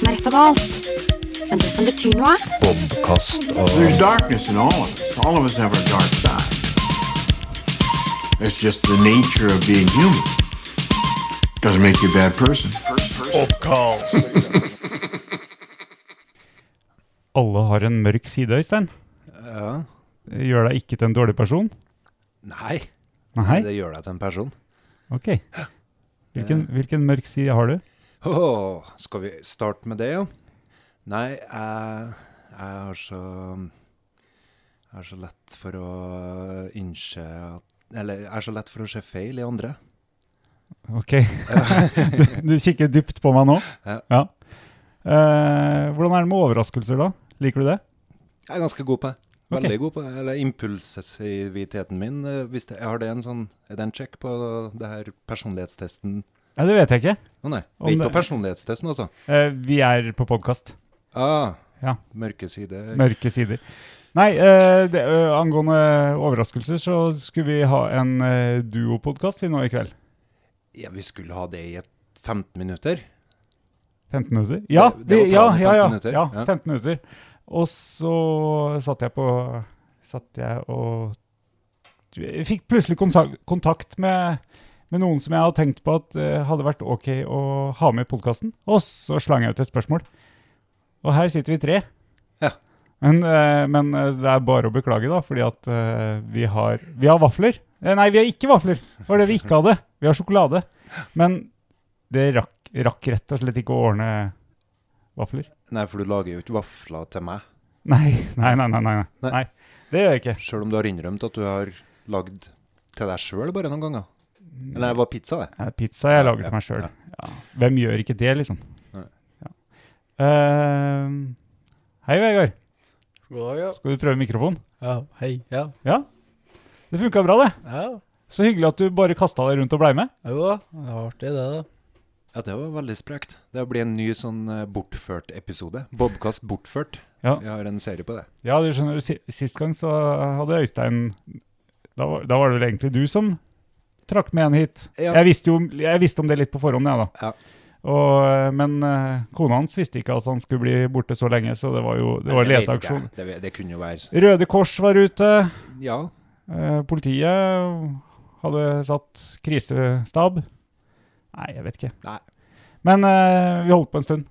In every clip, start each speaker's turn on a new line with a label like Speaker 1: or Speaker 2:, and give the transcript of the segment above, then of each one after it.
Speaker 1: overalt. Men det som betyr noe,
Speaker 2: Bobkast og
Speaker 3: There's darkness in all of us. All of us have our dark side. It's just the nature of being human. Doesn't make you a bad person.
Speaker 4: Alle har en mørk side, Øystein.
Speaker 5: Ja.
Speaker 4: Gjør deg ikke til en dårlig person?
Speaker 5: Nei,
Speaker 4: Nei?
Speaker 5: det gjør deg til en person.
Speaker 4: Ok. Hvilken, hvilken mørk side har du?
Speaker 5: Åh, skal vi starte med det, ja? Nei, jeg, jeg har så Jeg har så lett for å innse at Eller jeg er så lett for å se feil i andre.
Speaker 4: Ok. Du, du kikker dypt på meg nå?
Speaker 5: Ja.
Speaker 4: Eh, hvordan er det med overraskelser, da? Liker du det?
Speaker 5: Jeg er ganske god på det.
Speaker 4: Ok.
Speaker 5: Veldig god på det. Eller impulsiviteten min. eh, Hvis det, har det en sånn Er det en check på det her personlighetstesten? Å
Speaker 4: Nei, det vet jeg ikke.
Speaker 5: nei,
Speaker 4: Om
Speaker 5: vi er ikke
Speaker 4: det-
Speaker 5: på personlighetstesten, altså.
Speaker 4: Eh, vi er på podkast.
Speaker 5: Ah,
Speaker 4: Ja.
Speaker 5: Mørke side.
Speaker 4: Mørke sider. Nei, eh, det, eh, angående overraskelser så skulle vi ha en eh, duopodkast vi nå i kveld.
Speaker 5: Ja, vi skulle ha det i et 15 minutter.
Speaker 4: 15 minutter? Ja,
Speaker 5: det
Speaker 4: vi,
Speaker 5: var planen,
Speaker 4: ja, ja, ja,
Speaker 5: 15 minutter.
Speaker 4: ja,
Speaker 5: Ja.
Speaker 4: 15 minutter. Og så satt jeg på Satt jeg og jeg Fikk plutselig konsa- kontakt med, med noen som jeg hadde tenkt på at eh, hadde vært OK å ha med i podkasten. Og så slang jeg ut et spørsmål. Og her sitter vi tre.
Speaker 5: Ja.
Speaker 4: Men, eh, men eh, det er bare å beklage, da, fordi at eh, vi har Vi har vafler. Eh, Nei, vi har ikke vafler. Det var det vi ikke hadde. Vi har sjokolade. Men det rakk, rakk rett og slett ikke å ordne vafler.
Speaker 5: Nei, for du lager jo ikke vafler til meg.
Speaker 4: Nei, nei, nei. nei, nei.
Speaker 5: Nei.
Speaker 4: nei. Det gjør jeg ikke.
Speaker 5: Sjøl om du har innrømt at du har lagd til deg sjøl bare noen ganger.
Speaker 4: Mm.
Speaker 5: Eller det var pizza, det.
Speaker 4: Eh, Pizza jeg lager
Speaker 5: Ja,
Speaker 4: til meg sjøl.
Speaker 5: ja.
Speaker 4: Ja. Hvem gjør ikke det, liksom?
Speaker 5: Nei.
Speaker 4: Ja. Ehm, hei, Vegard.
Speaker 6: God dag, ja.
Speaker 4: Skal du prøve mikrofon?
Speaker 6: ja. Hei. Ja.
Speaker 4: Ja? Det funka bra, det.
Speaker 6: ja.
Speaker 4: Så hyggelig at du bare kasta deg rundt og blei med.
Speaker 6: Jo da, det var artig det, da.
Speaker 5: Ja, det var veldig sprekt. Det blir en ny sånn eh, bortført-episode. Bobkast bortført.
Speaker 4: Ja.
Speaker 5: Vi har en serie på det.
Speaker 4: Ja, du skjønner, si- Sist gang så hadde Øystein Da var, da var det vel egentlig du som trakk med en hit.
Speaker 5: Ja.
Speaker 4: Jeg, visste jo, jeg visste om det litt på forhånd, jeg, da.
Speaker 5: Ja.
Speaker 4: Og, eh, men eh, kona hans visste ikke at han skulle bli borte så lenge, så det var jo det var
Speaker 5: Nei, jeg vet
Speaker 4: leteaksjon.
Speaker 5: ikke, jeg. Det, det kunne jo være
Speaker 4: Røde Kors var ute.
Speaker 5: Ja.
Speaker 4: Eh, Politiet hadde satt krisestab. Nei, jeg vet ikke.
Speaker 5: Nei.
Speaker 4: Men eh, vi holdt på en stund.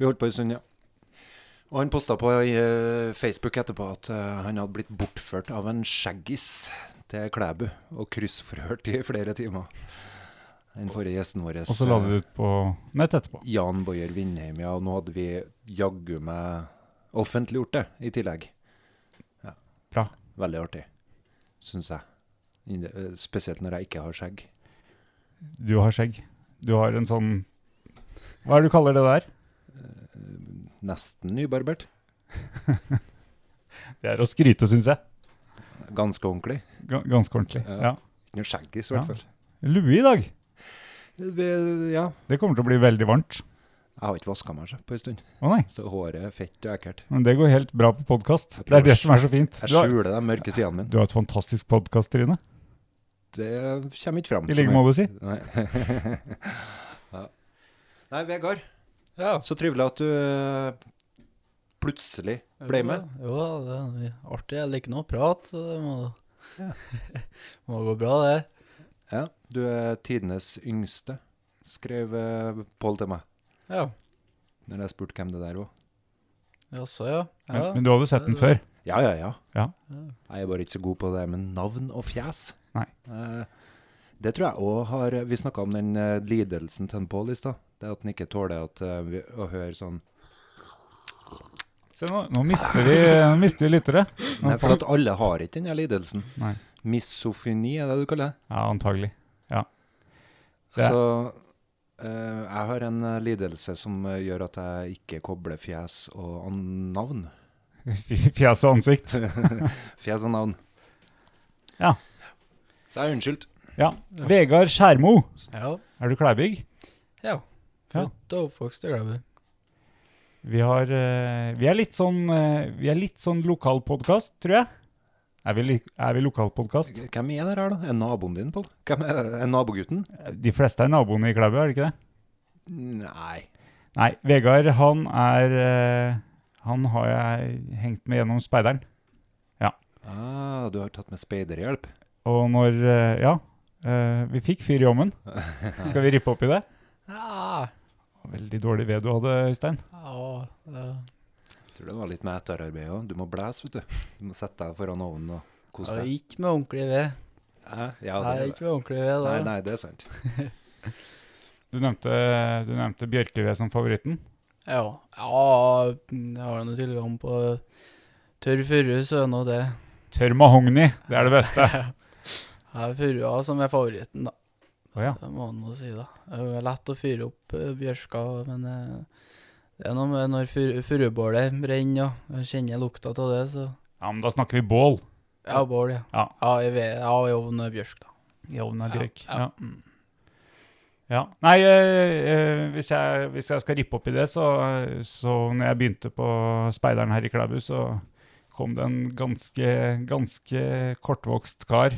Speaker 5: Vi holdt på en stund, ja. Og han posta på eh, Facebook etterpå at eh, han hadde blitt bortført av en skjeggis til Klæbu og kryssforhørt i flere timer. Den forrige gjesten vår.
Speaker 4: Og så la vi det ut på nett etterpå.
Speaker 5: Jan Bojer Vindheim, ja. Og nå hadde vi jaggu meg offentliggjort det i tillegg. Ja.
Speaker 4: Bra.
Speaker 5: Veldig artig, syns jeg. Inde- eh, Spesielt når jeg ikke har skjegg.
Speaker 4: Du har skjegg. Du har en sånn Hva er det du kaller det der?
Speaker 5: Nesten nybarbert.
Speaker 4: Det er å skryte, syns jeg.
Speaker 5: Ganske ordentlig.
Speaker 4: Ga- Ganske ordentlig. Ja.
Speaker 5: Ja. Ikke noe skjeggis, i
Speaker 4: Ja.
Speaker 5: hvert fall.
Speaker 4: Lue i dag.
Speaker 5: Vi- Ja.
Speaker 4: Det kommer til å bli veldig varmt.
Speaker 5: Jeg har ikke vaska meg så på en stund,
Speaker 4: Å nei.
Speaker 5: så håret er fett og ekkelt.
Speaker 4: Men det går helt bra på podkast.
Speaker 5: Jeg
Speaker 4: Det
Speaker 5: prøver
Speaker 4: er det
Speaker 5: å
Speaker 4: som er så fint.
Speaker 5: Jeg Mm.
Speaker 4: Du har,
Speaker 5: skjuler de mørke sidene mine.
Speaker 4: du har et fantastisk podkast-tryne.
Speaker 5: Det kommer ikke fram.
Speaker 4: I like måte, si.
Speaker 5: Nei. ja. Nei, Vegard.
Speaker 6: Ja.
Speaker 5: Så trivelig at du eh, plutselig ble med.
Speaker 6: Jo da, det er mye artig. Jeg liker nå å prate, så det må,
Speaker 5: Ja.
Speaker 6: må gå bra, det.
Speaker 5: Ja, du er tidenes yngste, skrev eh, Pål til meg
Speaker 6: Ja.
Speaker 5: når jeg spurte hvem det der var.
Speaker 6: Jaså, ja. ja.
Speaker 4: Men, men du hadde sett den
Speaker 6: Det-
Speaker 4: før.
Speaker 5: Ja, ja, ja.
Speaker 4: Ja.
Speaker 5: Jeg er bare ikke så god på det med navn og fjes.
Speaker 4: Nei.
Speaker 5: Eh, det tror jeg òg har Vi snakka om den eh, lidelsen til en Pål i stad. Det at han ikke tåler at, eh, vi, å høre sånn
Speaker 4: Se, nå, nå mister vi, nå mister vi lyttere.
Speaker 5: Nei, for at alle har ikke den her lidelsen.
Speaker 4: Nei.
Speaker 5: Misofoni er det du kaller det.
Speaker 4: Ja, antagelig. Det er-
Speaker 5: Så eh, jeg har en eh, lidelse som eh, gjør at jeg ikke kobler fjes og an- navn.
Speaker 4: F- Fjes og ansikt.
Speaker 5: Fjes og navn.
Speaker 4: Ja.
Speaker 5: Så jeg er unnskyldt.
Speaker 4: Ja. Vegard Skjermo.
Speaker 6: Ja.
Speaker 4: Er du klæbygg?
Speaker 6: ja.
Speaker 4: Ja.
Speaker 6: Født og oppvokst i Glæbu.
Speaker 4: Vi, har, eh, vi er litt sånn, eh, vi er litt sånn lokalpodkast, tror jeg. Er vi, li- er vi lokalpodkast?
Speaker 5: Hvem er det her, da? Er naboen din, Pål? Hvem Er er nabogutten?
Speaker 4: De fleste er naboene i Klæbu, er det ikke det?
Speaker 5: Nei.
Speaker 4: Nei, Vegard, han er eh, Han har jeg hengt med gjennom speideren.
Speaker 5: Ah, du har tatt med speiderhjelp?
Speaker 4: Og når eh, Ja, eh, vi fikk fyr i ovnen. Skal vi rippe opp i det?
Speaker 6: Ja,
Speaker 4: Veldig dårlig ved du hadde, Øystein.
Speaker 6: ja, det-
Speaker 5: Jeg tror det var litt med etterarbeid òg. Du må blæse, vet du. Du må sette deg foran ovnen og
Speaker 6: det
Speaker 5: kose
Speaker 6: er
Speaker 5: deg.
Speaker 6: ikke med ordentlig ved.
Speaker 5: Hæ? Ja,
Speaker 6: Nei,
Speaker 5: det, er det.
Speaker 6: ikke med ordentlig ved
Speaker 5: nei,
Speaker 6: da.
Speaker 5: nei, det er sant.
Speaker 4: Du nevnte, du nevnte bjørkeved som favoritten.
Speaker 6: Ja, ja, jeg har noe tilgang på tørr furu, så er nå det.
Speaker 4: Tørr mahogni, det er det beste.
Speaker 6: Det er furua som er favoritten, da.
Speaker 4: Å ja.
Speaker 6: Det må man jo eh, si, da. Det er lett å fyre opp eh, bjørka, men eh, det er noe med når fur- furubålet brenner og jeg kjenner lukta av det, så
Speaker 4: ja, men da snakker vi bål.
Speaker 6: Ja, bål, ja.
Speaker 4: Ja.
Speaker 6: i ved, ja i ovn og bjørk, da.
Speaker 4: I ovnen
Speaker 6: Ja,
Speaker 4: Ja.
Speaker 6: Mm.
Speaker 4: Ja. Nei, eh, eh, hvis, jeg, hvis jeg skal rippe opp i det, så, så når jeg begynte på speideren her i Klæbu, så kom det en ganske, ganske kortvokst kar.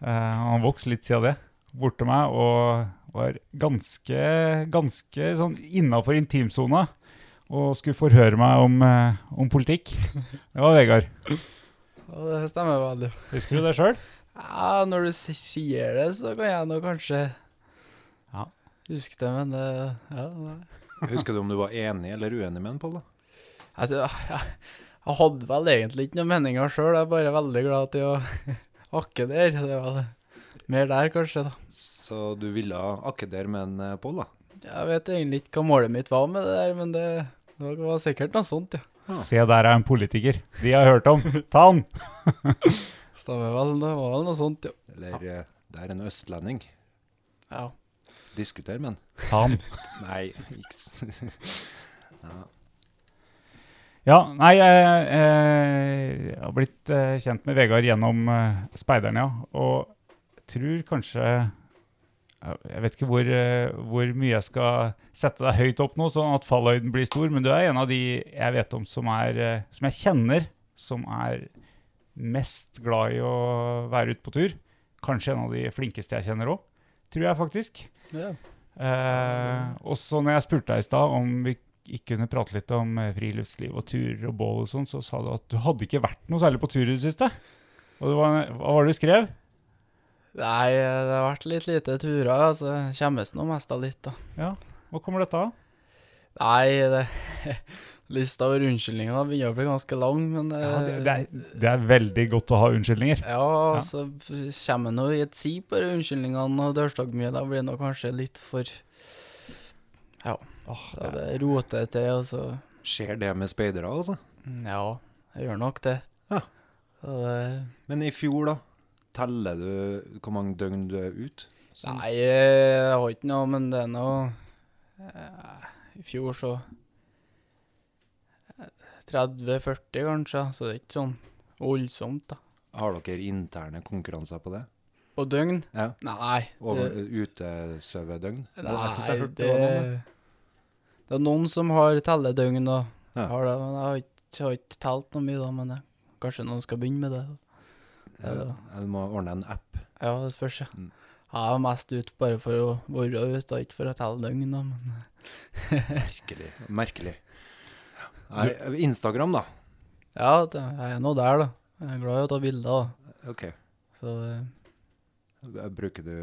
Speaker 4: Eh, han vokste litt siden det, bort til meg, og var ganske, ganske sånn innenfor intimsona, og skulle forhøre meg om, eh, om politikk. Det var Vegard.
Speaker 6: Ja, det stemmer veldig.
Speaker 4: Husker du det selv?
Speaker 6: Ja, når du si- sier det, så kan jeg nå kanskje
Speaker 4: Ja.
Speaker 6: huske det, men det Ja, nei.
Speaker 5: Husker du om du var enig eller uenig med han, Pål? da?
Speaker 6: Altså, jeg, jeg hadde vel egentlig ikke noen meninger sjøl, jeg er bare veldig glad til å hakke der. Det var det. Mer der, kanskje, da.
Speaker 5: Så du ville akkedere med en eh, Pål, da?
Speaker 6: Jeg vet egentlig ikke hva målet mitt var med det der, men det, det var sikkert noe sånt, ja.
Speaker 5: Ja.
Speaker 4: Se, der er en politiker. De har hørt om. Ta han!
Speaker 6: Stemmer vel, det var vel noe sånt, ja.
Speaker 5: Eller eh, det er en østlending.
Speaker 6: ja.
Speaker 5: Diskuter med han.
Speaker 4: Ta han.
Speaker 5: Nei, ikke s- ja.
Speaker 4: Ja, nei, jeg, jeg har blitt eh, kjent med Vegard gjennom eh, Speideren, ja. Og jeg tror kanskje Jeg jeg vet ikke hvor, eh, hvor mye jeg skal sette deg høyt opp nå, sånn at fallhøyden blir stor, men du er en av de jeg vet om som, er, eh, som jeg kjenner, som er mest glad i å være ute på tur. Kanskje en av de flinkeste jeg kjenner òg, tror jeg faktisk.
Speaker 6: ja.
Speaker 4: Eh, og så når jeg spurte deg i stad om vi ikke kunne prate litt om eh, friluftsliv og turer og bål og sånn, så sa du at du hadde ikke vært noe særlig på tur i det siste. Og det var, hva var det du skrev?
Speaker 6: Nei, det har vært litt lite turer, altså. Kjemmes nå mest av litt, da.
Speaker 4: Hva kommer dette av?
Speaker 6: Nei, det Lista over unnskyldningene begynner å bli ganske lang, men
Speaker 4: Ja, det,
Speaker 6: eh,
Speaker 4: det, er, det er veldig godt å ha unnskyldninger.
Speaker 6: ja, så kommer nå i et si på de unnskyldningene og dørstokk mye. Da blir det nå kanskje litt for
Speaker 4: Åh,
Speaker 6: da
Speaker 4: det,
Speaker 6: det roter til, og så
Speaker 5: Skjer det med speidere, altså?
Speaker 6: Ja, jeg gjør nok det.
Speaker 5: Ja.
Speaker 6: Så det
Speaker 5: Men i fjor, da? Teller du hvor mange døgn du er ute? Sånn.
Speaker 6: Nei, jeg har ikke noe, men det er noe eh, I fjor så eh, 30-40 kanskje, så det er ikke sånn voldsomt, da.
Speaker 5: Har dere interne konkurranser på det?
Speaker 6: På døgn?
Speaker 5: Ja.
Speaker 6: Nei.
Speaker 5: Over
Speaker 6: det,
Speaker 5: utesovedøgn? Jeg
Speaker 6: nei,
Speaker 5: synes jeg hørte det
Speaker 6: det,
Speaker 5: var noen, ja.
Speaker 6: det er noen som har telledøgn, da.
Speaker 5: Ja.
Speaker 6: Har det, men jeg har ikke, jeg har ikke telt noe mye, da. Men jeg, kanskje noen skal begynne med det.
Speaker 5: Ja,
Speaker 6: Ja.
Speaker 5: Du må ordne en app.
Speaker 6: Ja, det spørs, ja.
Speaker 5: Mm.
Speaker 6: Jeg er mest ute bare for å være ute, da, ikke for å telle døgn, da. Men
Speaker 5: Merkelig. Merkelig. Nei, Instagram, da.
Speaker 6: ja, det, jeg er nå der, da. Jeg er glad i å ta bilder, da.
Speaker 5: OK.
Speaker 6: Så eh,
Speaker 5: Bruker du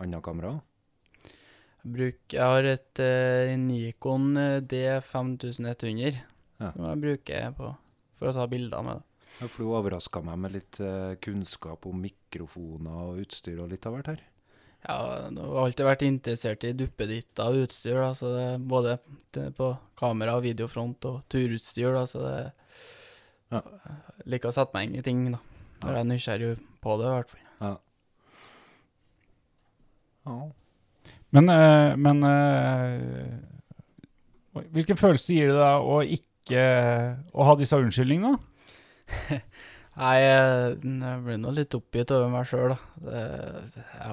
Speaker 5: annet kamera? også?
Speaker 6: jeg, bruk, jeg har et eh, Nikon eh, D5100
Speaker 5: Ja.
Speaker 6: som jeg bruker på, for å ta bilder med. da.
Speaker 5: Ja, For du overraska meg med litt eh, kunnskap om mikrofoner og utstyr og litt av hvert her.
Speaker 6: Ja, jeg har alltid vært interessert i duppeditter og utstyr, da, så det er både t- på kamera- og videofront og turutstyr. Da, så det
Speaker 5: Ja.
Speaker 6: jeg liker å sette meg inn i ting da, når jeg er nysgjerrig på det. i hvert fall.
Speaker 5: Ja.
Speaker 4: men eh, men eh, hvilken følelse gir det deg å ikke å ha disse unnskyldningene? da?
Speaker 6: Nei, jeg, jeg blir nå litt oppgitt over meg sjøl, da. Det, ja.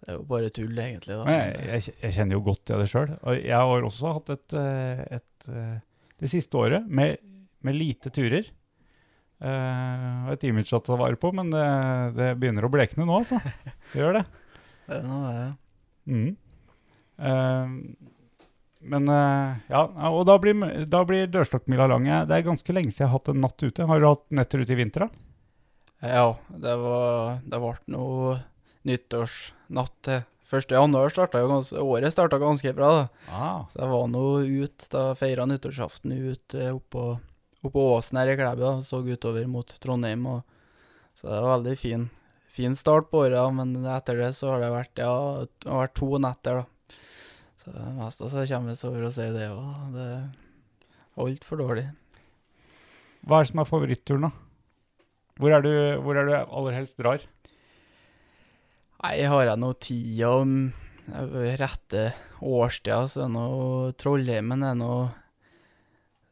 Speaker 6: det er jo bare tull, egentlig. da.
Speaker 4: Men Jeg, jeg, jeg kjenner jo godt til det sjøl. Jeg har også hatt et, eh, et eh, det siste året med, med lite turer. Eh, og et image å ta vare på, men det, det begynner å blekne nå, altså. Det gjør det.
Speaker 6: Det er noe, ja.
Speaker 4: Mm. Eh, Men eh, ja, og da blir, da blir dørstokkmila lang. Jeg- Det er ganske lenge siden jeg har hatt en natt ute. Har du hatt netter ute i vinter, da?
Speaker 6: Ja, det var Det ble noe nyttårsnatt til. 1. januar starta jo ganske Året starta ganske bra, da.
Speaker 4: Ah.
Speaker 6: Så jeg var nå ute. Da feira nyttårsaften eh, ute oppå, oppå åsen her i Klæbu. da, Så utover mot Trondheim. Og, så det var veldig fin, fin start på året, da, men etter det så har det vært, ja, det har vært to netter, da. Så det meste så kommer vi oss over å si det òg. Det er altfor dårlig.
Speaker 4: Hva er det som er favoritturen, da? Hvor er, du, hvor er du aller helst drar?
Speaker 6: Nei, har jeg noe tid om eh, rette årstida, så er nå Trollheimen er nå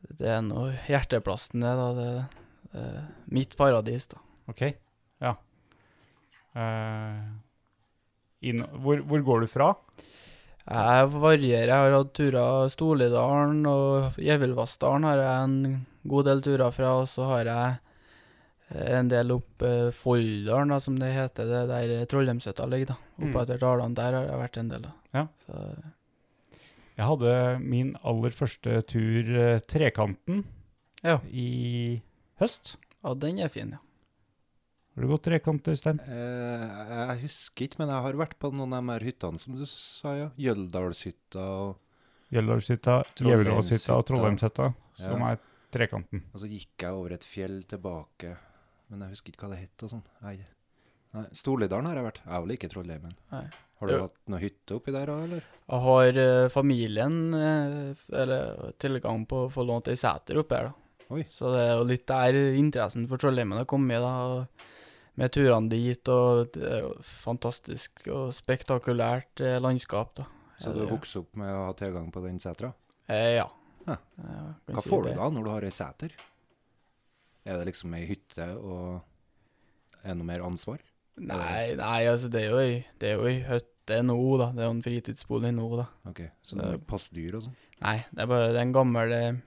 Speaker 6: Det er nå hjerteplassen, det, da. Det, det er mitt paradis, da.
Speaker 4: Ok, ja. Eh, inn, hvor, hvor går du fra?
Speaker 6: Jeg varierer. Jeg har hatt turer Stolidalen og Gjevilvassdalen har jeg en god del turer fra. Og så har jeg eh, en del opp eh, Folldalen, da, som det heter. Det der eh, Trollheimshytta ligger, da. Oppe
Speaker 4: Mm.
Speaker 6: etter dalene der har jeg vært en del, da.
Speaker 4: Ja.
Speaker 6: Så,
Speaker 4: Jeg hadde min aller første tur eh, Trekanten
Speaker 6: Ja.
Speaker 4: i høst.
Speaker 6: ja, den er fin, ja.
Speaker 4: Har du gått trekant, Øystein?
Speaker 5: Eh, jeg husker ikke, men jeg har vært på noen av de her hyttene som du sa, ja. Jøldalshytta og
Speaker 4: Gjelleråshytta, Gjeveråshytta og
Speaker 5: Trollheimshytta.
Speaker 4: Trollheimshytta, eh, som
Speaker 5: Ja.
Speaker 4: er Trekanten.
Speaker 5: Og så gikk jeg over et fjell tilbake, men jeg husker ikke hva det het og sånn. Nei. Nei, Storlidalen har jeg vært. Jeg er vel ikke Trollheimen.
Speaker 6: Nei.
Speaker 5: Har du
Speaker 6: Jo.
Speaker 5: hatt noe hytte oppi der òg, eller?
Speaker 6: Jeg har eh, familien eh, f- eller tilgang på å få lånt ei seter oppe her, da.
Speaker 5: Oi.
Speaker 6: Så det er jo litt der interessen for Trollheimen har kommet, da. og Med turene dit, og det er jo fantastisk og spektakulært eh, landskap, da.
Speaker 5: Så
Speaker 6: Er
Speaker 5: du
Speaker 6: det-
Speaker 5: har vokst opp med å ha tilgang på den setra?
Speaker 6: Eh, ja.
Speaker 5: Ja.
Speaker 6: Eh, kan
Speaker 5: Hva
Speaker 6: si
Speaker 5: får du
Speaker 6: det.
Speaker 5: da når du har ei seter? Er det liksom ei hytte og er det noe mer ansvar?
Speaker 6: Nei, nei, altså det er jo ei- det er jo ei hytte nå, da. Det er jo en fritidsbolig nå, da.
Speaker 5: Ok, Så det er passdyr og sånn?
Speaker 6: Nei, det er bare det er en gammel,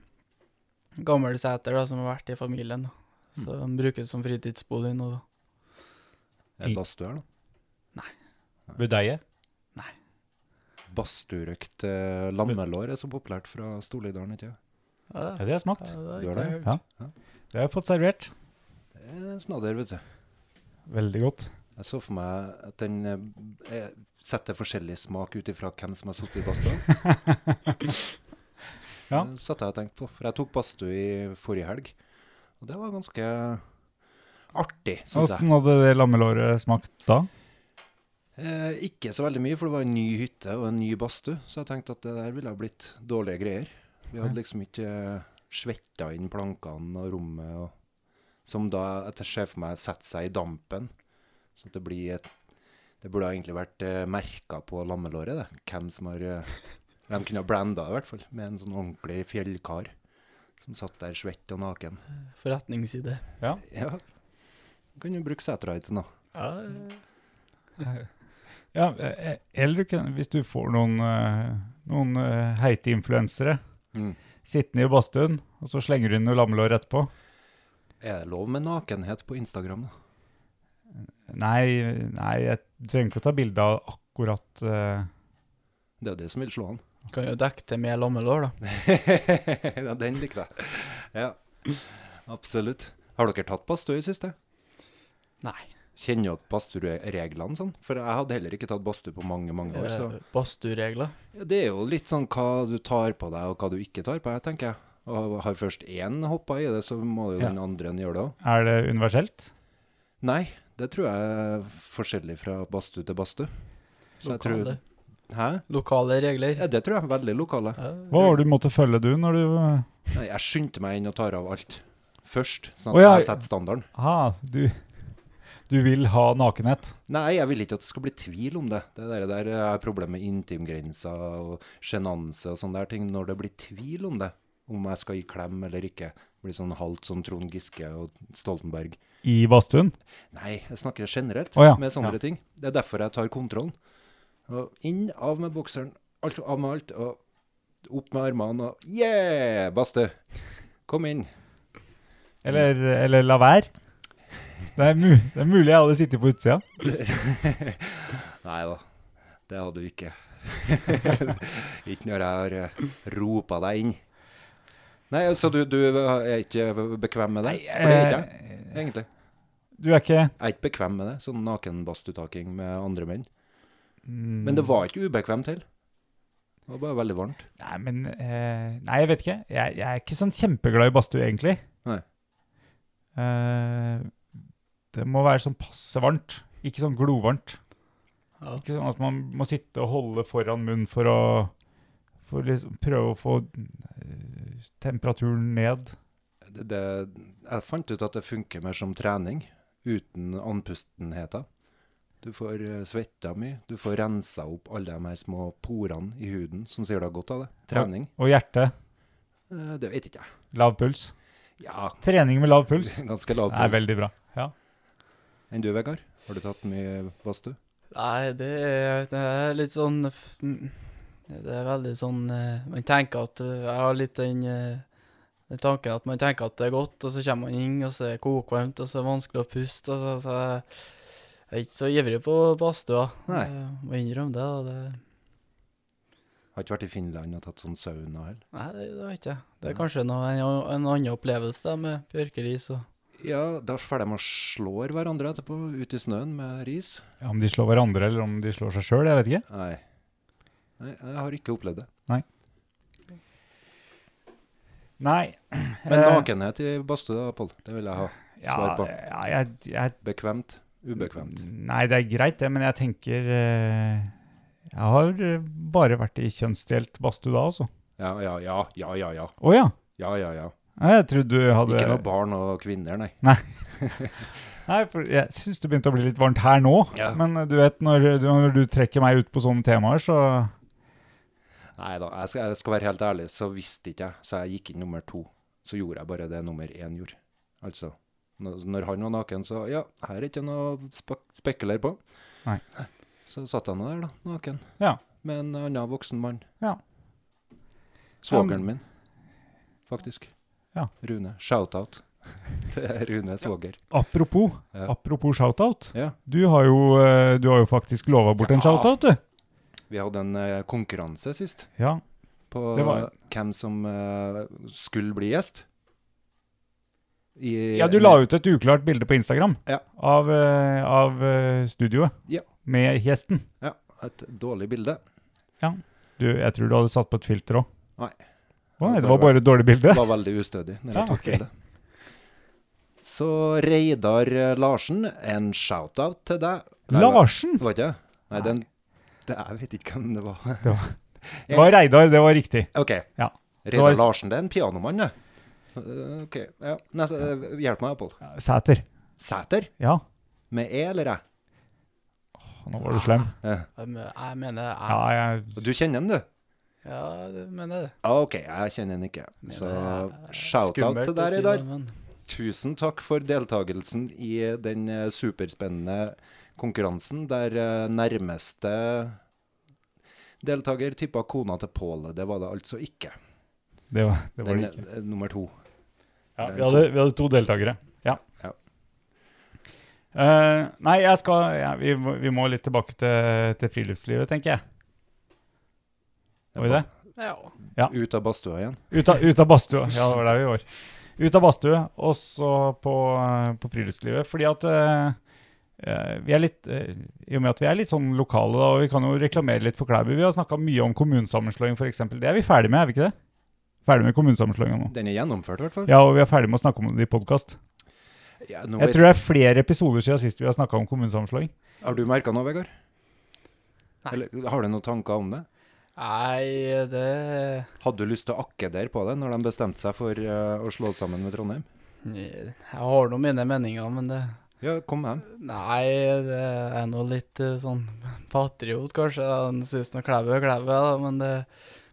Speaker 6: gammel seter da, som har vært i familien. da.
Speaker 5: Mm.
Speaker 6: Så den brukes som fritidsbolig nå. da.
Speaker 5: Er det badstue her, da?
Speaker 4: Budeie?
Speaker 5: Badstuerøkt eh, lammelår er så populært fra Storlidalen, ikke sant?
Speaker 6: Ja,
Speaker 4: Ja, det har jeg smakt.
Speaker 5: Du har det?
Speaker 4: Ja.
Speaker 5: Ja.
Speaker 4: Det har jeg fått servert.
Speaker 5: Det er snadder, vet du.
Speaker 4: Veldig godt.
Speaker 5: Jeg så for meg at den eh, eh, setter forskjellig smak ut ifra hvem som har sittet i badstua.
Speaker 4: Ja.
Speaker 5: Det satt jeg og tenkte på, for jeg tok badstue i forrige helg. Og det var ganske artig, syns jeg.
Speaker 4: Åssen hadde det lammelåret smakt da?
Speaker 5: Eh, ikke så veldig mye, for det var en ny hytte og en ny badstue, så jeg tenkte at det der ville ha blitt dårlige greier. Vi hadde liksom ikke eh, svetta inn plankene og rommet, og, som da etter ser for meg setter seg i dampen. Så at det blir et Det burde ha egentlig vært eh, merka på lammelåret, det. Hvem som har eh, De kunne ha blanda det, i hvert fall, med en sånn ordentlig fjellkar som satt der svett og naken.
Speaker 6: Forretningside.
Speaker 5: Ja. Kan jo bruke seterhiten, da.
Speaker 6: Ja,
Speaker 4: Ja, eh, eller du kan- hvis du får noen, eh, noen eh, heite influensere
Speaker 5: Mm.
Speaker 4: sittende i badstuen, og så slenger du inn noe lammelår etterpå.
Speaker 5: Er det lov med nakenhet på Instagram, da?
Speaker 4: Nei, nei jeg trenger ikke å ta bilde av akkurat eh,
Speaker 5: Det er jo det som vil slå an.
Speaker 6: kan jo dekke til med lammelår, da.
Speaker 5: ja, den likte jeg. Ja, absolutt. Har dere tatt badstue i siste?
Speaker 6: Nei.
Speaker 5: Kjenner dere badstuereglene sånn? For jeg hadde heller ikke tatt badstue på mange, mange år. Så
Speaker 6: Eh, Badstueregler.
Speaker 5: ja, det er jo litt sånn hva du tar på deg, og hva du ikke tar på deg, tenker jeg. Og har først én hoppa i det, så må jo
Speaker 4: Ja.
Speaker 5: den andre gjøre det òg.
Speaker 4: Er det universelt?
Speaker 5: Nei, det tror jeg er forskjellig fra badstue til badstue. Så jeg tror
Speaker 6: Lokale.
Speaker 5: Hæ?
Speaker 6: Lokale regler.
Speaker 5: Ja, det tror jeg er veldig lokale.
Speaker 6: Ja.
Speaker 4: Hva var det du måtte følge du når du eh,
Speaker 5: Nei, jeg skyndte meg inn og tar av alt først, sånn at
Speaker 4: Å, ja.
Speaker 5: jeg setter standarden.
Speaker 4: Ah, du, du vil ha nakenhet.
Speaker 5: Nei, jeg vil ikke at det skal bli tvil om det. Det der, der er problemet med intimgrenser og sjenanse og sånne der ting. Når det blir tvil om det, om jeg skal gi klem eller ikke. Blir sånn halvt sånn Trond Giske og Stoltenberg.
Speaker 4: I badstuen?
Speaker 5: Nei, jeg snakker generelt
Speaker 4: Å ja,
Speaker 5: med sånne ting. Det er derfor jeg tar kontrollen. Og inn, av med bokseren, alt, av med alt, og opp med armene og Yeah! Baste! Kom inn.
Speaker 4: Eller, eller la være? Det er, mu det er mulig jeg hadde sittet på utsida.
Speaker 5: Nei da. Det hadde du ikke. ikke når jeg har eh, ropa deg inn. Nei, så du, du er ikke bekvem med det? For det er ikke jeg,
Speaker 4: eh,
Speaker 5: egentlig.
Speaker 4: Du er ikke
Speaker 5: Jeg er ikke bekvem med det, sånn nakenbadstutaking med andre menn.
Speaker 4: mm,
Speaker 5: Men det var ikke ubekvemt heller. Det var bare veldig varmt.
Speaker 4: Nei, men eh, Nei, jeg vet ikke. Jeg, jeg er ikke sånn kjempeglad i badstue, egentlig.
Speaker 5: Nei.
Speaker 4: Eh, det må være sånn passe varmt. Ikke sånn glovarmt.
Speaker 6: Ja.
Speaker 4: Ikke sånn at man må sitte og holde foran munnen for å for liksom prøve å få eh, temperaturen ned.
Speaker 5: Det, det, jeg fant ut at det funker mer som trening, uten andpustenheter. Du får eh, svetta mye, du får rensa opp alle de her små porene i huden som sier du har godt av det. Trening,
Speaker 4: Og hjertet.
Speaker 5: eh, det vet ikke jeg.
Speaker 4: Lav puls.
Speaker 5: Ja,
Speaker 4: Trening med lav puls.
Speaker 5: ganske lav
Speaker 4: Det er
Speaker 5: puls.
Speaker 4: veldig bra. Ja.
Speaker 5: Enn du, Vegard? Har du tatt mye badstue?
Speaker 6: Nei, det er, det er litt sånn f- mm, Det er veldig sånn eh, Man tenker at eh, Jeg har litt den, eh, den tanken at man tenker at det er godt, og så kommer man inn, og så er det kokvarmt, og så er det vanskelig å puste. Og så, så jeg- jeg er ikke så ivrig på badstua.
Speaker 5: Nei.
Speaker 6: Jeg Må innrømme det. da, det
Speaker 5: Har ikke vært i Finland og tatt sånn sauna heller?
Speaker 6: Nei, det, det vet jeg. Det er kanskje noe, en, en annen opplevelse da, med bjørkeris og
Speaker 5: Ja, da får de og slår hverandre etterpå, ute i snøen med ris.
Speaker 4: Ja, Om de slår hverandre, eller om de slår seg sjøl, jeg vet ikke.
Speaker 5: Nei. Nei, jeg har ikke opplevd det.
Speaker 4: Nei.
Speaker 5: Men
Speaker 4: Eh,
Speaker 5: nakenhet i badstue, da, Pål. Det vil jeg ha.
Speaker 4: ja,
Speaker 5: svar på.
Speaker 4: ja, jeg, jeg
Speaker 5: Bekvemt, ubekvemt.
Speaker 4: Nei, det er greit det, men jeg tenker eh, Jeg har eh, bare vært i kjønnsdelt badstue da, altså.
Speaker 5: Ja, ja, ja, ja, ja, ja.
Speaker 4: Å ja.
Speaker 5: Ja, ja, ja.
Speaker 4: Nei, Jeg trodde du hadde
Speaker 5: Ikke noe barn og kvinner, nei.
Speaker 4: Nei, for jeg syns det begynte å bli litt varmt her nå.
Speaker 5: Ja.
Speaker 4: Men eh, du vet, når, du- når du trekker meg ut på sånne temaer, så
Speaker 5: Nei da, jeg skal, jeg skal være helt ærlig, så visste ikke jeg, så jeg gikk inn nummer to. Så gjorde jeg bare det nummer én gjorde. Altså, når, når han var naken, så ja, her er ikke noe spek spekuler på.
Speaker 4: Nei.
Speaker 5: Så satt jeg nå der, da, naken.
Speaker 4: Ja.
Speaker 5: Med en annen voksen mann.
Speaker 4: Ja.
Speaker 5: Svogeren min, faktisk.
Speaker 4: Ja.
Speaker 5: Rune. Shout-out. Det er Rune Svoger.
Speaker 4: Apropos,
Speaker 5: Ja.
Speaker 4: apropos shoutout.
Speaker 5: Ja.
Speaker 4: Du har jo, eh, du har jo faktisk lova bort en
Speaker 5: Ja.
Speaker 4: shoutout, du.
Speaker 5: Vi hadde en eh, konkurranse sist.
Speaker 4: Ja.
Speaker 5: på
Speaker 4: Det var-
Speaker 5: hvem som eh, skulle bli gjest. I,
Speaker 4: ja, du la ut et uklart bilde på Instagram
Speaker 5: Ja.
Speaker 4: av, eh, av eh, studioet
Speaker 5: Ja.
Speaker 4: med gjesten.
Speaker 5: Ja, et dårlig bilde.
Speaker 4: Du, jeg tror du hadde satt på et filter òg.
Speaker 5: Nei.
Speaker 4: Å nei, det var bare et dårlig
Speaker 5: Det
Speaker 4: bilde?
Speaker 5: var veldig ustødig. når jeg
Speaker 4: Ja,
Speaker 5: tok
Speaker 4: Ah, ok.
Speaker 5: bildet. Så Reidar eh, Larsen, en shout-out til deg. Nei,
Speaker 4: Larsen!
Speaker 5: Var ikke det? Nei, den det, Jeg vet ikke hvem det var.
Speaker 4: Det var Reidar, det var riktig.
Speaker 5: OK.
Speaker 4: Ja. Så
Speaker 5: Reidar
Speaker 4: var-
Speaker 5: Larsen, det er en pianomann, det. Eh, OK. Ja. Nei, så, eh, hjelp meg, Pål.
Speaker 4: Sæter.
Speaker 5: Sæter?
Speaker 4: Ja,
Speaker 5: Med E eller æ?
Speaker 4: nå var du slem.
Speaker 5: Eh,
Speaker 6: Jeg me- jeg mener
Speaker 4: Ja,
Speaker 6: jeg,
Speaker 5: og
Speaker 4: jeg,
Speaker 5: Du kjenner han, du?
Speaker 6: Ja, det mener jeg.
Speaker 5: Ja, Ah, OK, jeg kjenner han ikke. Så shout-out
Speaker 6: Skummelt
Speaker 5: til
Speaker 6: å
Speaker 5: deg,
Speaker 6: si
Speaker 5: Reidar.
Speaker 6: det, men-
Speaker 5: Tusen takk for deltakelsen i den eh, superspennende konkurransen der eh, nærmeste deltaker tippa kona til Pål. Det var det altså ikke.
Speaker 4: det var, det var
Speaker 5: Den,
Speaker 4: det ikke.
Speaker 5: eh, nummer to.
Speaker 4: Ja, vi, hadde, vi hadde to deltakere. Ja.
Speaker 5: Ja.
Speaker 4: Eh, nei, jeg skal ja, vi, må- vi må litt tilbake til, til friluftslivet, tenker jeg. Var vi det?
Speaker 6: Ja.
Speaker 5: Ut av badstua igjen.
Speaker 4: Ut av, ut av badstua. Ja, det var der vi var. Ut av badstue, og så på, på friluftslivet. Fordi at eh, eh, vi er litt, eh, i og med at vi er litt sånn lokale, da, og vi kan jo reklamere litt for Klæbu. Vi har snakka mye om kommunesammenslåing, f.eks. Det er vi ferdig med, er vi ikke det? Ferdig med kommunesammenslåinga nå.
Speaker 5: Den er gjennomført, i hvert fall.
Speaker 4: Ja, og vi er ferdig med å snakke om det i podkast.
Speaker 5: Ja, nå
Speaker 4: Jeg
Speaker 5: vet-
Speaker 4: tror det er flere episoder siden sist vi har snakka om kommunesammenslåing.
Speaker 5: Har du merka noe, Vegard?
Speaker 6: Nei.
Speaker 5: Eller har du noen tanker om det?
Speaker 6: Nei, det
Speaker 5: Hadde du lyst til å akkedere på det når de bestemte seg for eh, å slå sammen med Trondheim?
Speaker 6: Jeg har nå mine meninger, men det
Speaker 5: Ja, kom med dem.
Speaker 6: Nei, det er nå litt eh, sånn patriot, kanskje. Han syns nå Klæbu er Klæbu, ja, da, men det,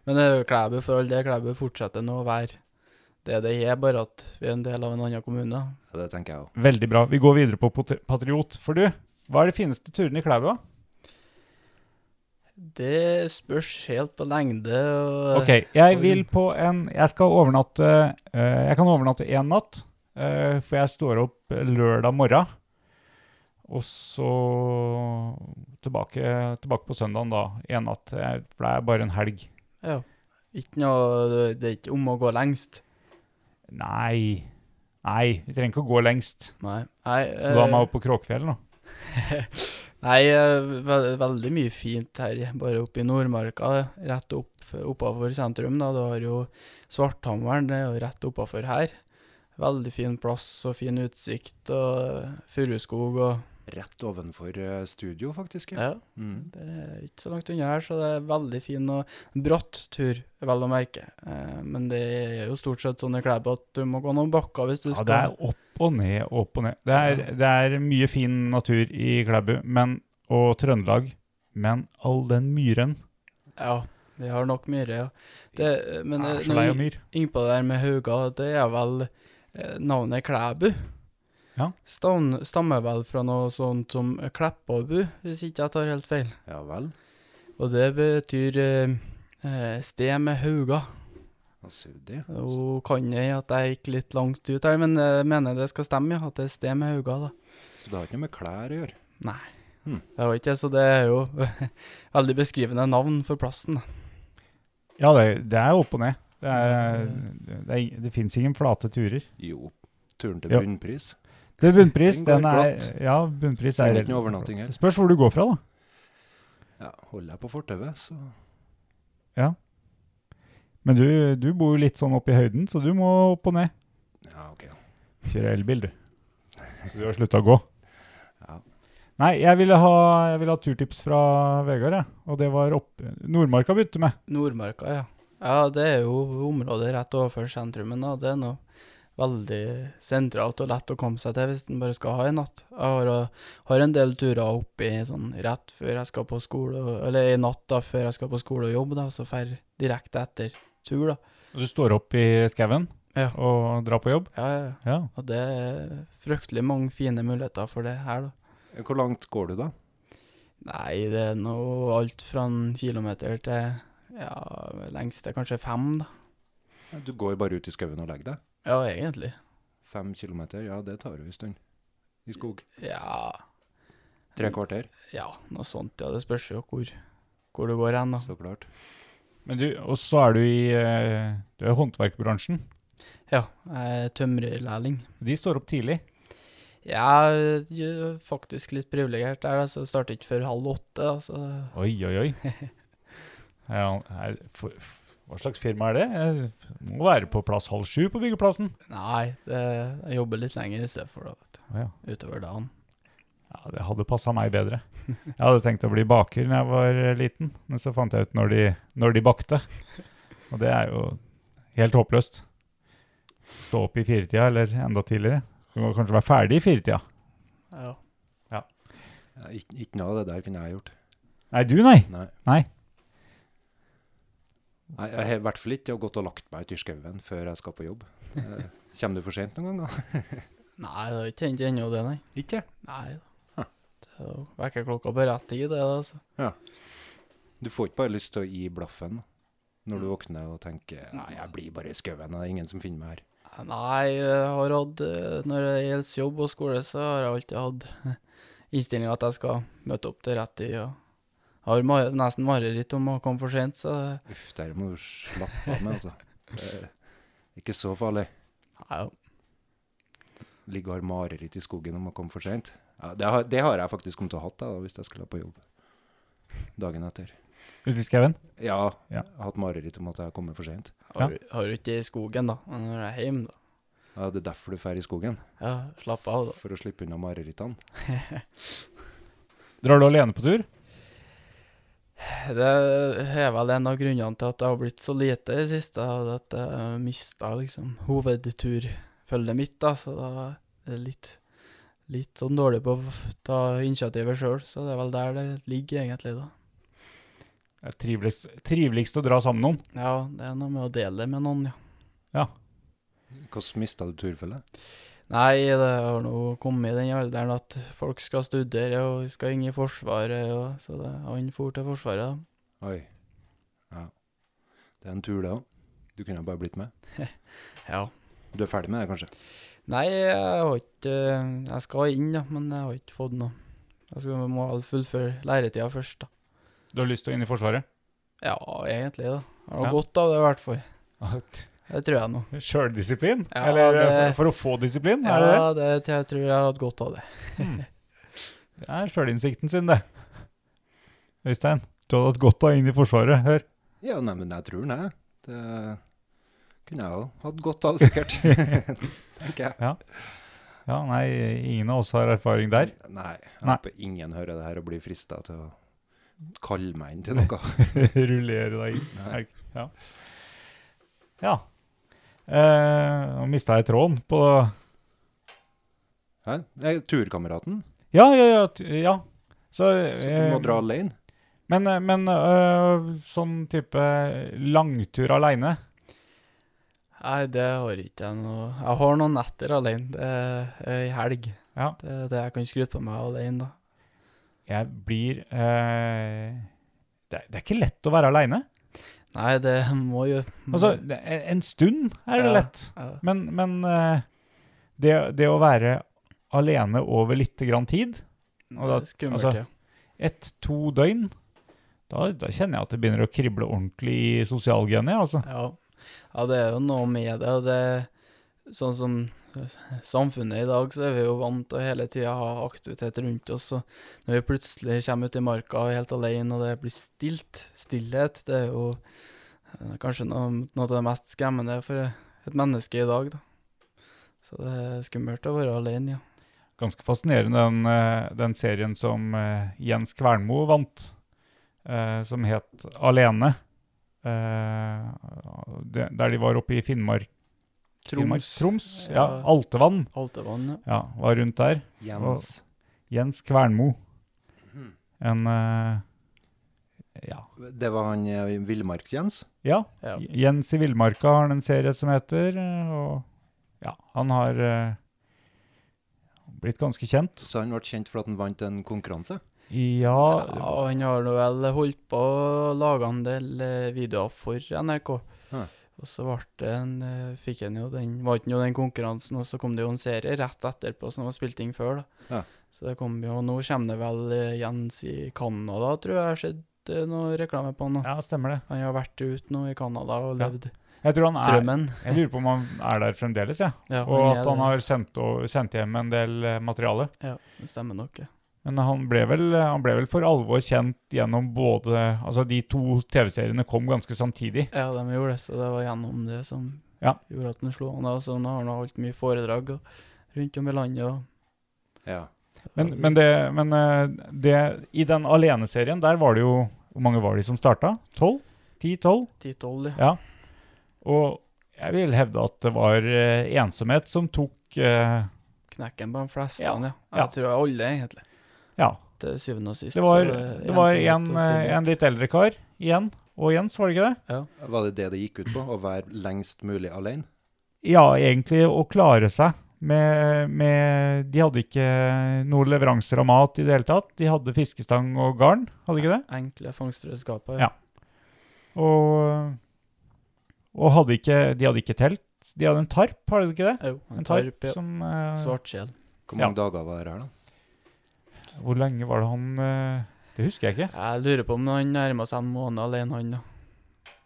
Speaker 6: men det er jo Klæbu for all del. Klæbu fortsetter nå å være det det er, bare at vi er en del av en annen kommune.
Speaker 5: Ja, Det tenker jeg òg.
Speaker 4: Veldig bra. Vi går videre på pot- Patriot. For du, hva er de fineste turene i Klæbu? da?
Speaker 6: Det spørs helt på lengde. Og,
Speaker 4: Ok, jeg vil på en Jeg skal overnatte eh, Jeg kan overnatte én natt, eh, for jeg står opp lørdag morgen. Og så tilbake, tilbake på søndagen da, en natt, eh, for det er bare en helg.
Speaker 6: Ja. Ikke noe Det er ikke om å gå lengst.
Speaker 4: Nei. Nei, vi trenger ikke å gå lengst.
Speaker 6: Nei. Nei,
Speaker 4: Skal du ha
Speaker 6: eh,
Speaker 4: meg opp på Kråkfjell nå?
Speaker 6: Nei, eh, ve veldig mye fint her, bare oppe i Nordmarka, rett opp, oppafor sentrum. da, Du har jo Svarthammeren, det er jo rett oppafor her. Veldig fin plass og fin utsikt og eh, furuskog og
Speaker 5: Rett ovenfor eh, studio, faktisk.
Speaker 6: Ja,
Speaker 5: Mm.
Speaker 6: det er ikke så langt unna her, så det er veldig fin og bratt tur, vel å merke. Eh, Men det er jo stort sett sånn i Klæbu at du må gå noen bakker hvis du
Speaker 4: Ja, det
Speaker 6: skal
Speaker 4: er opp og ned, opp og ned. Det er, det er mye fin natur i Klæbu men- og Trøndelag, men all den myren
Speaker 6: Ja, vi har nok myre, ja. Det, men
Speaker 4: Jeg
Speaker 6: eh,
Speaker 4: er så
Speaker 6: når
Speaker 4: lei
Speaker 6: vi-
Speaker 4: av myr.
Speaker 6: Innpå der med Hauga, det er vel eh, navnet Klæbu.
Speaker 4: Ja.
Speaker 6: Stavn- stammer vel fra noe sånt som Kleppabu, hvis ikke jeg tar helt feil.
Speaker 5: Ja vel.
Speaker 6: Og det betyr eh, eh, sted med Hauga.
Speaker 5: Og Saudi.
Speaker 6: Og kan jeg at jeg gikk litt langt ut her, men jeg mener det skal stemme, ja, at det er sted med Hauga, da.
Speaker 5: Så det har ikke noe med klær å gjøre.
Speaker 6: Det var ikke det, så det er jo veldig beskrivende navn for plassen. da.
Speaker 4: Ja, det, det er opp og ned. Det, er, det, er, det finnes ingen flate turer.
Speaker 5: Jo. Turen til
Speaker 4: Ja.
Speaker 5: bunnpris.
Speaker 4: Det er bunnpris.
Speaker 5: Den
Speaker 4: Den
Speaker 5: går
Speaker 4: er,
Speaker 5: glatt.
Speaker 4: ja, bunnpris er
Speaker 5: Trenger ikke
Speaker 4: relativt
Speaker 5: noe overnatting
Speaker 4: glatt.
Speaker 5: her.
Speaker 4: Spørs hvor du går fra, da.
Speaker 5: Ja, Holder jeg på fortauet, så
Speaker 4: Men du, du bor jo litt sånn oppe i høyden, så du må opp og ned.
Speaker 5: Ja, OK.
Speaker 4: Kjøre elbil, du. Så du har slutta å gå.
Speaker 5: Ja.
Speaker 4: Nei, jeg ville ha, jeg ville ha turtips fra Vegard, jeg. Og det var opp Nordmarka begynte med.
Speaker 6: Nordmarka, ja. Ja, det er jo området rett overfor sentrumen, da. Det er noe veldig sentralt og lett å komme seg til hvis en bare skal ha en natt. Jeg har, eh, har en del turer oppi sånn rett før jeg skal på skole, og- eller en natt da, før jeg skal på skole og jobb, da, så fer direkte etter tur, da.
Speaker 4: Du står opp i skauen
Speaker 6: Ja.
Speaker 4: og drar på jobb?
Speaker 6: Ja, ja, ja.
Speaker 4: Ja.
Speaker 6: Og det er fryktelig mange fine muligheter for det her, da.
Speaker 5: Hvor langt går du, da?
Speaker 6: Nei, det er nå alt fra en kilometer til ja, lengste kanskje fem, da.
Speaker 5: Ja, Du går bare ut i skauen og legger deg?
Speaker 6: Ja, egentlig.
Speaker 5: Fem kilometer, ja, det tar jo en stund. I skog.
Speaker 6: Ja.
Speaker 5: Tre kvarter,
Speaker 6: Ja, noe sånt. Ja, det spørs jo hvor, hvor du går hen, da.
Speaker 5: så klart.
Speaker 4: Men du, og så er du i eh, Du er i håndverkbransjen.
Speaker 6: Ja, jeg er tømrerlærling.
Speaker 4: De står opp tidlig.
Speaker 6: Jeg er jo faktisk litt privilegert der, da, så jeg starter ikke før halv åtte. da, så
Speaker 4: Oi, oi, oi. Ja, er, for, f- hva slags firma er det? Jeg må være på plass halv sju på byggeplassen.
Speaker 6: Nei, det, jeg jobber litt lenger i stedet for da, vet du.
Speaker 4: Å ja.
Speaker 6: Utover dagen.
Speaker 4: Ja, det hadde passa meg bedre. Jeg hadde tenkt å bli baker da jeg var eh, liten, men så fant jeg ut når de, når de bakte. Og det er jo helt håpløst. Stå opp i firetida, eller enda tidligere. Du må kanskje være ferdig i firetida.
Speaker 6: Ja.
Speaker 5: Ja, ikke, ikke noe av det der kunne jeg gjort.
Speaker 4: Nei, du, nei.
Speaker 5: Nei.
Speaker 4: Nei.
Speaker 5: Nei, jeg har i hvert fall ikke gått og lagt meg ute i skauen før jeg skal på jobb. Eh, Kommer du for sent noen gang, da?
Speaker 6: Nei, det har ikke hendt ennå, det, nei.
Speaker 5: Ikke?
Speaker 6: Nei da.
Speaker 5: Huh.
Speaker 6: Det er jo Vekkerklokka på rett tid, det, da, altså.
Speaker 5: Du får ikke bare lyst til å gi blaffen når du våkner og tenker nei, jeg blir bare i skauen, det er ingen som finner meg her.
Speaker 6: Nei, jeg har hatt eh, Når det gjelder jobb og skole, så har jeg alltid hatt innstillinga at jeg skal møte opp til rett tid. Og har ma nesten mareritt om å komme for sent, så
Speaker 5: Uff, der må du slappe av med, altså. Det er ikke så farlig.
Speaker 6: Nei,
Speaker 5: Ligge og har mareritt i skogen om å komme for sent. Ja, det, har, det har jeg faktisk kommet til å ha hatt da, hvis jeg skulle på jobb dagen etter.
Speaker 4: Ute i skauen.
Speaker 5: Ja,
Speaker 4: Ja.
Speaker 5: jeg har hatt mareritt om at jeg har kommet for sent.
Speaker 6: har, har jo ikke det i skogen, da. Men når jeg er hjemme, da.
Speaker 5: Ja, det er derfor du drar i skogen,
Speaker 6: Ja, slapp av, da.
Speaker 5: for å slippe unna marerittene.
Speaker 4: Drar du alene på tur?
Speaker 6: Det er vel en av grunnene til at jeg har blitt så lite i det siste, er at jeg mista liksom hovedturfølget mitt, da, så da er det litt Litt sånn dårlig på å ta initiativet sjøl, så det er vel der det ligger, egentlig, da.
Speaker 4: Det er triveligst, triveligst å dra sammen med noen.
Speaker 6: Ja, det er noe med å dele det med noen, ja.
Speaker 5: Hvordan mista du turfellet?
Speaker 6: Nei, det har nå kommet i den alderen at folk skal studere og skal inn i Forsvaret, og så det, han for til Forsvaret. da.
Speaker 5: Oi. Ja. Det er en tur, det òg. Du kunne bare blitt med.
Speaker 6: Ja.
Speaker 5: Du er ferdig med det, kanskje?
Speaker 6: Nei, jeg har ikke Jeg skal inn, da, men jeg har ikke fått noe Jeg skal, må vel fullføre læretida først, da.
Speaker 4: Du har lyst til å inn i Forsvaret?
Speaker 6: Ja, egentlig, da. Jeg har
Speaker 4: Ja.
Speaker 6: godt av det, i hvert fall. Det tror jeg nå.
Speaker 4: Sjøldisiplin?
Speaker 6: Ja,
Speaker 4: Eller eh,
Speaker 6: det-
Speaker 4: for, for å få disiplin?
Speaker 6: Ja,
Speaker 4: Er det det?
Speaker 6: det, jeg tror jeg har hatt godt av det.
Speaker 4: Det er sjølinnsikten sin, det. Øystein, du hadde hatt godt av inn i Forsvaret. Hør.
Speaker 5: Ja, nei, men jeg tror den, jeg. Det kunne jeg jo hatt godt av, sikkert. Tenker jeg.
Speaker 4: Ja, nei, ingen av oss har erfaring der.
Speaker 5: Nei, jeg
Speaker 4: Nei.
Speaker 5: håper ingen hører det her og blir frista til å kalle meg inn til noe.
Speaker 4: Rullere deg inn. Er ikke- Ja. ja. Eh, nå mista jeg tråden på
Speaker 5: Hæ? Nei, turkameraten?
Speaker 4: Ja, ja, ja. t- ja. Så,
Speaker 5: Så du må
Speaker 4: eh,
Speaker 5: dra alene?
Speaker 4: Men, eh, men eh, sånn type langtur aleine
Speaker 6: Nei, det har ikke jeg noe Jeg har noen netter alene. Det er ei helg.
Speaker 4: Ja.
Speaker 6: Det er det jeg kan skryte på meg alene, da.
Speaker 4: Jeg blir eh, det, er, det er ikke lett å være aleine.
Speaker 6: Nei, det må jo
Speaker 4: Altså, det- en stund er det
Speaker 6: Ja.
Speaker 4: lett.
Speaker 6: ja.
Speaker 4: Men, men eh, det, det å være alene over lite grann tid, og da-
Speaker 6: det er skummelt,
Speaker 4: altså,
Speaker 6: ja.
Speaker 4: ett-to døgn, da, da kjenner jeg at det begynner å krible ordentlig i sosialgenet. Altså.
Speaker 6: ja. Ja, det er jo noe med det. Og det sånn som samfunnet i dag, så er vi jo vant til å hele tida ha aktivitet rundt oss. Og når vi plutselig kommer ut i marka og er helt alene, og det blir stilt, stillhet, det er jo eh, kanskje noe, noe av det mest skremmende for et menneske i dag, da. Så det er skummelt å være alene, ja.
Speaker 4: Ganske fascinerende den, eh, den serien som eh, Jens Kvernmo vant, eh, som het Alene. eh, det- der de var oppe i Finnmark Finnmark- Troms ja.
Speaker 6: Ja.
Speaker 4: Altevann.
Speaker 6: Altevann, ja.
Speaker 4: Ja, var rundt der.
Speaker 5: Jens.
Speaker 4: Jens Kvernmo.
Speaker 5: Mhm.
Speaker 4: En eh, ja.
Speaker 5: Det var han eh, Villmarks-Jens?
Speaker 4: ja.
Speaker 6: Ja.
Speaker 4: Jens i villmarka har han en serie som heter. eh, Og ja, han har eh, blitt ganske kjent.
Speaker 5: Så han ble kjent for at han vant en konkurranse?
Speaker 6: Ja,
Speaker 4: Ja,
Speaker 6: og han har nå vel holdt på å lage en del eh, videoer for NRK.
Speaker 5: Ja.
Speaker 6: Og så ble det en, eh, fikk han jo den, vant han jo den konkurransen, og så kom det jo en serie rett etterpå som var spilt inn før. da.
Speaker 5: Ja.
Speaker 6: Så det kom jo, og nå kommer det vel eh, Jens i Canada, tror jeg jeg har sett eh, noe reklame på han. da.
Speaker 4: ja, stemmer det.
Speaker 6: Han har vært ute nå i Canada og
Speaker 4: Ja.
Speaker 6: levd
Speaker 4: Jeg tror han er
Speaker 6: drømmen.
Speaker 4: Jeg lurer på om han er der fremdeles, ja.
Speaker 6: Ja,
Speaker 4: og
Speaker 6: er
Speaker 4: at han
Speaker 6: det.
Speaker 4: har sendt, og, sendt hjem en del eh, materiale.
Speaker 6: Ja, det stemmer nok. ja.
Speaker 4: Men han ble, vel, han ble vel for alvor kjent gjennom både Altså, de to TV-seriene kom ganske samtidig.
Speaker 6: Ja, de gjorde det, så det var gjennom det som
Speaker 4: Ja.
Speaker 6: gjorde at han slo han. da. Så nå har han holdt mye foredrag og, rundt om i landet. og
Speaker 5: Ja.
Speaker 4: Men, men, det, men eh, det, i den aleneserien, der var det jo Hvor mange var de som starta? Tolv? Ti-tolv?
Speaker 6: 10-12, ja.
Speaker 4: Og jeg vil hevde at det var eh, ensomhet som tok eh,
Speaker 6: Knekken på de fleste,
Speaker 4: Ja,
Speaker 6: ja. ja.
Speaker 4: ja.
Speaker 6: Jeg tror det var alle, egentlig.
Speaker 4: Ja.
Speaker 6: Til syvende og sist.
Speaker 4: Det var,
Speaker 6: så er
Speaker 4: det var en,
Speaker 6: ensomhet og
Speaker 4: eh,
Speaker 6: stillhet.
Speaker 4: en litt eldre kar igjen. Og Jens, var det ikke det?
Speaker 5: Var det det det gikk ut på? Å være lengst mulig alene?
Speaker 4: Ja, egentlig å klare seg med, med De hadde ikke noen leveranser av mat i det hele tatt. De hadde fiskestang og garn, hadde de ikke det?
Speaker 6: Enkle fangstredskaper.
Speaker 4: Ja. Og, og hadde ikke, de hadde ikke telt. De hadde en tarp, hadde de ikke det?
Speaker 6: Jo,
Speaker 4: En
Speaker 6: en
Speaker 4: tarp,
Speaker 6: tarp, ja.
Speaker 4: som eh,
Speaker 6: Svartskjell.
Speaker 5: Hvor
Speaker 4: Ja.
Speaker 5: mange dager var det her, da?
Speaker 4: Hvor lenge var det han eh, Det husker jeg ikke.
Speaker 6: Jeg lurer på om han nærma seg en måned alene, han da.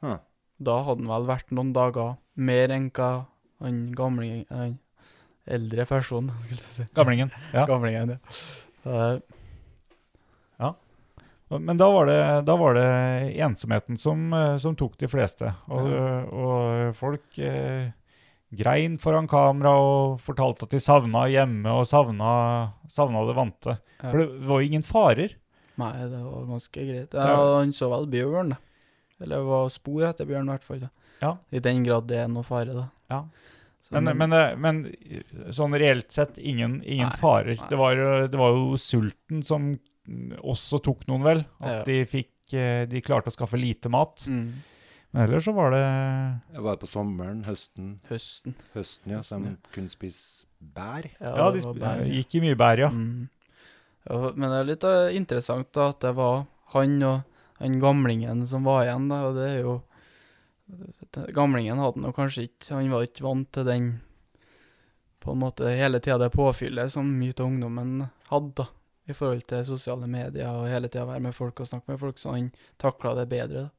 Speaker 5: Hm.
Speaker 6: Da hadde han vel vært noen dager mer enn hva han gamlingen Han eldre personen, skulle jeg si.
Speaker 4: Gamlingen. Ja.
Speaker 6: Gamlingen, ja. Så det-
Speaker 4: Og- Men da var det, da var det ensomheten som, eh, som tok de fleste. Og, og folk eh, grein foran kamera og fortalte at de savna hjemme og savna, savna det vante.
Speaker 6: Ja.
Speaker 4: For det var jo ingen farer.
Speaker 6: Nei, det var ganske greit.
Speaker 4: Ja.
Speaker 6: Ja, han så vel bjørn, da. Eller det var spor etter bjørn, i hvert fall. da.
Speaker 4: Ja.
Speaker 6: I den grad det er noe fare, da.
Speaker 4: Ja.
Speaker 6: Så
Speaker 4: Men,
Speaker 6: den-
Speaker 4: men, eh, men sånn reelt sett ingen, ingen
Speaker 6: Nei,
Speaker 4: farer.
Speaker 6: nei.
Speaker 4: Det var, jo- det var jo sulten som også tok noen, vel. At
Speaker 6: Ja.
Speaker 4: de fikk eh, De klarte å skaffe lite mat.
Speaker 6: mm.
Speaker 4: Men ellers så var det
Speaker 5: Var det på sommeren, høsten?
Speaker 6: Høsten.
Speaker 5: Høsten, ja. Så
Speaker 6: Høsten,
Speaker 5: de kunne spise bær?
Speaker 4: Ja, de
Speaker 6: det var
Speaker 4: sp-
Speaker 6: bare-
Speaker 4: gikk i mye bær, ja.
Speaker 6: Mm. Ja, Men det er litt eh, interessant da, at det var han og han gamlingen som var igjen, da, og det er jo Gamlingen hadde nå kanskje ikke Han var ikke vant til den på en måte hele tida det påfyllet som mye av ungdommen hadde, da. i forhold til sosiale medier og hele tida være med folk og snakke med folk, så han takla det bedre. da.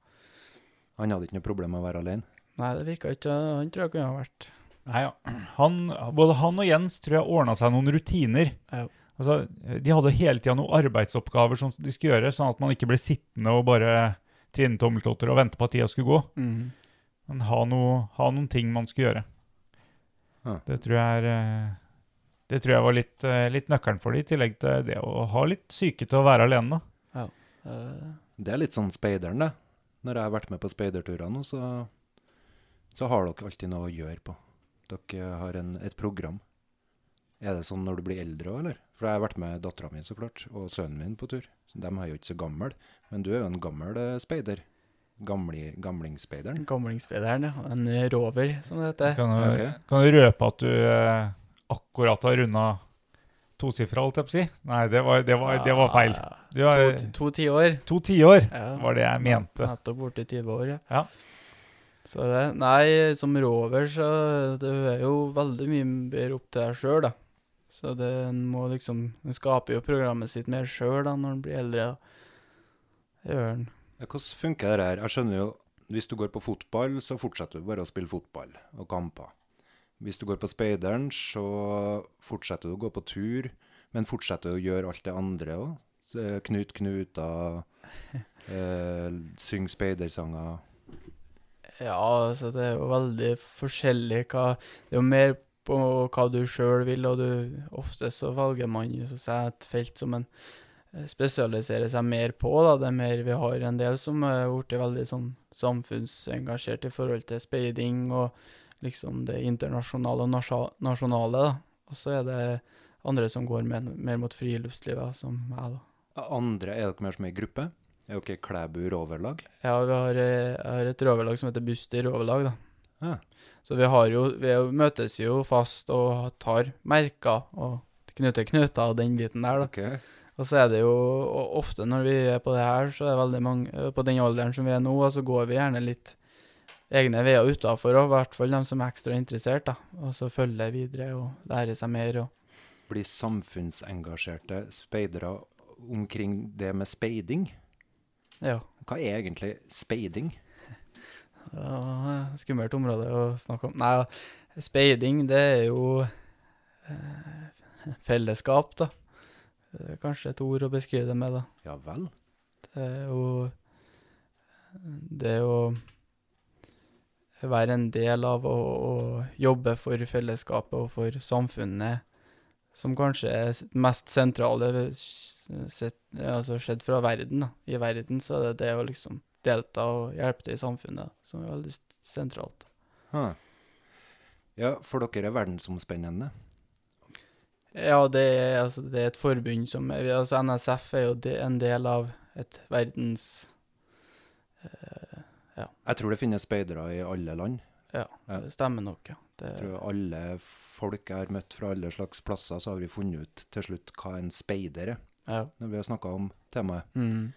Speaker 5: Han hadde ikke noe problem med å være alene.
Speaker 6: Nei, det virka ikke Han tror jeg kunne ha vært
Speaker 4: Nei, ja. han, både han og Jens tror jeg ordna seg noen rutiner.
Speaker 6: Ja.
Speaker 4: Altså, de hadde hele tida noen arbeidsoppgaver som de skulle gjøre, sånn at man ikke ble sittende og bare tvinne tommeltotter og vente på at tida skulle gå.
Speaker 6: Mhm.
Speaker 4: Men ha, noe, ha noen ting man skulle gjøre.
Speaker 5: Ja.
Speaker 4: Det tror jeg er eh, Det tror jeg var litt, eh, litt nøkkelen for det, i tillegg til det å ha litt syke til å være alene. da.
Speaker 6: Eh,
Speaker 5: Det er litt sånn speideren, det. Når jeg har vært med på speiderturer nå, så, så har dere alltid noe å gjøre på. Dere har en, et program. Er det sånn når du blir eldre òg, eller? For jeg har vært med dattera mi, så klart, og sønnen min på tur. Så De er jo ikke så gamle. Men du er jo en gammel eh, speider. Gamli, gamlingsspeideren.
Speaker 6: Gamlingsspederen, ja. En rover, som det heter.
Speaker 4: Kan du,
Speaker 5: Ok.
Speaker 4: kan du røpe at du eh, akkurat har runda tosifra, holdt jeg på å si? Nei, det var, det var, det var feil.
Speaker 6: Ja,
Speaker 4: Du har
Speaker 6: To, to tiår.
Speaker 4: to tiår,
Speaker 6: Ja.
Speaker 4: var det jeg mente.
Speaker 6: Nettopp borti 20 år, ja.
Speaker 4: Ja.
Speaker 6: Så det, nei, som rover, så du er jo veldig mye mer opp til deg sjøl, da. Så det en må liksom En skaper jo programmet sitt mer sjøl, da, når en blir eldre. da. Det gjør en.
Speaker 5: Ja, Hvordan funker det her? Jeg skjønner jo, hvis du går på fotball, så fortsetter du bare å spille fotball og kamper. Hvis du går på speideren, så fortsetter du å gå på tur, men fortsetter å gjøre alt det andre òg. Knut Knuta, eh, syng speidersanger.
Speaker 6: Ja, altså, det er jo veldig forskjellig hva Det er jo mer på hva du sjøl vil, og du ofte så velger man jo så å si et felt som en eh, spesialiserer seg mer på, da. Det er mer vi har en del som er blitt veldig sånn samfunnsengasjert i forhold til speiding og liksom det internasjonale og nasja- nasjonale, da. Og så er det andre som går mer, mer mot friluftslivet, som jeg, da.
Speaker 5: Andre, er dere mer som ei gruppe? Er dere Klæbu roverlag?
Speaker 6: Ja, vi har, eh, jeg har et røverlag som heter Buster røverlag, da.
Speaker 5: Ja.
Speaker 6: Så vi har jo, vi er jo- møtes jo fast og tar merker og knuter knuter og den biten der, da.
Speaker 5: Ok.
Speaker 6: Og så er det jo og ofte når vi er på det her, så er veldig mange eh, på den alderen som vi er nå, og så går vi gjerne litt egne veier utafor òg, i hvert fall de som er ekstra interessert, da. Og så følger videre og lærer seg mer og
Speaker 5: Blir samfunnsengasjerte speidere omkring det med speiding?
Speaker 6: Ja.
Speaker 5: Hva er egentlig speiding?
Speaker 6: Det var et eh, skummelt område å snakke om. Nei, ja, speiding, det er jo eh, fellesskap, da. Det er kanskje et ord å beskrive det med, da.
Speaker 5: Ja vel?
Speaker 6: Det er jo Eh, Det å være en del av å, å jobbe for fellesskapet og for samfunnet, som kanskje er s- mest sentrale ved s- sett, altså skjedd fra verden. Da. I verden så er det det å liksom delta og hjelpe til i samfunnet som er veldig s- sentralt.
Speaker 5: Hæ. Ja, for dere er verdensomspennende.
Speaker 6: Ja, det er, altså, det er et forbund som er- altså NSF er jo de- en del av et verdens
Speaker 5: Jeg tror det finnes speidere i alle land.
Speaker 6: Ja,
Speaker 5: Ja.
Speaker 6: det stemmer nok, ja. Det,
Speaker 5: Jeg tror alle folk jeg har møtt fra alle slags plasser, så har vi funnet ut til slutt hva en speider er,
Speaker 6: ja.
Speaker 5: når vi har snakka om temaet.
Speaker 6: Mm.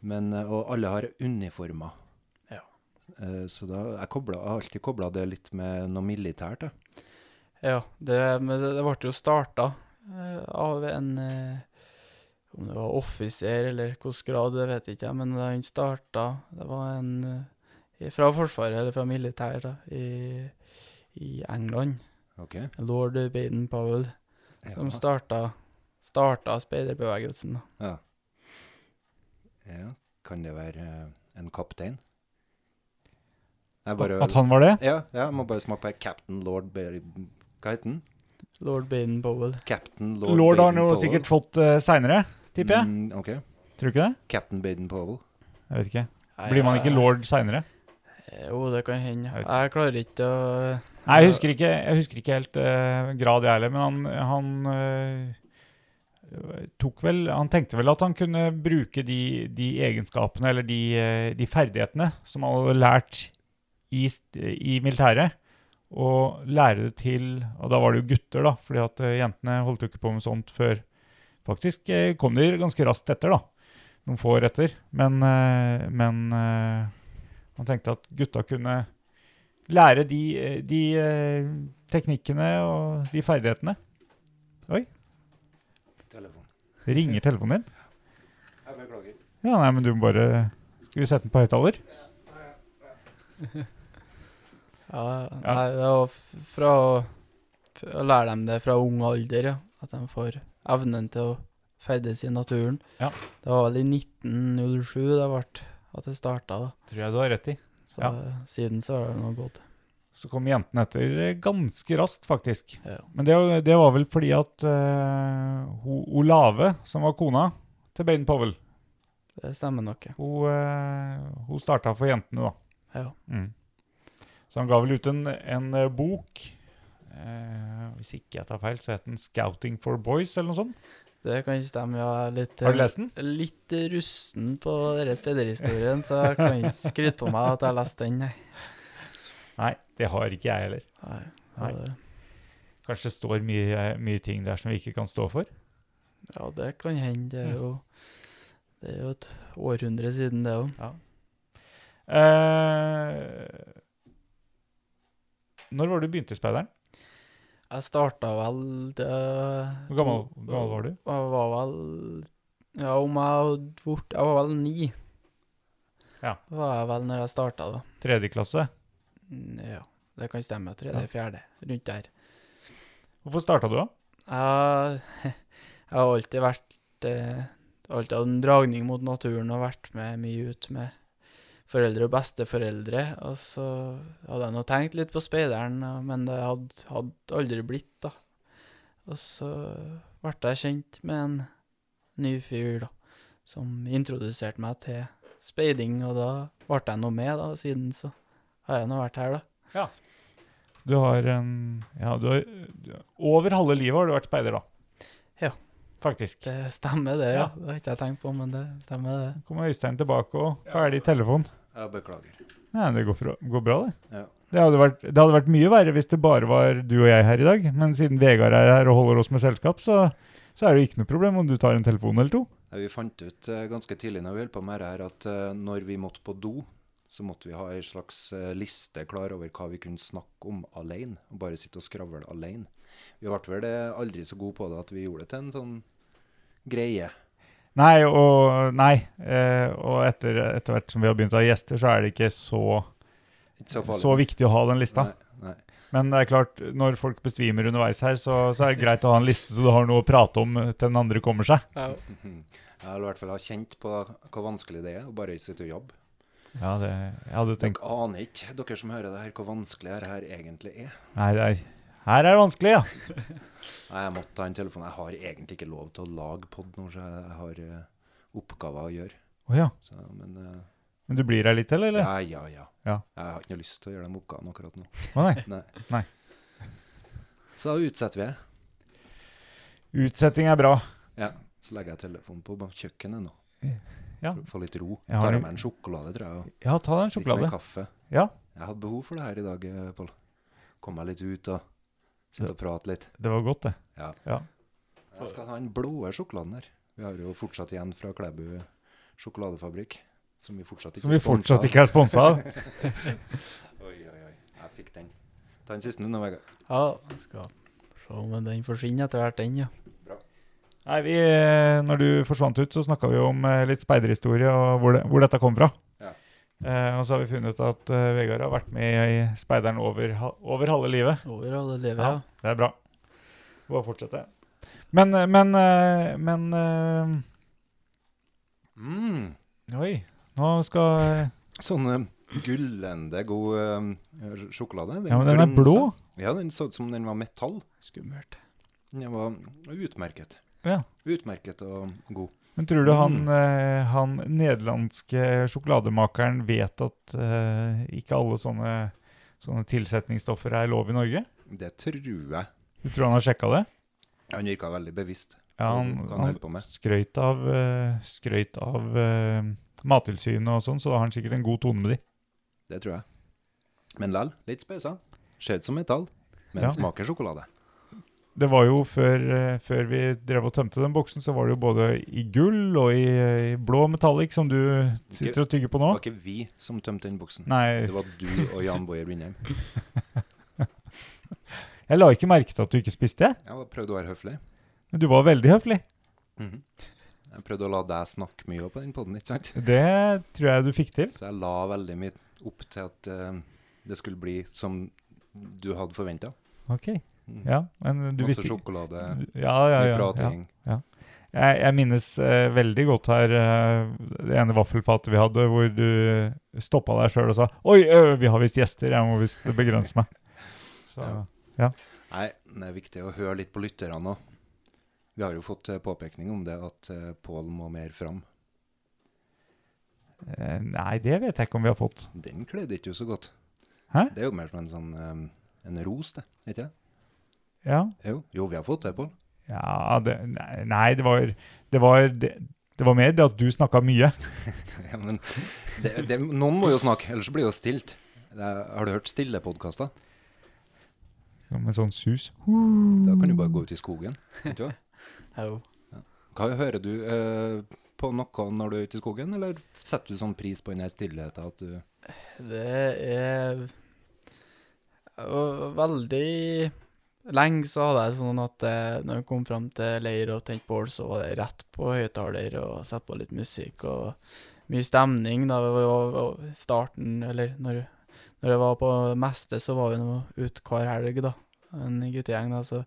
Speaker 5: Men, eh, og alle har uniformer.
Speaker 6: Ja.
Speaker 5: Eh, Så da, jeg, koblet, jeg har alltid kobla det litt med noe militært. Jeg.
Speaker 6: Ja, det, men det, det ble jo starta eh, av en eh, Om det var offiser eller hvilken grad, det vet jeg ikke, men han starta Det var en eh, fra Forsvaret, eller fra militæret, da, i, i England.
Speaker 5: Ok.
Speaker 6: Lord Baden-Powell,
Speaker 5: Ja.
Speaker 6: som starta, starta speiderbevegelsen. da.
Speaker 5: Ja. ja. Kan det være eh, en kaptein? Jeg bare-
Speaker 4: At han var det?
Speaker 5: Ja, ja, jeg må bare smake på Captain Lord Ber... Hva heter den?
Speaker 6: Lord Baden-Powell.
Speaker 5: Captain Lord,
Speaker 4: Lord har han jo
Speaker 5: Baden-Powell.
Speaker 4: sikkert fått uh, seinere, tipper jeg.
Speaker 5: Mm, ok.
Speaker 4: Tror du ikke det?
Speaker 5: Captain Baden-Powell.
Speaker 4: Jeg vet ikke. Blir man ikke lord seinere?
Speaker 6: eh, Jo, det kan hende.
Speaker 4: Jeg vet
Speaker 6: Jeg klarer ikke å
Speaker 4: Nei, jeg husker ikke, jeg husker ikke helt eh, grad, jeg heller, men han, han eh, tok vel Han tenkte vel at han kunne bruke de, de egenskapene eller de, eh, de ferdighetene som han hadde lært i, st- i militæret, og lære det til Og da var det jo gutter, da, fordi at eh, jentene holdt jo ikke på med sånt før Faktisk eh, kom de ganske raskt etter, da. Noen få år etter. Men, eh, men eh, han tenkte at gutta kunne lære de, eh, de eh, teknikkene og de ferdighetene.
Speaker 5: Telefon.
Speaker 4: Ringer telefonen din?
Speaker 5: Jeg beklager.
Speaker 4: Ja, nei, men du må bare Skal vi sette den på høyttaler?
Speaker 6: Ja, nei, det var f- fra å- f- å lære dem det fra ung alder, ja. At de får evnen til å ferdes i naturen.
Speaker 4: Ja.
Speaker 6: Det var vel i 1907 det ble at det starta, da.
Speaker 4: Tror jeg du har rett i.
Speaker 6: Så
Speaker 4: Ja.
Speaker 6: siden så har det nå gått.
Speaker 4: Så kom jentene etter eh, ganske raskt, faktisk.
Speaker 6: Ja.
Speaker 4: Men det, det var vel fordi at eh, ho, Olave, som var kona til Baden Powell,
Speaker 6: Det stemmer nok, ja.
Speaker 4: hun, eh, hun starta for jentene, da.
Speaker 6: ja.
Speaker 4: Mm. Så han ga vel ut en, en eh, bok eh, Hvis ikke jeg tar feil, så het den 'Scouting for Boys', eller noe sånt.
Speaker 6: Det kan ikke stemme. Jeg er litt, eh,
Speaker 4: Har du lest den?
Speaker 6: litt rusten på deres speiderhistorien, så jeg kan ikke skryte på meg at jeg har lest den, nei.
Speaker 4: Nei, det har ikke jeg heller.
Speaker 6: Nei.
Speaker 4: Nei.
Speaker 6: det-
Speaker 4: Kanskje det står mye, mye ting der som vi ikke kan stå for.
Speaker 6: Ja, det kan hende. Det er
Speaker 4: Mm.
Speaker 6: jo, det er jo et århundre siden, det òg.
Speaker 4: Eh, når var det du begynte i speideren?
Speaker 6: Jeg starta vel det
Speaker 4: Hvor gammel, gammel var du?
Speaker 6: Jeg var vel Ja, om jeg hadde vært Jeg var vel ni.
Speaker 4: Ja.
Speaker 6: Var jeg vel når jeg starta, da.
Speaker 4: Tredje klasse?
Speaker 6: Mm, Ja, det kan stemme. Tredje,
Speaker 4: Ja.
Speaker 6: eller fjerde, rundt der.
Speaker 4: Hvorfor starta du, da?
Speaker 6: Jeg, jeg har alltid vært eh, Alltid hatt en dragning mot naturen og vært med mye ut med foreldre og besteforeldre. Og så hadde jeg nå tenkt litt på speideren, og- men det hadde, hadde aldri blitt, da. Og så ble jeg kjent med en ny fyr, da, som introduserte meg til speiding, og da ble jeg nå med, da. og Siden så har jeg nå vært her, da.
Speaker 4: Du har en Ja, du har du- Over halve livet har du vært speider, da.
Speaker 6: Ja.
Speaker 4: Faktisk.
Speaker 6: Det stemmer, det,
Speaker 4: Ja.
Speaker 6: ja. Det har ikke jeg tenkt på, men det stemmer, det.
Speaker 4: Kommer Øystein tilbake og ferdig telefon.
Speaker 5: Jeg beklager.
Speaker 4: Nei, det går, fra, går bra, det.
Speaker 5: Ja.
Speaker 4: Det hadde, vært, det hadde vært mye verre hvis det bare var du og jeg her i dag. Men siden Vegard er her og holder oss med selskap, så, så er det jo ikke noe problem om du tar en telefon eller to.
Speaker 5: Nei, Vi fant ut eh, ganske tidlig når vi holdt på med det her, at eh, når vi måtte på do, så måtte vi ha ei slags eh, liste klar over hva vi kunne snakke om alene, og bare sitte og skravle alene. Vi ble vel eh, aldri så gode på det at vi gjorde det til en sånn greie.
Speaker 4: Nei, og, nei, eh, og etter, etter hvert som vi har begynt å ha gjester, så er det ikke så,
Speaker 5: Ikke så farlig.
Speaker 4: så viktig å ha den lista.
Speaker 5: Nei, nei.
Speaker 4: Men det er klart, når folk besvimer underveis her, så, så er det greit å ha en liste så du har noe å prate om til den andre kommer seg.
Speaker 5: Jeg har i hvert fall ha kjent på hvor vanskelig det er å bare sitte og jobbe.
Speaker 4: Ja, det, jeg hadde jo tenkt
Speaker 5: Dere aner ikke, dere som hører det her, hvor vanskelig det her egentlig er.
Speaker 4: Nei, det er, her er det vanskelig, ja.
Speaker 5: Nei, jeg måtte ta en telefon. Jeg har egentlig ikke lov til å lage pod nå, så jeg har eh, oppgaver å gjøre.
Speaker 4: Å ja.
Speaker 5: Så, men eh,
Speaker 4: Men du blir her litt til, eller?
Speaker 5: ja, ja, ja,
Speaker 4: Ja.
Speaker 5: Jeg har ikke noe lyst til å gjøre de oppgavene akkurat nå.
Speaker 4: Å nei.
Speaker 5: Nei.
Speaker 4: Nei.
Speaker 5: Så da utsetter vi det.
Speaker 4: Utsetting er bra.
Speaker 5: Ja. Så legger jeg telefonen på bak kjøkkenet nå.
Speaker 4: Eh, Ja.
Speaker 5: For å få litt ro.
Speaker 4: Jeg har
Speaker 5: Tar
Speaker 4: en-
Speaker 5: jeg meg en sjokolade, tror jeg. og
Speaker 4: Ja, ta deg en
Speaker 5: drikker meg
Speaker 4: sjokolade.
Speaker 5: en kaffe.
Speaker 4: Ja,
Speaker 5: Jeg hadde behov for det her i dag, eh, Pål. Komme meg litt ut og sitte og prate litt.
Speaker 4: det var godt, det.
Speaker 5: Ja.
Speaker 4: Ja.
Speaker 5: Jeg skal ha den blå sjokoladen her. Vi har jo fortsatt igjen fra Klæbu sjokoladefabrikk. Som vi fortsatt ikke
Speaker 4: Som vi
Speaker 5: sponset
Speaker 4: fortsatt
Speaker 5: av.
Speaker 4: ikke er sponsa av.
Speaker 5: Oi, oi, oi. Jeg fikk den. Ta den siste nå, Vegard.
Speaker 6: Ja, jeg skal se om den forsvinner etter hvert, den, ja.
Speaker 4: Nei, vi, eh, når du forsvant ut, så snakka vi jo om eh, litt speiderhistorie og hvor, det, hvor dette kom fra.
Speaker 5: Ja.
Speaker 4: Eh, og så har vi funnet ut at eh, Vegard har vært med i Speideren over, ha- over halve livet.
Speaker 6: Over alle livet,
Speaker 4: Ja.
Speaker 6: ja.
Speaker 4: Det er bra. Bare fortsette. Men, eh, men, eh, men eh,
Speaker 5: Mm.
Speaker 4: Oi, nå skal
Speaker 5: Sånn eh, gullende god eh, sj- sjokolade.
Speaker 4: Ja, men den er
Speaker 5: glinsa.
Speaker 4: blå.
Speaker 5: Ja, den så ut som den var metall.
Speaker 6: Skummelt.
Speaker 5: Den var utmerket.
Speaker 4: Ja.
Speaker 5: Utmerket og god.
Speaker 4: Men tror
Speaker 5: Mm.
Speaker 4: du han, eh, han nederlandske sjokolademakeren vet at eh, ikke alle sånne, sånne tilsetningsstoffer er lov i Norge?
Speaker 5: Det tror jeg.
Speaker 4: Du tror han har sjekka det?
Speaker 5: Han virka veldig bevisst.
Speaker 4: Ja, han,
Speaker 5: Hva han
Speaker 4: han
Speaker 5: holdt på med.
Speaker 4: skrøyt av, eh, skrøyt av eh, Mattilsynet og sånn, så da har han sikkert en god tone med de.
Speaker 5: Det tror jeg. Men lell, litt speisa. Ser ut som metall, men
Speaker 4: Ja.
Speaker 5: smaker sjokolade.
Speaker 4: Det var jo før, eh, før vi drev og tømte den boksen, så var det jo både i gull og i, eh, i blå metallic, som du sitter og tygger på
Speaker 5: Det
Speaker 4: nå.
Speaker 5: var ikke vi som tømte den boksen.
Speaker 4: Nei,
Speaker 5: Det var du og Jan Boje Blindheim.
Speaker 4: jeg la ikke merke til at du ikke spiste, jeg.
Speaker 5: Jeg var- prøvde å være høflig.
Speaker 4: men du var veldig høflig.
Speaker 5: Mhm. Jeg prøvde å la deg snakke mye på den poden, ikke sant?
Speaker 4: Det tror jeg du fikk til.
Speaker 5: Så jeg la veldig mye opp til at eh, det skulle bli som du hadde forventa.
Speaker 4: Ok, ja, men du
Speaker 5: Masse
Speaker 4: visste
Speaker 5: sjokolade,
Speaker 4: du- Ja, ja,
Speaker 5: mye
Speaker 4: ja.
Speaker 5: bra
Speaker 4: ja.
Speaker 5: ting.
Speaker 4: Jeg, jeg minnes eh, veldig godt her eh, det ene vaffelfatet vi hadde, hvor du stoppa deg sjøl og sa Oi, ø, vi har visst gjester, jeg må visst begrense meg. Så,
Speaker 5: Ja.
Speaker 4: ja.
Speaker 5: Nei, det er viktig å høre litt på lytterne òg. Vi har jo fått eh, påpekning om det at eh, Pål må mer fram.
Speaker 4: Eh, Nei, det vet jeg ikke om vi har fått.
Speaker 5: Den kledde ikke du så godt.
Speaker 4: Hæ?
Speaker 5: Det er jo mer som en sånn eh, en ros, det. Er Ikke det?
Speaker 4: Ja,
Speaker 5: Jo, jo, vi har fått det, Pål.
Speaker 4: ja det, nei, nei, det var, det, var det, det var mer det at du snakka mye.
Speaker 5: Ja, men det, det, noen må jo snakke, ellers blir det jo stilt. Det er, har du hørt stille podkaster?
Speaker 4: Med sånn sus.
Speaker 5: Da kan du bare gå ut i skogen. vet du hva?
Speaker 6: Au.
Speaker 5: Hva hører du eh, på noe når du er ute i skogen, eller setter du sånn pris på den her stillheten at du
Speaker 6: Det er Og Veldig lenge så hadde jeg sånn at eh, når jeg kom fram til leir og tente bål, så var det rett på høyttaler og sette på litt musikk og mye stemning. Da vi var var starten, eller når, når jeg var på meste, så var vi nå ute hver helg, da. En guttegjeng, da. Så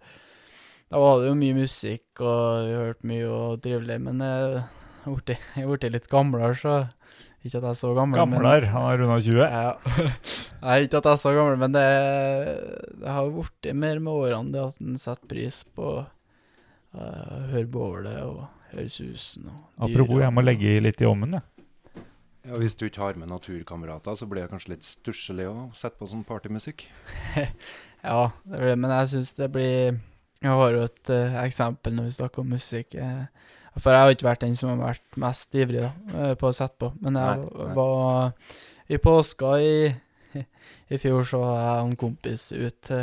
Speaker 6: da var det jo mye musikk, og vi hørte mye og trivelig. Men eh, jeg er blitt litt gamlere, så ikke at jeg er så gammel. men-
Speaker 4: Gamler, han er runda 20.
Speaker 6: ja. Nei, ikke at jeg er så gammel, men det, det har blitt mer med årene det at en setter pris på uh, høre bålet og høre susen. Og
Speaker 4: Apropos,
Speaker 6: dyra.
Speaker 4: jeg må legge i litt i ommen, jeg.
Speaker 5: ja, Hvis du ikke har med naturkamerater, så blir det kanskje litt stusslig å sette på sånn partymusikk.
Speaker 6: Ja, det blir, men jeg syns det blir Jeg har jo et eh, eksempel når vi snakker om musikk. eh, for jeg har ikke vært den som har vært mest ivrig da, eh, på å sette på. Men jeg
Speaker 5: Nei, nei.
Speaker 6: var I påska i, i fjor så var jeg og en kompis ute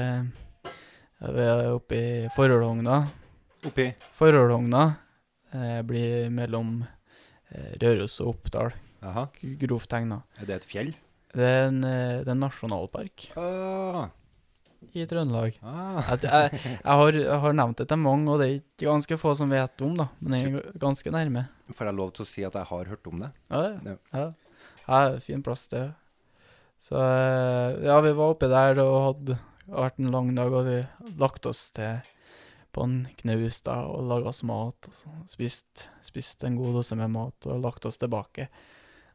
Speaker 6: oppe i Forhålhogna.
Speaker 5: Oppi.
Speaker 6: Forhålhogna eh, blir mellom eh, Røros og Oppdal,
Speaker 5: Jaha.
Speaker 6: grovt tegna.
Speaker 5: Er det et fjell?
Speaker 6: Det er en, eh, det er en nasjonalpark
Speaker 5: Ah,
Speaker 6: i Trøndelag.
Speaker 5: ah.
Speaker 6: At jeg, jeg, har, jeg har nevnt det til mange, og det er ikke ganske få som vet om, da. Men jeg er ganske nærme.
Speaker 5: Får jeg lov til å si at jeg har hørt om det?
Speaker 6: Ja,
Speaker 5: Ja.
Speaker 6: ja. ja. ja fin plass, det. Så eh, ja, vi var oppe der og hadde det har vært en lang dag, og vi lagt oss til på en knaus da, og laga oss mat. og sånn. Spist, spist en god dose med mat og lagt oss tilbake.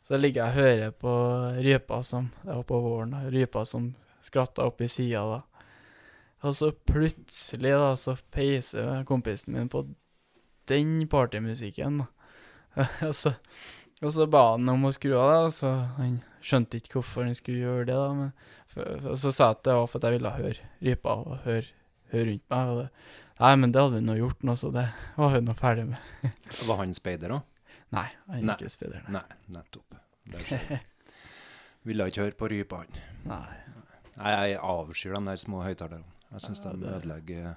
Speaker 6: Så ligger jeg og hører på rypa som Det var på våren, da. Rypa som skratta oppi sida da. Og så plutselig, da, så peiser kompisen min på den partymusikken. da. og, så, og så ba han om å skru av, da. Så han skjønte ikke hvorfor han skulle gjøre det, da. Men, for, for, så sa jeg at det var for at jeg ville høre rypa og høre, høre rundt meg. Og det, nei, men det hadde vi nå gjort nå, så det var vi nå ferdig med.
Speaker 5: Var han speider òg?
Speaker 6: Nei, han
Speaker 5: Nei.
Speaker 6: er ikke spiller.
Speaker 5: Nei, nettopp. Der ser du. Ville ikke høre på rypa, han.
Speaker 6: Nei.
Speaker 5: Nei, jeg avskyr de der små høyttalerne. Jeg syns
Speaker 6: Ja,
Speaker 5: de
Speaker 6: det-
Speaker 5: ødelegger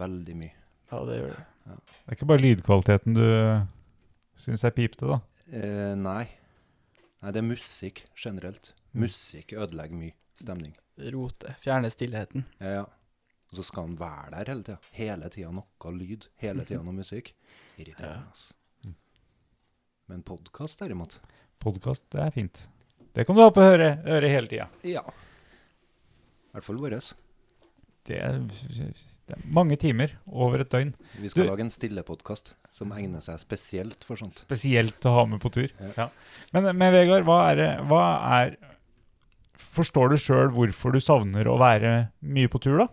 Speaker 5: veldig mye.
Speaker 6: Ja, det gjør det.
Speaker 4: Det er ikke bare lydkvaliteten du syns er pipete, da.
Speaker 5: Eh, nei. nei, det er musikk generelt. Musikk ødelegger mye stemning.
Speaker 6: Rote. Fjerne stillheten.
Speaker 5: Ja, ja. Og så skal han være der hele tida. Hele tida noe lyd. Hele tida noe musikk. Irriterende, altså. Men podkast, derimot
Speaker 4: Podkast, det er fint. Det kan du ha på øre, øre hele tida.
Speaker 5: Ja. I hvert fall vår.
Speaker 4: Det, er- det er mange timer over et døgn.
Speaker 5: Vi skal
Speaker 4: Du-
Speaker 5: lage en stillepodkast som egner seg spesielt for sånt.
Speaker 4: Spesielt å ha med på tur.
Speaker 5: Ja.
Speaker 4: Ja. Men, men Vegard, hva er, det- hva er Forstår du sjøl hvorfor du savner å være mye på tur, da?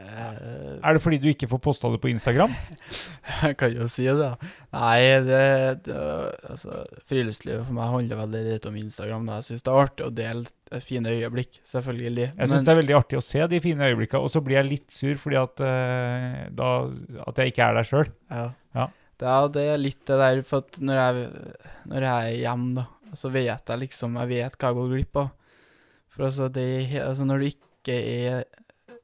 Speaker 6: Eh,
Speaker 4: Er det fordi du ikke får posta det på Instagram?
Speaker 6: Jeg kan jo si det. da. Nei, det, det altså, Friluftslivet for meg handler veldig lite om Instagram. Da. Jeg syns det er artig å dele fine øyeblikk, selvfølgelig.
Speaker 4: Jeg syns det er veldig artig å se de fine øyeblikka, og så blir jeg litt sur fordi at, eh, da, at jeg ikke er der sjøl.
Speaker 6: Ja.
Speaker 4: Ja.
Speaker 6: Det, er, det er litt det der, for at når jeg, når jeg er hjemme, da, så vet jeg liksom Jeg vet hva jeg går glipp av. For altså, det, er he- altså når du ikke er,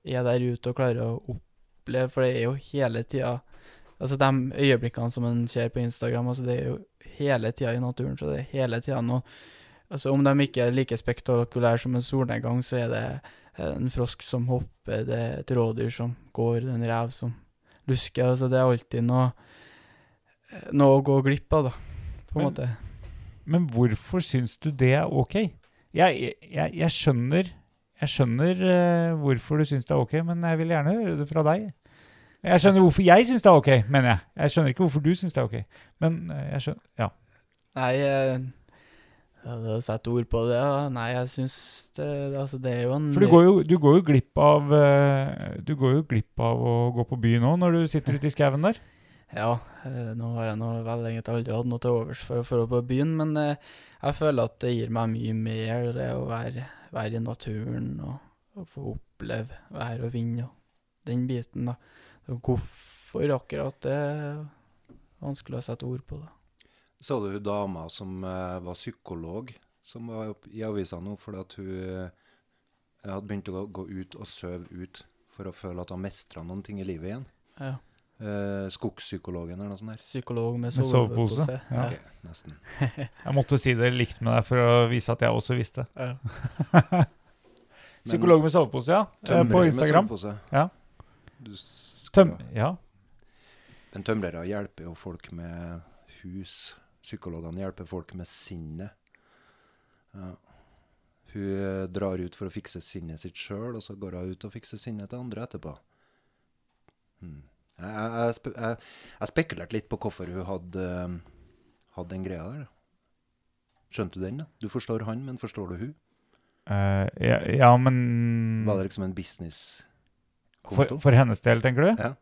Speaker 6: er der ute og klarer å oppleve For det er jo hele tida Altså de øyeblikkene som en ser på Instagram, altså det er jo hele tida i naturen, så det er hele tida noe Altså om de ikke er like spektakulære som en solnedgang, så er det en frosk som hopper, det er et rådyr som går, det er en rev som lusker. Altså det er alltid noe noe å gå glipp av, da. På en
Speaker 4: Men-
Speaker 6: måte.
Speaker 4: Men hvorfor syns du det er ok? Jeg, jeg, jeg skjønner, jeg skjønner eh, hvorfor du syns det er ok, men jeg vil gjerne høre det fra deg. Jeg skjønner hvorfor jeg syns det er ok, mener jeg. Jeg skjønner ikke hvorfor du syns det er ok. Men eh, jeg skjønner Ja.
Speaker 6: Nei, jeg hadde satt ord på det. ja. Nei, jeg syns det, altså, det er jo en
Speaker 5: Mm.
Speaker 4: For du går jo, du går jo glipp av eh, Du går jo glipp av å gå på byen òg, når du sitter ute i skauen der.
Speaker 6: Ja, eh, nå har jeg nå vel egentlig aldri hatt noe til overs for å dra på byen, men eh, jeg føler at det gir meg mye mer det å være, være i naturen og, og få oppleve vær og vind og den biten, da. Så hvorfor akkurat det? er Vanskelig å sette ord på det.
Speaker 5: Så du hun dama som eh, var psykolog, som var opp i avisa nå fordi at hun eh, hadde begynt å gå, gå ut og søve ut for å føle at hun mestra noen ting i livet igjen?
Speaker 6: Ja.
Speaker 5: Eh, skogspsykologen eller noe sånt? Der.
Speaker 6: Psykolog
Speaker 4: Med
Speaker 6: med
Speaker 4: sovepose,
Speaker 6: sovepose.
Speaker 4: ja.
Speaker 5: Ok, nesten.
Speaker 4: Jeg måtte si det likt med deg for å vise at jeg også visste.
Speaker 6: Ja.
Speaker 4: Psykolog med sovepose, ja. Eh,
Speaker 5: Tømrer
Speaker 4: På
Speaker 5: med
Speaker 4: Instagram.
Speaker 5: sovepose.
Speaker 4: Ja.
Speaker 5: Du s-
Speaker 4: Tøm... Ja.
Speaker 5: Men tømrere hjelper jo folk med hus. Psykologene hjelper folk med sinnet. Ja. Hun eh, drar ut for å fikse sinnet sitt sjøl, og så går hun ut og fikser sinnet til andre etterpå. Hmm. Jeg, jeg, jeg, spe- jeg, jeg spekulerte litt på hvorfor hun hadde, eh, hadde den greia der. da. Skjønte du den? da? Du forstår han, men forstår du hun?
Speaker 4: Eh, ja, ja, men
Speaker 5: Var det liksom en
Speaker 4: For,
Speaker 5: businesskonto?
Speaker 4: for hennes del, tenker du?
Speaker 5: Ja.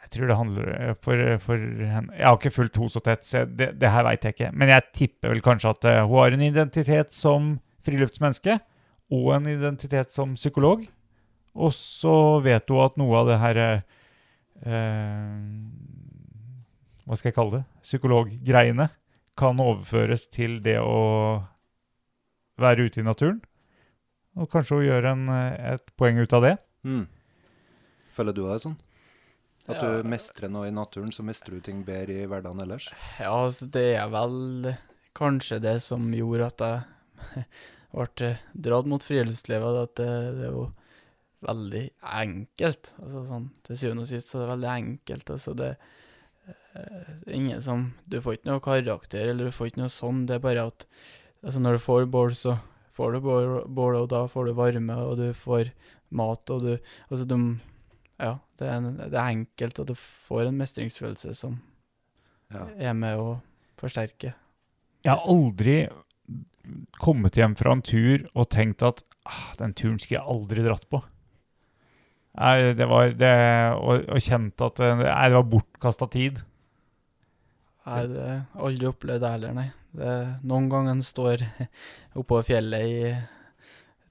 Speaker 4: Jeg tror det handler eh, for, for henne. Jeg har ikke fulgt henne så tett, så jeg- det, det her veit jeg ikke. Men jeg tipper vel kanskje at eh, hun har en identitet som friluftsmenneske og en identitet som psykolog. Og så vet hun at noe av det her eh, eh, Hva skal jeg kalle det? Psykologgreiene kan overføres til det å være ute i naturen. Og kanskje hun gjør en, eh, et poeng ut av det.
Speaker 5: Mm. Føler du det sånn? At
Speaker 6: Ja.
Speaker 5: du mestrer noe i naturen, så mestrer du ting bedre i hverdagen ellers?
Speaker 6: Ja, altså det er vel kanskje det som gjorde at jeg ble dratt mot friluftslivet. At det, det er jo veldig enkelt. Altså sånn, til syvende og sist så er det veldig enkelt. Altså det eh, ingen som Du får ikke noe karakter, eller du får ikke noe sånn. Det er bare at altså når du får bål, så får du bål, bål, og da får du varme, og du får mat, og du Altså, du Ja, det er, en- det er enkelt, og du får en mestringsfølelse som
Speaker 5: Ja.
Speaker 6: er med å forsterke.
Speaker 4: Jeg har aldri kommet hjem fra en tur og tenkt at ah, den turen skulle jeg aldri dratt på. Nei, det var det, og, og kjent at eh, nei, det var bortkasta tid.
Speaker 6: Nei, det har jeg aldri opplevd det heller, nei. Det, noen ganger en står oppå fjellet i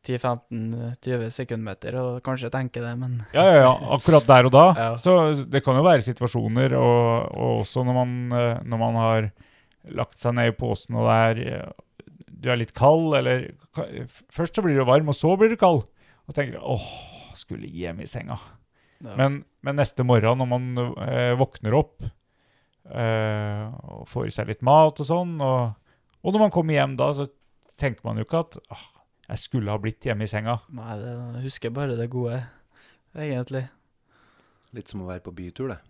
Speaker 6: 10-15-20 sekundmeter og kanskje tenker det, men
Speaker 4: Ja, ja, ja, akkurat der og da.
Speaker 6: Ja.
Speaker 4: Så det kan jo være situasjoner, og, og også når man, eh, når man har lagt seg ned i posen og det er eh, du er litt kald, eller ka- f- Først så blir du varm, og så blir du kald. Og tenker åh, skulle hjem i senga.
Speaker 6: det,
Speaker 4: Men, men neste morgen når man eh, våkner opp eh, og får i seg litt mat og sånn, og, og når man kommer hjem da, så tenker man jo ikke at «Åh, jeg skulle ha blitt hjemme i senga.
Speaker 6: Nei, det, jeg husker bare det gode, egentlig.
Speaker 5: Litt som å være på bytur, det.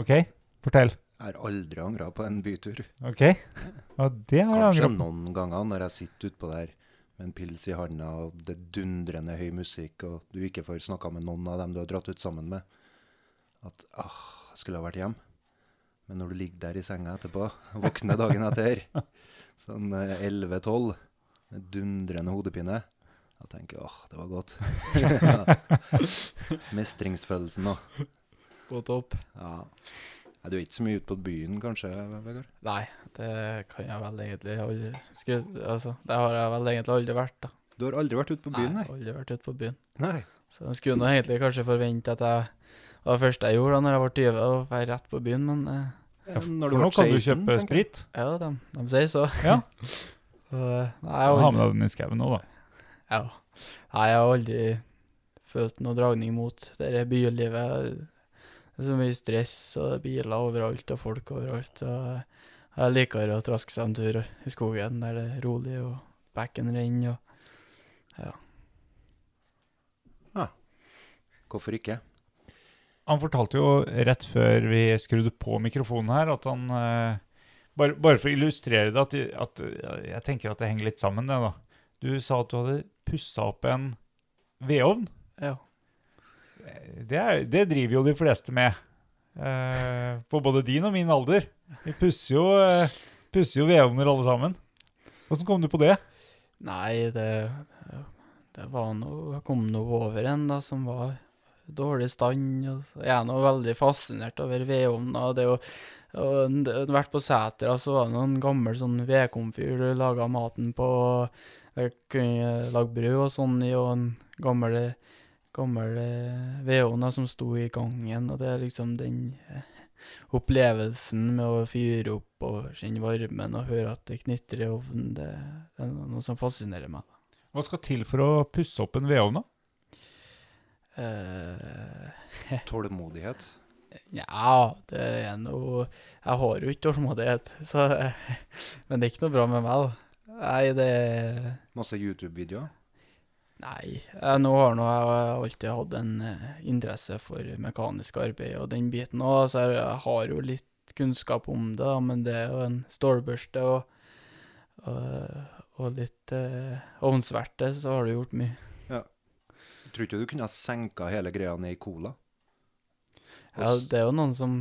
Speaker 4: OK? Fortell.
Speaker 5: Jeg har aldri angra på en bytur.
Speaker 4: OK? Og det har jeg
Speaker 5: Kanskje
Speaker 4: angret på.
Speaker 5: noen ganger når jeg sitter utpå der med en pils i handa, og det er dundrende høy musikk, og du ikke får snakka med noen av dem du har dratt ut sammen med, at ah, jeg skulle ha vært hjem. Men når du ligger der i senga etterpå, og våkner dagen etter, sånn eh, 11-12, med dundrende hodepine, da tenker jeg åh, det var godt. Mestringsfølelsen òg.
Speaker 6: Godt opp.
Speaker 5: Ja. Nei, Du er ikke så mye ute på byen, kanskje, Vegard?
Speaker 6: Nei, det kan jeg vel egentlig aldri skru- Altså, det har jeg vel egentlig aldri vært, da.
Speaker 5: Du har aldri vært ute på byen,
Speaker 6: nei.
Speaker 5: nei?
Speaker 6: Aldri vært ute på byen.
Speaker 5: nei.
Speaker 6: Så jeg skulle nå egentlig kanskje forvente at jeg det var det første jeg gjorde da når jeg var 20, å dra rett på byen, men eh,
Speaker 5: Ja, Når
Speaker 4: For nå
Speaker 5: ble
Speaker 4: kan du
Speaker 5: 16,
Speaker 4: kjøpe
Speaker 5: tenker jeg.
Speaker 4: sprit.
Speaker 6: Ja, de, de sier så.
Speaker 4: Ja.
Speaker 6: Så, eh, nei, jeg har
Speaker 4: Ha med
Speaker 6: aldri,
Speaker 4: deg den i skauen nå, da.
Speaker 6: ja. nei, jeg har aldri følt noe dragning mot det der bylivet. Det er så mye stress, og det er biler overalt, og folk overalt. Og jeg liker å traske seg en tur i skogen der det er rolig, og bekken renner. Og,
Speaker 5: Hvorfor ikke?
Speaker 4: han fortalte jo rett før vi skrudde på mikrofonen her, at han eh, bare, bare for å illustrere det, at, at eh, jeg tenker at det henger litt sammen, det, da. Du sa at du hadde pussa opp en vedovn.
Speaker 6: Ja.
Speaker 4: Det, er, det driver jo de fleste med. Eh, på både din og min alder. Vi pusser jo, eh, pusser jo vedovner alle sammen. Åssen kom du på det?
Speaker 6: Nei, det, det var noe Jeg kom nå over en da, som var i dårlig stand. og så- Jeg er nå veldig fascinert over vedovner. og Det å og n- vært på setra, så var det noen gammel sånn vedkomfyr du laga maten på. og Jeg kunne lage brød og sånn i, og en gammel, gammel eh, vedovn da, som sto i gangen. Og det er liksom den eh, opplevelsen med å fyre opp og kjenne varmen og høre at det knitrer i ovnen, det, det er noe som fascinerer meg.
Speaker 4: Hva skal til for å pusse opp en vedovn, da?
Speaker 6: Eh,
Speaker 5: Tålmodighet.
Speaker 6: Nja, det er noe Jeg har jo ikke tålmodighet, så Men det er ikke noe bra med meg, da. Nei, det
Speaker 5: Masse YouTube-videoer.
Speaker 6: Nei. Jeg, nå har nå jeg alltid hatt en eh, interesse for mekanisk arbeid og den biten òg, så jeg, jeg har jo litt kunnskap om det, da, men det er jo en stålbørste og, og, og litt eh, ovnsverte, så har du gjort mye.
Speaker 5: Tror ikke du kunne ha senka hele greia ned i cola?
Speaker 6: Ja, det er jo noen som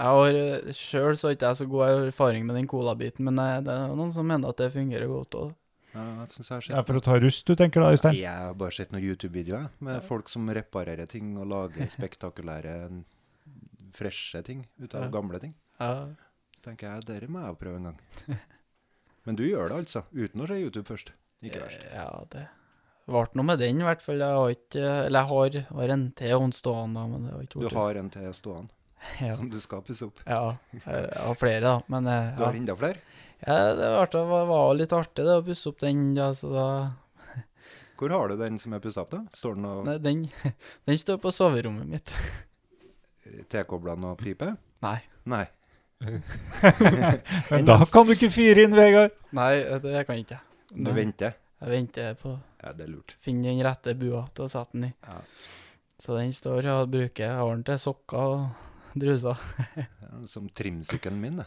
Speaker 6: Jeg har sjøl så har ikke jeg så god erfaring med den colabiten, men eh, det er jo noen som mener at det fungerer godt òg.
Speaker 5: Ja, jeg synes jeg har
Speaker 4: Det er
Speaker 5: sett
Speaker 4: for å ta rust, du tenker da, Øystein?
Speaker 5: Jeg har bare sett noen YouTube-videoer jeg, med folk som reparerer ting og lager spektakulære, freshe ting ut av
Speaker 6: Ja.
Speaker 5: gamle ting.
Speaker 6: Ja.
Speaker 5: Så tenker jeg, dere må jeg jo prøve en gang. Men du gjør det altså, uten å se YouTube først. Ikke verst.
Speaker 6: Eh, Ja, det ble noe med den, i hvert fall. Jeg har ikke Eller jeg har, har en til håndstående, men det har ikke
Speaker 5: Du
Speaker 6: vært
Speaker 5: har en til stående
Speaker 6: ja.
Speaker 5: som du skal pusse opp.
Speaker 6: ja. Jeg jeg har flere, da. Men eh,
Speaker 5: Du har enda flere?
Speaker 6: ja. ja, det var, artig- var- var litt artig det, å pusse opp den. Ja, så da,
Speaker 5: Hvor har du den som er pussa opp, da? Står den og
Speaker 6: nei, den, den står på soverommet mitt.
Speaker 5: tilkobla noe pipe?
Speaker 6: Nei.
Speaker 5: Nei.
Speaker 4: Men da kan du ikke fyre inn, Vegard!
Speaker 6: Nei, det kan jeg ikke.
Speaker 5: Du
Speaker 6: Nei.
Speaker 5: venter?
Speaker 6: Jeg venter på
Speaker 5: Ja, det er lurt.
Speaker 6: finne den rette bua til å sette den i.
Speaker 5: Ja.
Speaker 6: Så den står og bruker jeg har den til sokker og druser.
Speaker 5: Det er som trimsykkelen min, det.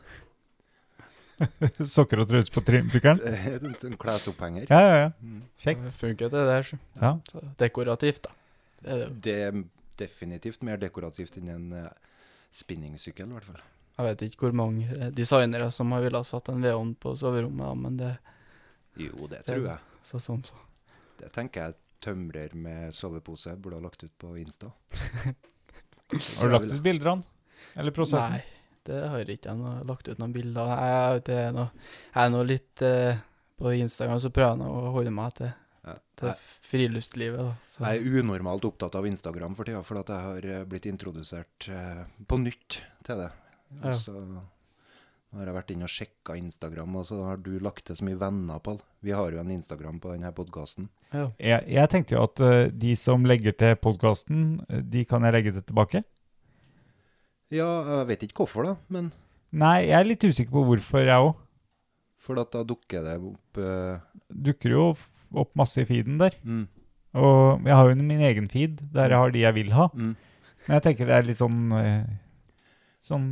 Speaker 4: Sokker og truser på trimsykkelen.
Speaker 5: det. er En sånn klesopphenger.
Speaker 4: Ja, ja, ja.
Speaker 5: Mm.
Speaker 4: Kjekt.
Speaker 6: Funker det der, så.
Speaker 4: Ja.
Speaker 6: så dekorativt, da. Det er det. jo.
Speaker 5: Det er definitivt mer dekorativt enn en eh, spinningsykkel, i hvert fall.
Speaker 6: Jeg vet ikke hvor mange eh, designere som har villet ha satt en vedovn på soverommet, da, men det
Speaker 5: Jo, det
Speaker 6: tror
Speaker 5: tror
Speaker 6: jeg.
Speaker 5: jeg.
Speaker 6: så som så.
Speaker 5: Det tenker jeg tømrer med sovepose burde ha lagt ut på Insta.
Speaker 4: Har du lagt ut bilder av den? Eller prosessen?
Speaker 6: Nei, det har jeg ikke jeg nå lagt ut noen bilder. Jeg, det er noe, jeg er nå litt eh, På Instagram så prøver jeg nå å holde meg til,
Speaker 5: Ja,
Speaker 6: til
Speaker 5: jeg-
Speaker 6: friluftslivet, da. Så.
Speaker 5: Jeg er unormalt opptatt av Instagram for tida, for at jeg har eh, blitt introdusert eh, på nytt til det.
Speaker 6: Ja.
Speaker 4: altså.
Speaker 5: Og Så nå har jeg vært inne og sjekka Instagram, og så har du lagt til så mye venner, Pål. Vi har jo en Instagram på denne podkasten.
Speaker 6: Ja.
Speaker 4: Jeg, jeg tenkte jo at eh, de som legger til podkasten, de kan jeg legge det tilbake.
Speaker 5: Ja, jeg vet ikke hvorfor, da, men
Speaker 4: Nei, jeg er litt usikker på hvorfor, jeg òg.
Speaker 5: for at da dukker det opp eh,
Speaker 4: Dukker jo f- opp masse i feeden der.
Speaker 5: mm,
Speaker 4: Og jeg har jo min egen feed, der jeg har de jeg vil ha.
Speaker 5: mm.
Speaker 4: Men jeg tenker det er litt sånn eh, Sånn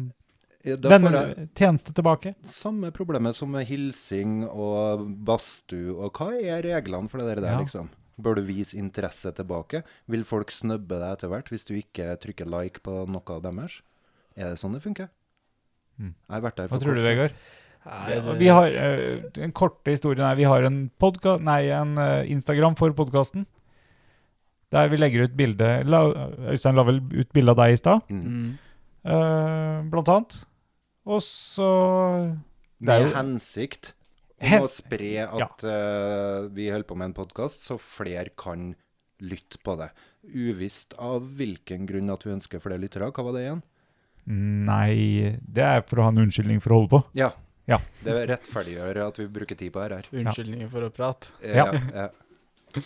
Speaker 5: Ja, da får jeg
Speaker 4: Denne tjeneste tilbake.
Speaker 5: samme problemet som med hilsing og badstue og Hva er reglene for det der,
Speaker 4: Ja.
Speaker 5: liksom? Bør du vise interesse tilbake? Vil folk snubbe deg etter hvert hvis du ikke trykker like på noe av deres? Er det sånn det funker?
Speaker 4: Mm.
Speaker 5: Jeg har vært der
Speaker 4: Hva tror du, Vegard?
Speaker 6: Nei, det-
Speaker 4: Vi har eh, den korte historien her. Vi har en, podka nei, en eh, Instagram for podkasten. Der vi legger ut bilde la, Øystein la vel ut bilde av deg i stad,
Speaker 5: Mm.
Speaker 6: mm.
Speaker 4: eh, blant annet. Og så Det er
Speaker 5: Med
Speaker 4: jo-
Speaker 5: hensikt om
Speaker 4: Hen-
Speaker 5: å spre at eh, vi holder på med en podkast, så flere kan lytte på det. Uvisst av hvilken grunn at vi ønsker flere lyttere. Hva var det igjen?
Speaker 4: Nei, det er for å ha en unnskyldning for å holde på.
Speaker 5: Ja.
Speaker 4: Ja.
Speaker 5: Det rettferdiggjør at vi bruker tid på det her.
Speaker 6: Unnskyldninger for å prate.
Speaker 4: Ja.
Speaker 5: Ja. ja.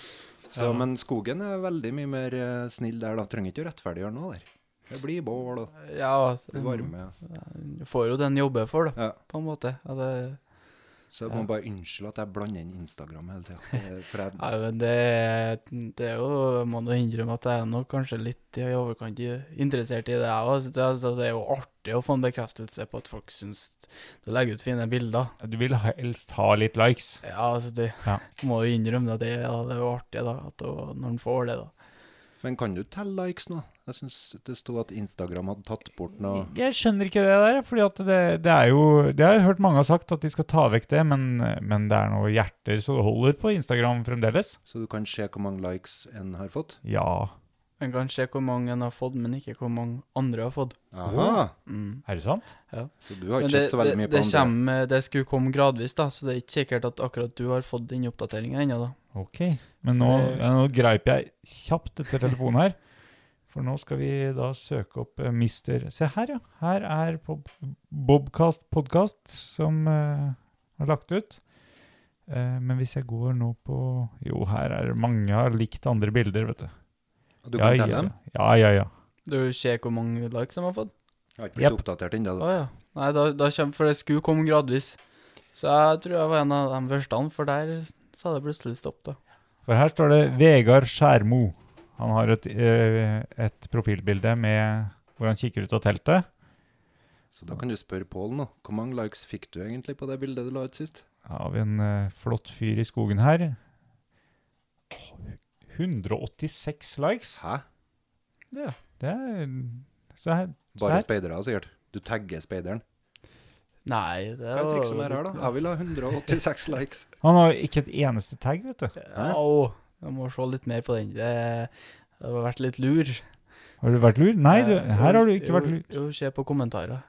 Speaker 5: Så,
Speaker 6: Ja.
Speaker 5: men skogen er veldig mye mer eh, snill der, da. Trenger ikke å rettferdiggjøre noe der. Det blir bål og
Speaker 6: Ja, altså,
Speaker 5: varme.
Speaker 6: Du får jo den jobbe for, da,
Speaker 5: Ja.
Speaker 6: på en måte. Ja, det,
Speaker 5: Så jeg må bare unnskylde at jeg blander inn Instagram hele tida. For
Speaker 6: Nei,
Speaker 5: jeg,
Speaker 6: men det, det er jo Jeg må nå innrømme at jeg er nok kanskje litt i overkant i- interessert i det, jeg òg. Det, altså, det er jo artig å få en bekreftelse på at folk syns du legger ut fine bilder.
Speaker 4: Du vil helst ha litt likes.
Speaker 6: Ja, altså, det
Speaker 4: Ja.
Speaker 6: må jo innrømme at det, ja, det er jo artig da, at det, når en får det, da.
Speaker 5: men kan du telle likes nå? Jeg syns det sto at Instagram hadde tatt bort noe
Speaker 4: Jeg skjønner ikke det der, fordi at det, det er jo Det har jeg hørt mange har sagt, at de skal ta vekk det, men, men det er noe hjerter så det holder på Instagram fremdeles.
Speaker 5: Så du kan se hvor mange likes en har fått?
Speaker 4: Ja.
Speaker 6: En kan se hvor mange en har fått, men ikke hvor mange andre har fått.
Speaker 5: Aha!
Speaker 6: Mm.
Speaker 4: Er det sant?
Speaker 5: Så du har
Speaker 6: Men
Speaker 5: ikke
Speaker 6: det,
Speaker 5: sett så veldig
Speaker 6: det,
Speaker 5: mye på
Speaker 6: det,
Speaker 5: andre?
Speaker 6: kommer, det skulle komme gradvis, da, så det er ikke sikkert at akkurat du har fått den oppdateringa ennå. da.
Speaker 4: Ok. Men nå,
Speaker 6: Det-
Speaker 4: ja, nå greip jeg kjapt etter telefonen her. For nå skal vi da søke opp eh, Mister Se her, ja. Her er Bob Bobcast podkast som eh, er lagt ut. Eh, men hvis jeg går nå på Jo, her er det mange har likt andre bilder, vet du.
Speaker 5: Og Du kan
Speaker 4: ja,
Speaker 5: telle
Speaker 4: ja,
Speaker 5: dem?
Speaker 4: ja, ja, ja.
Speaker 6: Du ser hvor mange likes de har fått?
Speaker 5: Jeg har ikke blitt
Speaker 4: Jepp.
Speaker 5: oppdatert ennå.
Speaker 6: Å ja. Nei, da, da kommer, for det skulle komme gradvis. Så jeg tror jeg var en av de første, for der sa det plutselig stopp, da.
Speaker 4: For her står det Vegard Skjermo. Han har et, eh, et profilbilde med hvor han kikker ut av teltet.
Speaker 5: Så da kan du spørre Pål nå. Hvor mange likes fikk du egentlig på det bildet du la ut sist?
Speaker 4: Her har vi en eh, flott fyr i skogen her. Åh, 186 likes.
Speaker 5: Hæ?
Speaker 6: Ja.
Speaker 4: Det er Så her, så
Speaker 5: Bare
Speaker 4: her.
Speaker 5: speidere, sikkert. Du tagger speideren.
Speaker 6: Nei, det
Speaker 5: Hva er trikset med det
Speaker 6: var
Speaker 5: her, da? Jeg vil ha 186 likes.
Speaker 4: Han har ikke et eneste tag, vet du.
Speaker 5: Hæ?
Speaker 6: Au. Jeg må se litt mer på den. Det, det har vært litt lur.
Speaker 4: Har du vært lur? Nei, du,
Speaker 6: Eh,
Speaker 4: her har du
Speaker 6: jo,
Speaker 4: ikke vært lur.
Speaker 6: Jo, se på kommentarer.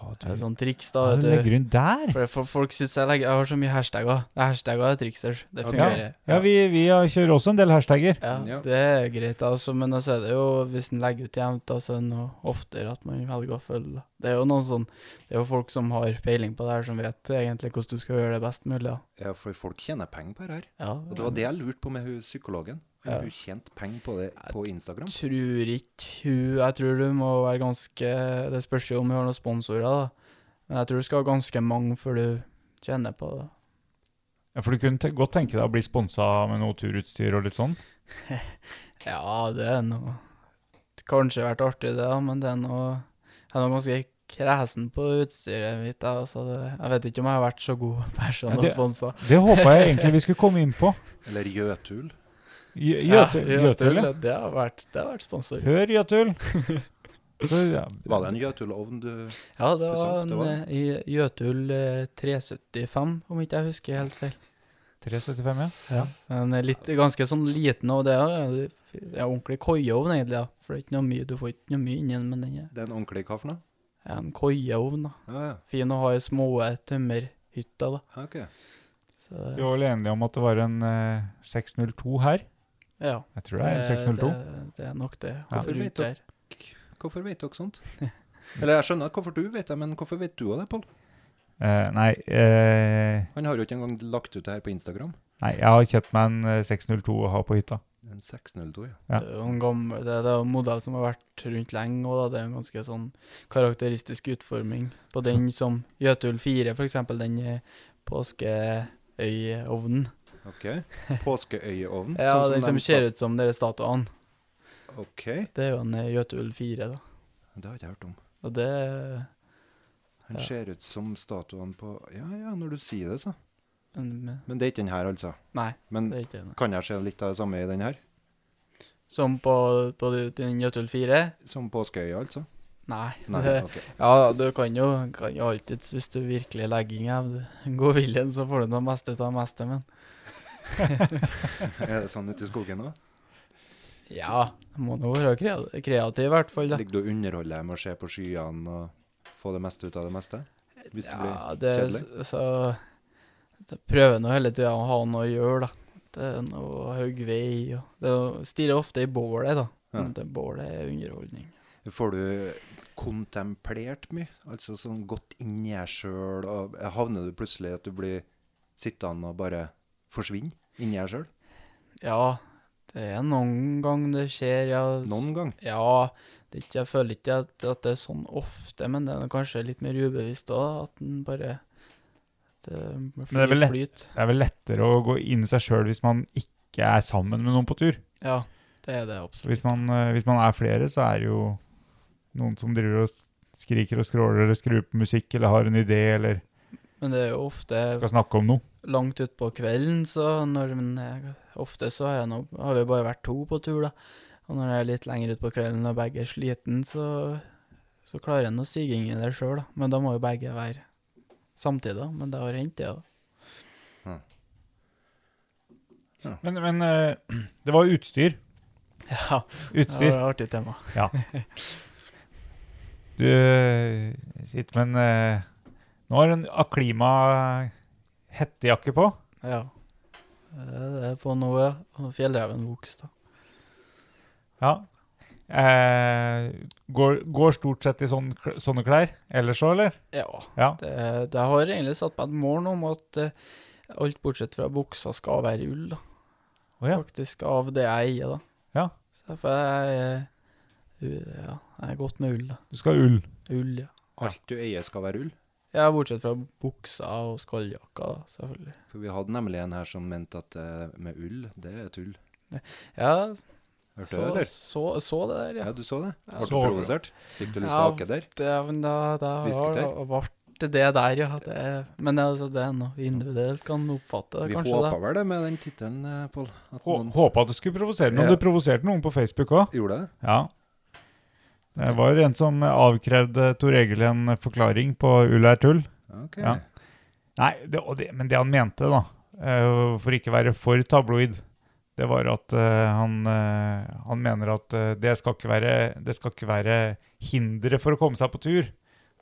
Speaker 4: Å,
Speaker 6: Det er
Speaker 4: du,
Speaker 6: sånn triks, da.
Speaker 4: Hva
Speaker 6: vet
Speaker 4: du legger hun der?
Speaker 6: For, for folk syns jeg legger Jeg har så mye hashtagger. Det er Hashtagger er trikser. Det
Speaker 5: Ja,
Speaker 6: fungerer.
Speaker 4: Ja, vi, vi har- kjører også en del hashtagger.
Speaker 6: Ja,
Speaker 5: Ja.
Speaker 6: det er greit, altså, men altså er det jo hvis en legger ut jevnt, altså er det noe oftere at man velger å følge. da. Det er jo noen sånn Det er jo folk som har peiling på det her, som vet egentlig hvordan du skal gjøre det best mulig. da.
Speaker 5: Ja, for folk tjener penger på det her.
Speaker 6: Ja,
Speaker 5: Og det var det jeg lurte på med hun psykologen. Hun,
Speaker 6: Ja.
Speaker 5: hun tjente penger på det på Instagram.
Speaker 6: Jeg tror ikke hun Jeg tror du må være ganske Det spørs jo om hun har noen sponsorer, da. Men jeg tror du skal ha ganske mange før du tjener på det.
Speaker 4: Ja, for du kunne te godt tenke deg å bli sponsa med noe turutstyr og litt sånn?
Speaker 6: Ja, det er noe Kanskje vært artig det, da, men det er noe Jeg er noe ganske kresen på utstyret mitt. da, Altså det, jeg vet ikke om jeg har vært så god person
Speaker 4: Ja,
Speaker 6: å
Speaker 4: det-
Speaker 6: sponse.
Speaker 4: Det håpa jeg egentlig vi skulle komme inn på.
Speaker 5: Eller Jøtul.
Speaker 4: Jø-
Speaker 6: Ja,
Speaker 4: Jøtul,
Speaker 6: Jøtul,
Speaker 4: Jøtul, ja.
Speaker 6: ja, det har vært, det har vært sponsor.
Speaker 4: Hør, Jøtul. Så, ja.
Speaker 5: Var det en Jøtulovn du
Speaker 6: Ja, det
Speaker 5: Det
Speaker 6: var
Speaker 5: sant, det
Speaker 6: en
Speaker 5: var
Speaker 6: eh, i Jøtul eh, 375, om ikke jeg husker helt feil.
Speaker 4: 375, ja.
Speaker 6: Den er litt, ganske sånn liten, og det er det er ordentlig koieovn, egentlig. da. For det er ikke noe mye, du får ikke noe mye inni den, men den er-
Speaker 5: Det er en ordentlig hva for noe?
Speaker 6: er en koieovn. da.
Speaker 5: Ja, ja.
Speaker 6: Fin å ha i små eh, tømmerhytter, da.
Speaker 5: Ja, ok.
Speaker 6: Så,
Speaker 4: Vi var vel enige om at det var en eh, 602 her.
Speaker 6: ja.
Speaker 4: Jeg tror det er en
Speaker 6: Det,
Speaker 4: 602.
Speaker 6: det er nok det.
Speaker 4: Ja.
Speaker 6: Hvorfor
Speaker 5: Vet
Speaker 6: rundt der?
Speaker 5: Hvorfor vet dere sånt? Eller jeg skjønner hvorfor du vet det, men hvorfor vet du òg det, Pål?
Speaker 4: Eh, nei, eh,
Speaker 5: Han har jo ikke engang lagt ut det her på Instagram.
Speaker 4: nei, jeg har kjøpt meg en eh, 602 å ha på hytta.
Speaker 5: En 602, ja.
Speaker 4: Ja.
Speaker 6: Det er jo en gammel, det, det er jo en modell som har vært rundt lenge, og da. det er en ganske sånn karakteristisk utforming på den som Jøtul 4, for eksempel, den eh, påskeøyeovnen.
Speaker 5: Ok. Påskeøyeovn.
Speaker 6: Ja,
Speaker 5: sånn
Speaker 6: den som
Speaker 5: de
Speaker 6: ser ut som dere statuene.
Speaker 5: sa. Ok, det
Speaker 6: Det er jo en eh, Jøtul 4, da.
Speaker 5: har jeg ikke hørt om.
Speaker 6: Og det
Speaker 5: Han
Speaker 6: Ja.
Speaker 5: ser ut som statuen på Ja ja, når du sier det, så.
Speaker 6: en-
Speaker 5: Men det er ikke den her, altså.
Speaker 6: Nei,
Speaker 5: Men
Speaker 6: det er ikke det.
Speaker 5: kan jeg se litt av det samme i den her?
Speaker 6: Som på, på den Jøtul 4?
Speaker 5: Som påskeøye, altså?
Speaker 6: Nei.
Speaker 5: Nei,
Speaker 6: det,
Speaker 5: ok.
Speaker 6: Ja, du kan jo, kan jo alltid, hvis du virkelig legger inn av den gode viljen, så får du noe meste ut av det meste, men
Speaker 5: Er det sånn ute i skogen òg?
Speaker 6: ja, du må nå være kre- kreativ i hvert fall, da.
Speaker 5: Ligger du og underholder deg med å se på skyene og få det meste ut av det meste? Hvis det
Speaker 6: Ja,
Speaker 5: blir
Speaker 6: det,
Speaker 5: kjedelig?
Speaker 6: så det prøver nå hele tida å ha noe å gjøre, da. Det er noe å hogge vei og Det er å- stirrer ofte i bålet, da.
Speaker 5: Ja.
Speaker 6: Men det bålet er underholdning.
Speaker 5: Får du kontemplert mye? Altså sånn gått inn i deg sjøl, og eh, havner du plutselig at du blir sittende og bare forsvinner inni deg sjøl?
Speaker 6: Ja, det er noen gang det skjer, ja.
Speaker 5: Noen gang.
Speaker 6: Ja, det er ikke, jeg føler ikke at, at det er sånn ofte, men det er kanskje litt mer ubevisst òg, at en bare Det
Speaker 4: det er vel
Speaker 6: flyr
Speaker 4: lett-
Speaker 6: flyt.
Speaker 4: Det er vel lettere å gå inn i seg sjøl hvis man ikke er sammen med noen på tur.
Speaker 6: Ja, det er det
Speaker 4: Så
Speaker 6: absolutt.
Speaker 4: hvis man, eh, hvis man er flere, så er det jo noen som driver og s- skriker og skråler eller skrur på musikk eller har en idé eller
Speaker 6: Men det er jo ofte
Speaker 4: skal snakke om noe.
Speaker 6: langt utpå kvelden, så når Men jeg, ofte så har, jeg nå, har vi bare vært to på tur, da. Og når jeg er litt lenger utpå kvelden og begge er sliten, så, så klarer en å sige inn i det sjøl, da. Men da må jo begge være samtidig, da. Men det har hendt, det òg.
Speaker 4: Men, men eh, det var utstyr.
Speaker 6: Ja, det var
Speaker 4: Utstyr.
Speaker 6: et artig tema.
Speaker 4: Du eh, sitter med en eh, Nå har du en Aklima eh, hettejakke på.
Speaker 6: Ja. Eh, Det er det på nå, ja. Og Fjellreven vokste, da.
Speaker 4: Ja. Eh, går, går stort sett i sånne, kl- sånne klær ellers òg, eller?
Speaker 6: Ja.
Speaker 4: Ja.
Speaker 6: Det, det har egentlig satt meg et mål om at eh, alt bortsett fra buksa skal være ull, da.
Speaker 4: Å ja.
Speaker 6: Faktisk av det jeg eier, da.
Speaker 4: Ja.
Speaker 6: Så derfor er jeg, u- ja, jeg er godt med ull, da.
Speaker 4: Du skal ha ull.
Speaker 6: Ull, ja.
Speaker 5: Alt du eier skal være ull.
Speaker 6: Ja, bortsett fra buksa og skalljakka, da, selvfølgelig.
Speaker 5: For vi hadde nemlig en her som mente at eh, med ull, det er tull.
Speaker 6: Ja,
Speaker 5: Hørte du
Speaker 6: så,
Speaker 5: det, eller?
Speaker 6: så, så det der, ja.
Speaker 5: Ja, du så det?
Speaker 6: Ja,
Speaker 5: Ble du
Speaker 4: så-
Speaker 5: provosert? Fikk du lyst til å
Speaker 6: Ja.
Speaker 5: hakke der?
Speaker 6: Det, men da, da har
Speaker 5: Diskuter.
Speaker 6: det vært det der, ja. Det, er- men altså, det er noe individuelt kan oppfatte det,
Speaker 5: Vi
Speaker 6: kanskje
Speaker 5: håpa
Speaker 6: det.
Speaker 5: vel det med den tittelen, eh, Pål. At
Speaker 4: Hå-
Speaker 5: noen
Speaker 4: Håpa at det skulle provosere noen.
Speaker 5: Ja.
Speaker 4: Du provoserte noen på Facebook òg.
Speaker 5: gjorde det.
Speaker 4: Ja. Det var en som avkrevde Tor Egil en forklaring på ull er tull.
Speaker 5: Ok.
Speaker 4: Ja. Nei, det, og det, men det han mente, da, eh, for ikke være for tabloid, det var at eh, han, eh, han mener at eh, det, skal ikke være, det skal ikke være hindre for å komme seg på tur.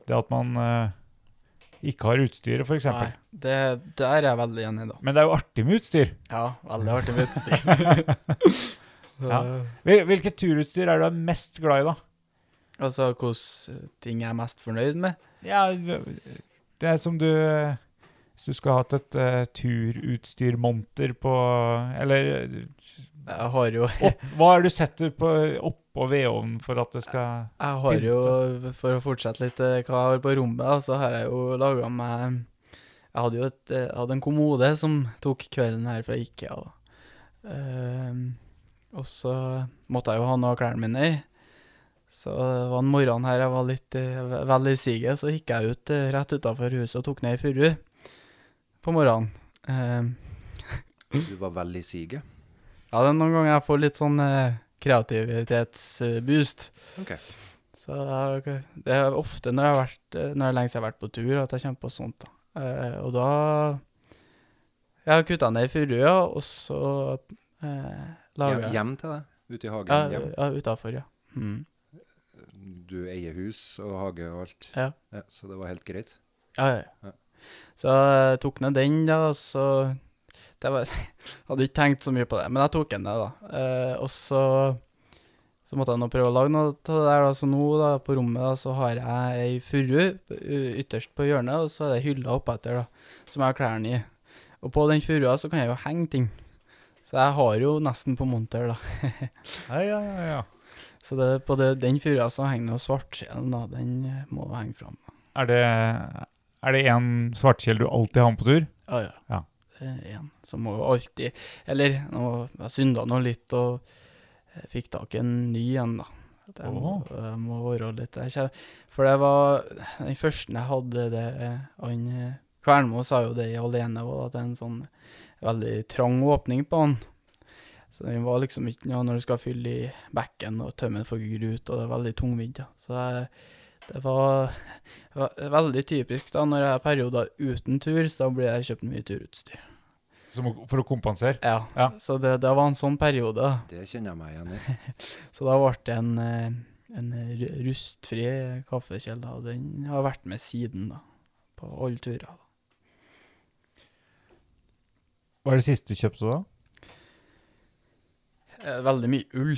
Speaker 4: Det at man eh, ikke har utstyret, f.eks.
Speaker 6: Nei, det, der er jeg veldig enig, i, da.
Speaker 4: Men det er jo artig med utstyr.
Speaker 6: Ja, veldig artig vitsstil.
Speaker 4: Ja.
Speaker 6: Eh,
Speaker 4: Hvil- Hvilket turutstyr er du er mest glad i, da?
Speaker 6: Altså hvilke ting jeg er mest fornøyd med.
Speaker 4: Ja, det er som du eh, Hvis du skulle hatt et eh, turutstyrmonter på Eller eh,
Speaker 6: Jeg har jo,
Speaker 4: opp, hva er det du setter på, oppå vedovnen for at det skal
Speaker 6: jeg har jo for å fortsette litt eh, hva jeg har på rommet, da, så har jeg jo laga meg Jeg hadde jo et, eh, jeg hadde en kommode som tok kvelden her fra Ikea. da. Ehm, og så måtte jeg jo ha noe av klærne mine i. Så det var en morgen her jeg var litt eh, ve- vel i siget, så gikk jeg ut eh, rett utafor huset og tok ned ei furu på morgenen. Ehm,
Speaker 5: Du var vel i siget.
Speaker 6: Ja, det er noen ganger jeg får litt sånn eh, kreativitetsboost.
Speaker 5: Ok.
Speaker 6: Så det er, ok. det er ofte når jeg har vært, eh, når det er lenge siden jeg har vært på tur, at jeg kommer på sånt. da. Eh, og da Jeg har kutta ned i furua, og så eh, lager
Speaker 5: Hjem,
Speaker 6: jeg
Speaker 5: hjem til deg. Ute i
Speaker 6: Ja,
Speaker 5: hagen. Hjem.
Speaker 6: ja utafor, ja. Mm.
Speaker 5: Du eier hus og hage og alt.
Speaker 6: Ja.
Speaker 5: Ja, så det var helt greit.
Speaker 6: Ja, ja.
Speaker 5: Ja.
Speaker 6: ja. Så jeg tok ned den, da, og så det var, Hadde ikke tenkt så mye på det, men jeg tok den ned, da. Eh, og så Så måtte jeg nå prøve å lage noe av det der, da. Så nå, da, på rommet, da, så har jeg ei furu ø, ytterst på hjørnet, og så er det hylla oppetter, da, som jeg har klærne i. Og på den furua så kan jeg jo henge ting. Så jeg har jo nesten på monter, da.
Speaker 4: Ja, ja, ja. ja.
Speaker 6: Så det, på det, den furua så henger jo svartsjelen, da. Den eh, må henge fram.
Speaker 4: Er det er det en svartkjell du alltid har med på tur?
Speaker 6: Ja, ja.
Speaker 4: Ja.
Speaker 6: Det er en som må jo alltid Eller nå, jeg synda nå litt og eh, fikk tak i en ny en, da. Det må, det må være litt der. kjære. For det var den første jeg hadde det eh, Han eh, Kvernmo sa jo det i Alene òg, at det er en sånn veldig trang åpning på han. Så den var liksom ikke noe når du skal fylle i bekken og tømme den for grut, og det er veldig tungvint. Ja. Så jeg, det var det var Veldig typisk da, når jeg har perioder uten tur, så da blir jeg kjøpt mye turutstyr.
Speaker 4: Som, å- for å kompensere?
Speaker 6: Ja,
Speaker 4: Ja.
Speaker 6: så det, det var en sånn periode. da.
Speaker 5: Det kjenner jeg meg igjen i.
Speaker 6: Så da ble det en, eh, en ru- rustfri kaffekjele, da, og den har vært med siden, da. På alle turer. da.
Speaker 4: Hva er det siste du kjøpte da?
Speaker 6: Eh, Veldig mye ull.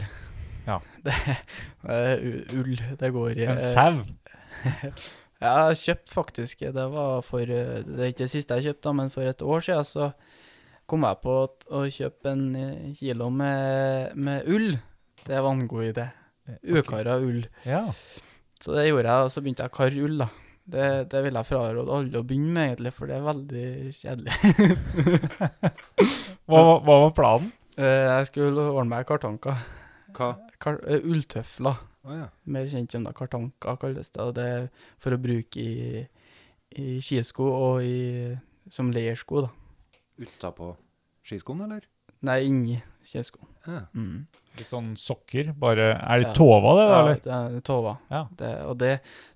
Speaker 4: Ja.
Speaker 6: Det, eh, u- ull, det går i
Speaker 4: En
Speaker 6: eh,
Speaker 4: sau?
Speaker 6: Jeg har kjøpt faktisk Det var for eh, Det er ikke det siste jeg kjøpte, da, men for et år siden så kom jeg på at å kjøpe en eh, kilo med, med ull. Det var en god idé. Ukara ull.
Speaker 4: Ja.
Speaker 6: Så det gjorde jeg, og så begynte jeg å karre ull, da. Det, det vil jeg fraråde alle å begynne med, egentlig, for det er veldig kjedelig.
Speaker 4: Hva, hva var planen?
Speaker 6: Eh, Jeg skulle ordne meg kartanker.
Speaker 5: Hva?
Speaker 6: Kar eh, ulltøfler.
Speaker 5: Å ja.
Speaker 6: mer kjent som da kartanka kalles det, og det er for å bruke i, i skisko og i, som leirsko, da.
Speaker 5: Utapå skiskoen, eller?
Speaker 6: Nei, inni skisko.
Speaker 5: Ja.
Speaker 6: Mm.
Speaker 4: Litt sånn sokker? bare, Er
Speaker 6: Ja.
Speaker 4: det tova, det? da,
Speaker 6: Ja,
Speaker 4: eller?
Speaker 6: det er tova.
Speaker 4: Ja.
Speaker 6: Det, og det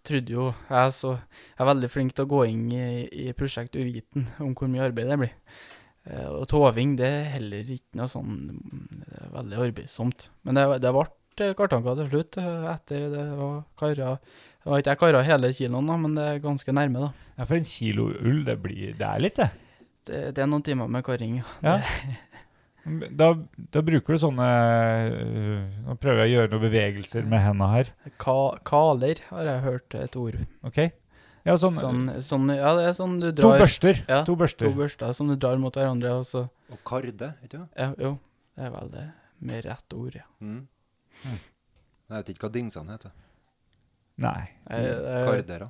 Speaker 6: trodde jo jeg, så jeg er veldig flink til å gå inn i, i prosjekt uviten om hvor mye arbeid det blir. Eh, og toving, det er heller ikke noe sånn mm, det er veldig arbeidsomt. Men det, det ble kartanka til slutt, eh, etter det var kara Det var ikke jeg kara hele kiloen, da, men det er ganske nærme, da.
Speaker 4: Ja, For en kilo ull, det, blir, det er litt, det.
Speaker 6: Det, det er noen timer med karring, ja.
Speaker 4: Ja. Da, da bruker du sånne øh, Nå prøver jeg å gjøre noen bevegelser med henda her.
Speaker 6: Ka kaler har jeg hørt et ord.
Speaker 4: ok? Ja, sånn,
Speaker 6: Sånn, sånn, ja, det er sånn du
Speaker 4: to,
Speaker 6: drar
Speaker 4: børster,
Speaker 6: Ja,
Speaker 4: to børster.
Speaker 6: to børster som du drar mot hverandre, og så
Speaker 5: Og karde, ikke sant?
Speaker 6: ja, Jo, det er vel det med rett ord, ja.
Speaker 5: Mm. Jeg vet ikke hva dingsene heter.
Speaker 4: Nei.
Speaker 6: Jeg,
Speaker 4: Eh,
Speaker 6: jeg,
Speaker 5: Kardere.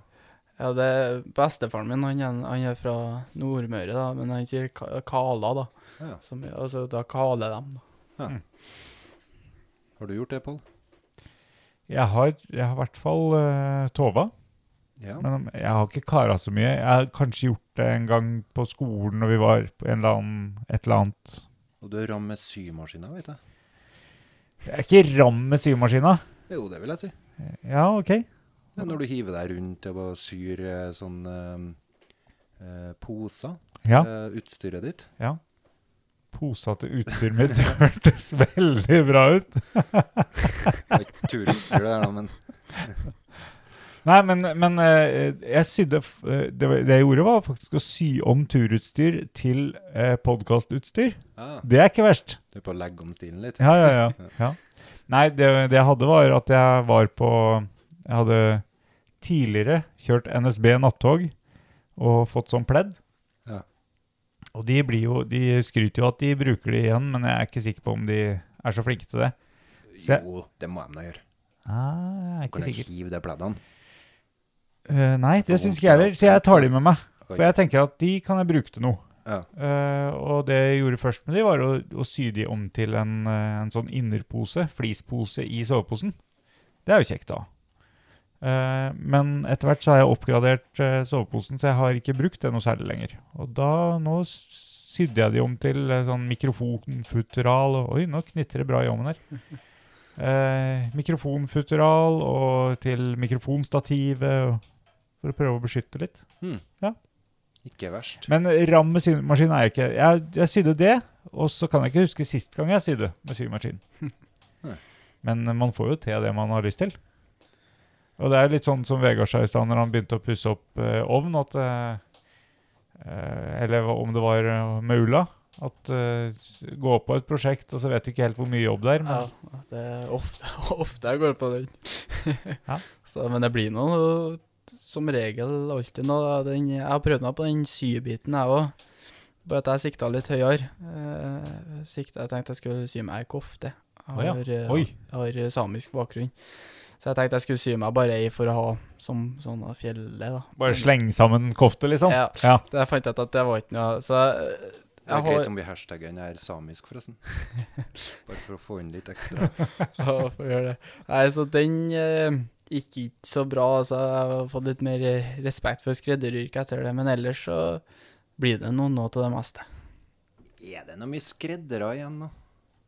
Speaker 6: ja, det er Bestefaren min han, er- han er fra Nordmøre, da, men han sier ka kala, da.
Speaker 5: Ja.
Speaker 6: Som, altså, da kaler dem, da.
Speaker 4: mm.
Speaker 5: Har du gjort det, Pål?
Speaker 4: Jeg har, jeg har i hvert fall øh, tova,
Speaker 5: Ja.
Speaker 4: men om- jeg har ikke kara så mye. Jeg har kanskje gjort det en gang på skolen når vi var på en eller annen, et eller annet
Speaker 5: Og du rammer med symaskina, vet jeg.
Speaker 4: Jeg er ikke ram med symaskina.
Speaker 5: Jo, det vil jeg si.
Speaker 4: Ja, OK.
Speaker 5: Det er når du hiver deg rundt og bare syr eh, sånn eh, eh, poser.
Speaker 4: Ja.
Speaker 5: eh, utstyret ditt.
Speaker 4: ja. Posete utstyr mitt hørtes veldig bra ut.
Speaker 5: Det er ikke turutstyr, det der, da, men
Speaker 4: Nei, men, men eh, jeg sydde f- eh, det, var- det jeg gjorde, var faktisk å sy om turutstyr til eh, podkastutstyr.
Speaker 5: ah,
Speaker 4: Det er ikke verst.
Speaker 5: du er på å legge om stilen litt.
Speaker 4: Ja, ja, ja. ja. Nei, det, det jeg hadde, var at jeg var på Jeg hadde tidligere kjørt NSB nattog og fått sånn pledd.
Speaker 5: Ja.
Speaker 4: Og de, blir jo, de skryter jo at de bruker det igjen, men jeg er ikke sikker på om de er så flinke til det. Se.
Speaker 5: Jo, det må de da gjøre.
Speaker 4: Ah, jeg er ikke
Speaker 5: Kan jeg
Speaker 4: sikker.
Speaker 5: hive de pleddene?
Speaker 4: Eh, nei, det
Speaker 5: Får
Speaker 4: syns
Speaker 5: vondt
Speaker 4: ikke jeg heller, så jeg tar de med meg.
Speaker 5: Oi.
Speaker 4: For jeg tenker at de kan jeg bruke til noe.
Speaker 5: Ja.
Speaker 4: Eh, og det jeg gjorde først med de, var å, å sy de om til en, eh, en sånn innerpose, flispose, i soveposen. Det er jo kjekt, da. Eh, men etter hvert så har jeg oppgradert eh, soveposen, så jeg har ikke brukt det noe særlig lenger. Og da, nå s- sydde jeg de om til eh, sånn mikrofonfutural og Oi, nå knitrer det bra i ovnen her. Eh, mikrofonfutural og til mikrofonstativet, og, for å prøve å beskytte litt.
Speaker 5: Ikke verst.
Speaker 4: Men ram med symaskin er jeg ikke. Jeg, jeg sydde det, og så kan jeg ikke huske sist gang jeg sydde med symaskin.
Speaker 5: Nei.
Speaker 4: Men eh, man får jo til det man har lyst til. Og det er litt sånn som Vegard sa i stad, når han begynte å pusse opp eh, ovn, at eh, eh, Eller om det var eh, med ulla. At eh, gå på et prosjekt, og så vet du ikke helt hvor mye jobb det er. Men,
Speaker 6: Ja, det er ofte, ofte jeg går på den.
Speaker 4: Ja.
Speaker 6: så, men det blir nå som regel alltid noe. Den, jeg har prøvd meg på den sybiten, jeg òg. Bare at jeg sikta litt høyere. Eh, sikta, jeg tenkte jeg skulle sy meg ei kofte. Jeg
Speaker 4: Å ja.
Speaker 6: har, eh,
Speaker 4: Oi.
Speaker 6: jeg har eh, samisk bakgrunn. Så jeg tenkte jeg skulle sy meg bare ei for å ha som sånn av fjellet, da.
Speaker 4: bare sleng sammen kofte, liksom.
Speaker 6: Ja.
Speaker 4: Ja.
Speaker 6: Det jeg fant ut at det var ikke noe Så jeg,
Speaker 5: Det er
Speaker 6: jeg
Speaker 5: greit
Speaker 6: har
Speaker 5: om vi hashtagger den her samisk, forresten. Bare for å få inn litt ekstra.
Speaker 6: Ja, får gjøre det. Nei, så den eh, gikk ikke så bra. Altså, jeg har fått litt mer eh, respekt for skredderyrket etter det, men ellers så blir det noe nå til det meste.
Speaker 5: Er det noe mye skreddere igjen nå?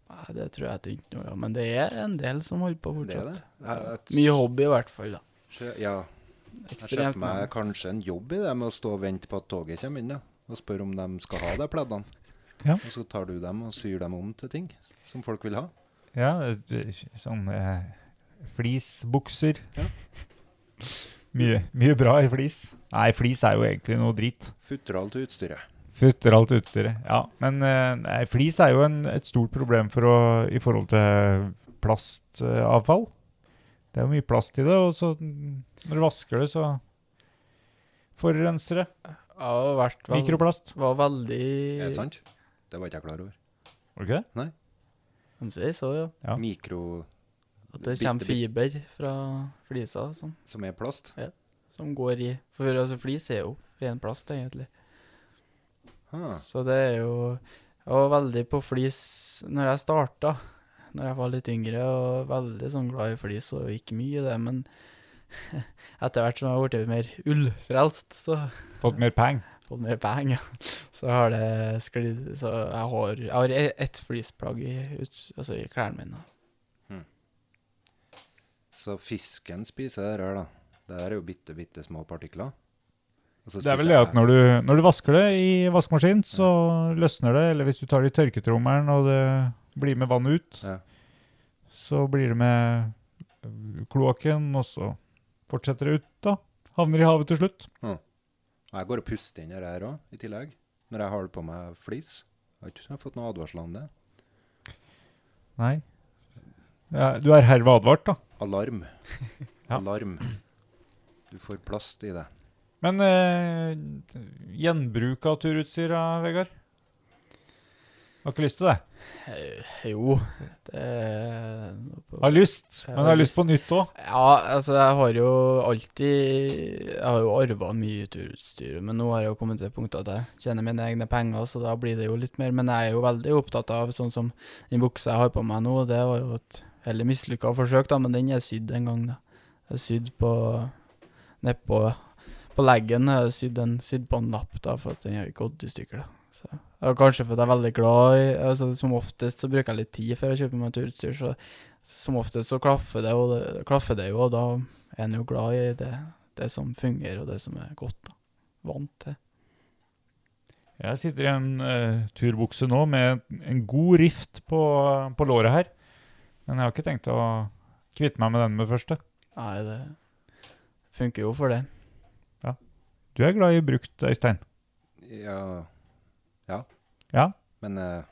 Speaker 6: Nei, det tror jeg ikke noe om, men det er en del som holder på
Speaker 5: Det er
Speaker 6: fortsatt.
Speaker 5: det. Jeg- jeg-
Speaker 6: Mye hobby i hvert fall, da.
Speaker 5: Sjø- Ja. Jeg ser
Speaker 6: Ekstremt
Speaker 5: for meg
Speaker 6: mange.
Speaker 5: kanskje en jobb i det med å stå og vente på at toget kommer inn, ja. Og spørre om de skal ha de pleddene.
Speaker 4: Ja.
Speaker 5: Og så tar du dem og syr dem om til ting som folk vil ha.
Speaker 4: Ja, det- sånn eh, flisbukser.
Speaker 5: Ja.
Speaker 4: Mye, mye bra i flis. Nei, flis er jo egentlig noe drit.
Speaker 5: Futteral til utstyret.
Speaker 4: Futter alt utstyret. Ja, men eh, nei, flis er jo en, et stort problem for å, i forhold til plastavfall. Det er jo mye plast i det, og så mm, når du vasker det, så forurenser det.
Speaker 6: Jeg har vært vel-
Speaker 4: Mikroplast.
Speaker 6: var
Speaker 5: Er det
Speaker 6: veldig
Speaker 5: sant? Det var ikke jeg klar over.
Speaker 4: Var det ikke det?
Speaker 6: De sier så, ja.
Speaker 4: Ja.
Speaker 5: Mikro
Speaker 6: At det
Speaker 5: Bitte,
Speaker 6: kommer
Speaker 5: bitte.
Speaker 6: fiber fra flisa og sånn.
Speaker 5: som er plast.
Speaker 6: som går i For altså, flis er jo ren plast, egentlig.
Speaker 5: Ah,
Speaker 6: Så det er jo Jeg var veldig på flis når jeg starta, når jeg var litt yngre, og veldig sånn glad i flis og gikk mye i det, men etter hvert som jeg har blitt mer ullfrelst, så
Speaker 4: Fått mer peng.
Speaker 6: fått mer bang, ja. så har det sklidd Så jeg har, jeg har e- ett flisplagg i, ut, altså i klærne mine.
Speaker 5: så fisken spiser det her, da. Det her er jo bitte, bitte små partikler. Og så
Speaker 4: Det er
Speaker 5: spiser
Speaker 4: vel det
Speaker 5: jeg-
Speaker 4: at når du, når du vasker det i vaskemaskinen, så løsner det. Eller hvis du tar det i tørketrommelen og det blir med vann ut,
Speaker 5: Ja.
Speaker 4: så blir det med øh, kloakken, og så fortsetter det ut, da. Havner i havet til slutt.
Speaker 5: Og jeg går og puster inn det her òg, i tillegg. Når jeg har på meg flis. Jeg har ikke fått noen advarsel om det.
Speaker 4: Nei. Ja, du er herved advart, da.
Speaker 5: Alarm.
Speaker 4: Ja.
Speaker 5: Alarm. Du får plast i det.
Speaker 4: Men øh, gjenbruk av turutstyr, da, Vegard? Har ikke lyst til det?
Speaker 6: Eh, Jo, det er noe på-
Speaker 4: Har lyst,
Speaker 6: Jeg
Speaker 4: men
Speaker 6: har
Speaker 4: har lyst på nytt òg.
Speaker 6: Ja, altså jeg har jo alltid Jeg har jo arva mye turutstyr, men nå har jeg jo kommet til det punktet at jeg tjener mine egne penger, så da blir det jo litt mer. Men jeg er jo veldig opptatt av sånn som den buksa jeg har på meg nå, det var jo et heller mislykka forsøk, da, men den er sydd en gang, da. Jeg er sydd på Nedpå på leggen har jeg sydd en- sydd på en lapp, da, for at den har gått i stykker, da. Så det er kanskje fordi jeg er veldig glad i altså Som oftest så bruker jeg litt tid før jeg kjøper meg turutstyr, så som oftest så klaffer det, og det, klaffer det jo, og da er en jo glad i det, det som fungerer, og det som er godt. da. Vant til.
Speaker 4: Jeg sitter i en eh, turbukse nå med en god rift på, på låret her. Men jeg har ikke tenkt å kvitte meg med den med det første.
Speaker 6: Nei, det funker jo for det.
Speaker 4: Du er glad i brukt, Øystein.
Speaker 5: Ja,
Speaker 4: Ja,
Speaker 5: men eh,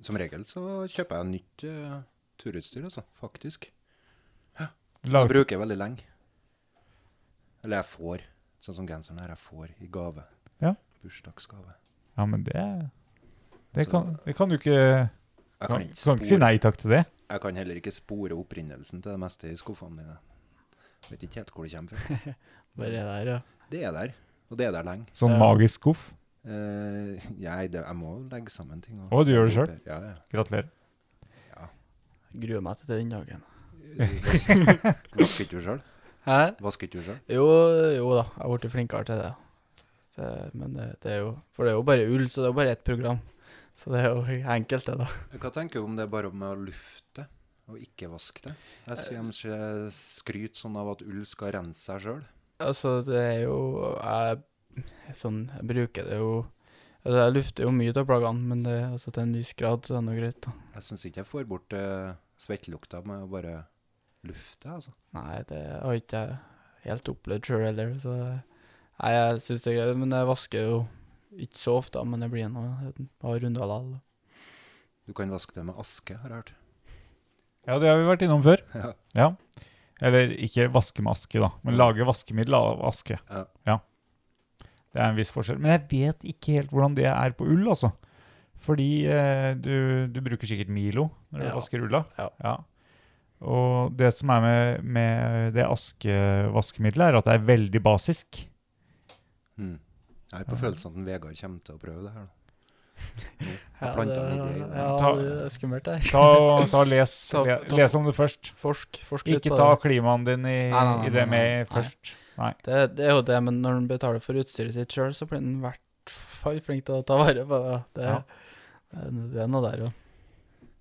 Speaker 5: som regel så kjøper jeg nytt eh, turutstyr, altså. Faktisk.
Speaker 4: du
Speaker 5: Jeg
Speaker 4: lager,
Speaker 5: bruker jeg veldig lenge. Eller jeg får. Sånn som genseren her, jeg får i gave.
Speaker 4: Ja.
Speaker 5: Bursdagsgave.
Speaker 4: ja men det, det,
Speaker 5: Så-
Speaker 4: kan, det kan du ikke
Speaker 5: Jeg
Speaker 4: kan,
Speaker 5: kan, ikke
Speaker 4: kan ikke si
Speaker 5: spore-
Speaker 4: nei takk til det.
Speaker 5: jeg kan heller ikke spore opprinnelsen til det meste i skuffene mine. Vet ikke helt hvor det kommer fra.
Speaker 6: Bare det der, ja.
Speaker 5: Det er der, og det er der lenge.
Speaker 4: Sånn
Speaker 6: Ja.
Speaker 4: magisk skuff.
Speaker 5: Eh, jeg, det, jeg må jo legge sammen ting.
Speaker 4: Å, du gjør det selv?
Speaker 5: Ja, ja.
Speaker 4: Gratulerer.
Speaker 6: Gruer meg til den dagen.
Speaker 5: Vas- Vasker ikke du sjøl?
Speaker 6: Hæ?
Speaker 5: Vasker ikke du sjøl?
Speaker 6: Jo, jo da, jeg har blitt flinkere til det. det men det, det er jo For det er jo bare ull, så det er jo bare ett program. Så det er jo enkelt, det, da.
Speaker 5: Hva tenker du om det er bare med å lufte og ikke vaske det? Jeg ser de ikke skryter sånn av at ull skal rense seg sjøl.
Speaker 6: Altså, det er jo Jeg, sånn, jeg bruker det jo altså, Jeg lufter jo mye av plaggene, men det, altså, til en viss grad så er det nå greit. da.
Speaker 5: Jeg syns ikke jeg får bort eh, svettelukta med å bare lufte, altså.
Speaker 6: Nei, det har ikke jeg helt opplevd sjøl heller, så Nei, jeg syns det er greit, men jeg vasker jo ikke så ofte, men det blir nå et par runder likevel.
Speaker 5: Du kan vaske det med aske, har jeg hørt.
Speaker 4: Ja, det har vi vært innom før.
Speaker 5: Ja.
Speaker 4: Ja. Eller ikke vaske med aske, da, men lage vaskemiddel av aske.
Speaker 5: Ja.
Speaker 4: Det er en viss forskjell. Men jeg vet ikke helt hvordan det er på ull, altså. Fordi eh, du, du bruker sikkert Milo når du
Speaker 6: Ja.
Speaker 4: vasker ulla.
Speaker 6: Ja.
Speaker 4: Og det som er med, med det askevaskemiddelet, er at det er veldig basisk.
Speaker 5: Mm. Jeg har på følelsen at en Vegard kommer til å prøve det her. da.
Speaker 6: Ja,
Speaker 5: plantet
Speaker 6: det,
Speaker 5: en idé i det.
Speaker 6: ja,
Speaker 4: Ta-
Speaker 6: det er skummelt, det her.
Speaker 4: Ta, og- ta og les,
Speaker 6: Ta-
Speaker 4: le,
Speaker 6: ta-
Speaker 4: les om det først.
Speaker 6: Forsk, forsk litt
Speaker 4: Ikke
Speaker 6: på
Speaker 4: ta
Speaker 6: det.
Speaker 4: klimaen din i,
Speaker 6: Nei, nei, nei,
Speaker 4: i det
Speaker 6: nei, nei.
Speaker 4: med
Speaker 6: Nei.
Speaker 4: først. Nei.
Speaker 6: det. Det er jo det, men når en betaler for utstyret sitt sjøl, så blir en i hvert fall flink til å ta vare på det. Det,
Speaker 4: Ja.
Speaker 6: det, det er noe der, jo.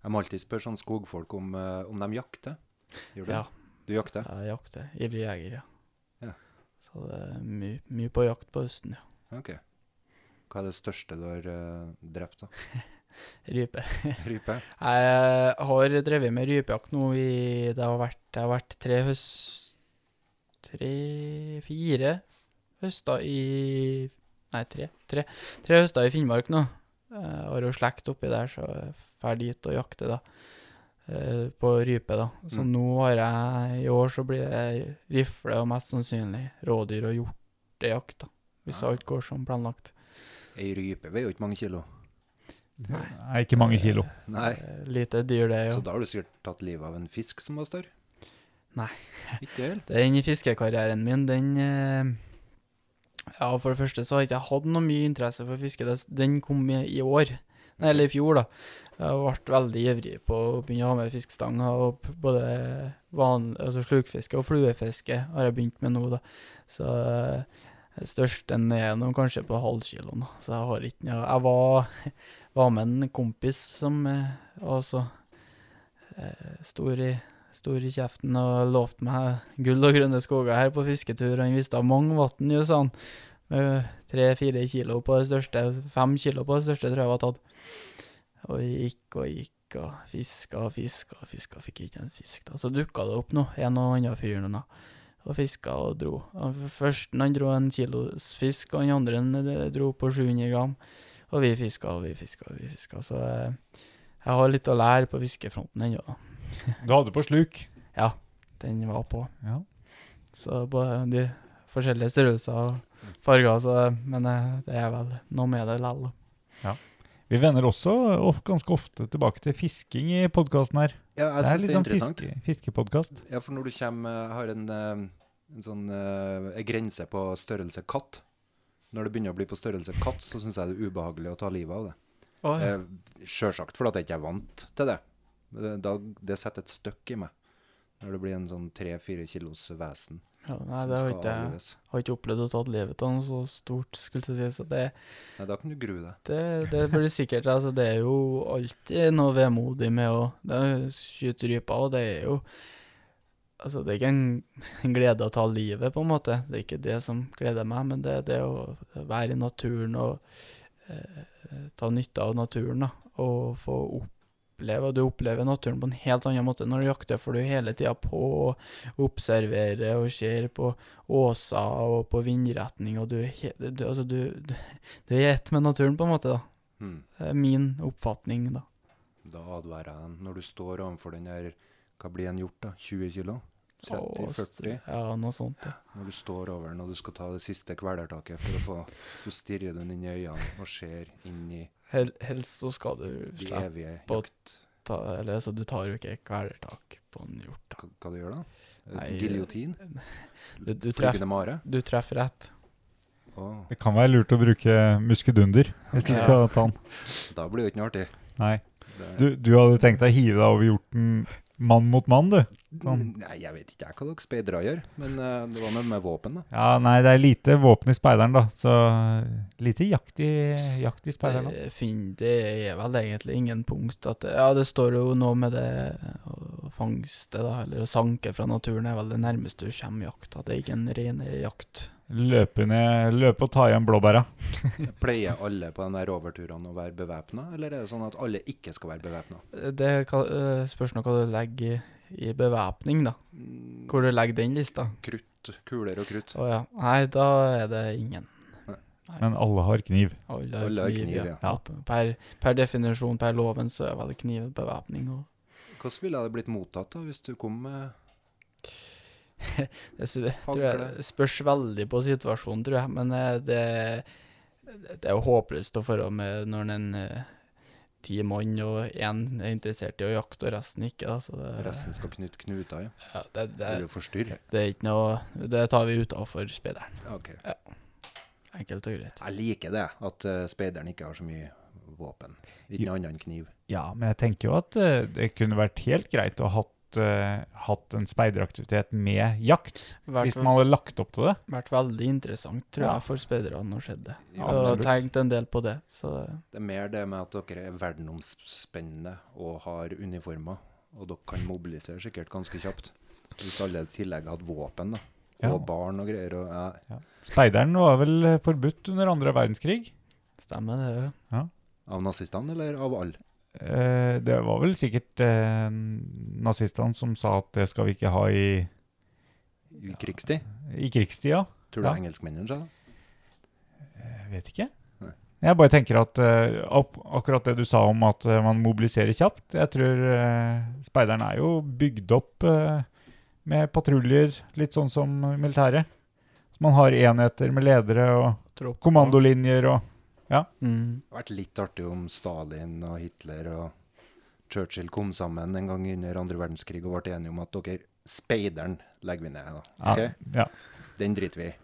Speaker 5: Jeg må alltid spørre sånn skogfolk om, eh, om de jakter. Gjør du
Speaker 6: Ja.
Speaker 5: det? Du jakter?
Speaker 6: Jeg jakter. Ivrig jeger, ja.
Speaker 5: Ja.
Speaker 6: Så det er mye, mye på jakt på høsten, ja.
Speaker 5: Ok. Hva er det største du har eh, drept, da?
Speaker 6: Rype.
Speaker 5: Rype?
Speaker 6: Jeg har drevet med rypejakt nå i Det har vært, det har vært tre høst... Tre Fire høster i Nei, tre. Tre, tre høster i Finnmark nå. Jeg har jo slekt oppi der, så jeg drar dit og jakter, da. Eh, På rype, da. Så
Speaker 5: Mm.
Speaker 6: nå har jeg I år så blir det rifle og mest sannsynlig rådyr og hjortejakt, da. Hvis
Speaker 5: Ah.
Speaker 6: alt går som planlagt.
Speaker 5: Ei rype veier jo ikke mange kilo.
Speaker 4: Nei, ikke mange kilo.
Speaker 5: Nei.
Speaker 6: Eh, Lite dyr, det, jo.
Speaker 5: Så da har du sikkert tatt livet av en fisk som var større.
Speaker 6: Nei.
Speaker 5: Ikke det? eller?
Speaker 6: Den fiskekarrieren min, den eh, Ja, for det første så har ikke jeg hatt noe mye interesse for fiske. Det- Den kom i i år. Nei, eller i fjor, da. Jeg ble veldig ivrig på å begynne å ha med fiskestang. Og p- både van, altså slukfiske og fluefiske har jeg begynt med nå, da. Så eh, størsten er nå kanskje på halvkiloen. da. Så jeg har ikke noe Jeg var, var med en kompis som eh, også eh, stor i stor i kjeften og lovte meg gull og grønne skoger her på fisketur. Han viste mange vann, jo, sa han. Med tre-fire kilo på det største. Fem kilo på det største tror jeg var tatt. Og gikk og gikk og fiska og fiska og fiska, fikk ikke en fisk. da. Så dukka det opp noe, en og annen fyr nå, da. Og fiska og dro. Og Førsten han dro en kilos fisk, og den andre han eh, dro på 700 gram. Og vi fiska og vi fiska og vi fiska. Så eh, jeg har litt å lære på fiskefronten ennå, da.
Speaker 4: Du hadde på sluk.
Speaker 6: Den var på.
Speaker 4: Ja.
Speaker 6: Så både de forskjellige størrelser og farger, så Men eh, det er vel noe med det likevel.
Speaker 4: Vi vender også of- ganske ofte tilbake til fisking i podkasten her.
Speaker 5: Ja, jeg
Speaker 4: det er
Speaker 5: syns
Speaker 4: litt
Speaker 5: det er
Speaker 4: sånn
Speaker 5: interessant.
Speaker 4: fiske, fiskepodkast.
Speaker 5: Ja, for når du kommer, eh, har en, eh, en sånn eh, en grense på størrelse katt Når det begynner å bli på størrelse katt, så syns jeg det er ubehagelig å ta livet av det.
Speaker 6: Ah,
Speaker 5: Eh, Sjølsagt fordi at jeg ikke er vant til det. Men Det, da, det setter et støkk i meg. Når det blir en sånn tre-fire kilos vesen
Speaker 6: Ja, nei, det har
Speaker 5: som
Speaker 6: ikke
Speaker 5: skal
Speaker 6: jeg
Speaker 5: avlives.
Speaker 6: har ikke opplevd å ta livet av noe så stort, skulle jeg si. Så det,
Speaker 5: Nei, da kan du grue deg.
Speaker 6: det, det blir sikkert altså, Det er jo alltid noe vemodig med å det er skyte ryper, og det er jo Altså, det er ikke en, en glede å ta livet, på en måte. Det er ikke det som gleder meg, men det er det å være i naturen og eh, ta nytte av naturen, da. Og få oppleve Og du opplever naturen på en helt annen måte når du jakter, for du er hele tida på og observerer og ser på åser og på vindretning, og du, er he- du, altså, du, du, du er i ett med naturen, på en måte, da.
Speaker 5: Hmm.
Speaker 6: Det er min oppfatning, da.
Speaker 5: Da advarer jeg dem. Når du står overfor den der Hva blir en hjort, da? 20 kilo?
Speaker 6: Og s-
Speaker 5: 30-40?
Speaker 6: Ja, noe sånt. Ja.
Speaker 5: Når du står over den og du skal ta det siste kvelertaket for å få Så stirrer du den inn i øynene og ser inn i
Speaker 6: Hel, helst så skal du
Speaker 5: de
Speaker 6: slippe
Speaker 5: evige
Speaker 6: på-
Speaker 5: jakt...
Speaker 6: ta Eller altså, du tar jo ikke kvelertak på en hjort, da.
Speaker 5: Hva, hva du gjør da?
Speaker 6: Nei,
Speaker 5: Eh, Giljotin?
Speaker 6: Du, du, treff,
Speaker 5: Flygende mare?
Speaker 6: du treffer rett.
Speaker 5: Å,
Speaker 4: Det kan være lurt å bruke muskedunder hvis du
Speaker 6: Ok.
Speaker 4: skal ta den.
Speaker 5: da blir det ikke noe artig.
Speaker 4: Nei.
Speaker 5: Det-
Speaker 4: Du, du hadde tenkt deg å hive deg over hjorten mann mot mann, du? Sånn.
Speaker 5: Mm, Nei, jeg vet ikke jeg hva dere speidere gjør, men eh, det var noe med våpen, da.
Speaker 4: Ja, nei, det er lite våpen i speideren, da. Så lite jakt i, jakt i speideren. da.
Speaker 6: Det, fin- Eh, det er vel egentlig ingen punkt at det- Ja, det står jo noe med det å fangste, da, eller å sanke fra naturen, er vel det nærmeste du kommer jakta. Det er ikke en ren jakt.
Speaker 4: Løpe, ned, løpe og ta igjen blåbæra.
Speaker 5: Pleier alle på de der overturene å være bevæpna, eller er det sånn at alle ikke skal være bevæpna?
Speaker 6: Det ka- eh, spørs nå hva du legger i, i bevæpning, da. Hvor du legger den lista.
Speaker 5: Krutt, kuler og krutt.
Speaker 6: Å ja. Nei, da er det ingen.
Speaker 4: Men alle har kniv.
Speaker 6: Alle
Speaker 5: Alle har
Speaker 6: har kniv,
Speaker 5: kniv,
Speaker 6: ja. ja. Per, per definisjon, per loven, så er vel kniv bevæpning. Og
Speaker 5: Hvordan ville det blitt mottatt da, hvis du kom med
Speaker 6: det sy- tror
Speaker 5: Hagle.
Speaker 6: jeg spørs veldig på situasjonen, tror jeg. Men eh, det, det er jo håpløst å forholde med når en eh, ti mann og én er interessert i å jakte, og resten ikke. Da, så det,
Speaker 5: resten skal knytte knuter i?
Speaker 6: ja, det, det,
Speaker 5: Vil du forstyrre?
Speaker 6: det er ikke noe Det tar vi utafor speideren.
Speaker 5: Ok.
Speaker 6: Enkelt og greit.
Speaker 5: Jeg liker det, at eh, speideren ikke har så mye våpen. Ikke noe annet enn kniv.
Speaker 4: Ja, men jeg tenker jo at eh, det kunne vært helt greit å ha hatt, eh, hatt en speideraktivitet med jakt.
Speaker 6: Hvert
Speaker 4: Hvis
Speaker 6: fall-
Speaker 4: man hadde lagt opp til det.
Speaker 6: vært veldig interessant, tror
Speaker 4: Ja.
Speaker 6: jeg, for speiderne å se det.
Speaker 5: Ja,
Speaker 6: og
Speaker 4: absolutt.
Speaker 6: tenkt en del på det. Så
Speaker 5: Det er mer det med at dere er verdenomspennende og har uniformer, og dere kan mobilisere sikkert ganske kjapt. Hvis alle i tillegg hadde våpen, da.
Speaker 4: Ja.
Speaker 5: Og barn og eh, greier. Og, ja,
Speaker 4: Speideren var vel eh, forbudt under andre verdenskrig.
Speaker 6: stemmer det, jo.
Speaker 5: Av nazistene eller av alle?
Speaker 4: Eh, det var vel sikkert eh, nazistene som sa at det skal vi ikke ha i,
Speaker 5: I krigstid?
Speaker 4: i krigstida.
Speaker 5: Tror du
Speaker 4: Ja.
Speaker 5: engelskmennene sa det?
Speaker 4: Jeg vet ikke.
Speaker 5: Nei.
Speaker 4: Jeg bare tenker at eh, ak- akkurat det du sa om at eh, man mobiliserer kjapt Jeg tror eh, speideren er jo bygd opp eh, med patruljer, litt sånn som militæret. Så man har enheter med ledere og
Speaker 6: Tropp.
Speaker 4: kommandolinjer og
Speaker 6: Mm.
Speaker 5: Det hadde vært litt artig om Stalin og Hitler og Churchill kom sammen en gang under andre verdenskrig og ble enige om at dere Speideren legger vi ned, da.
Speaker 4: Ja,
Speaker 5: Ok?
Speaker 4: ja.
Speaker 5: Den driter vi i.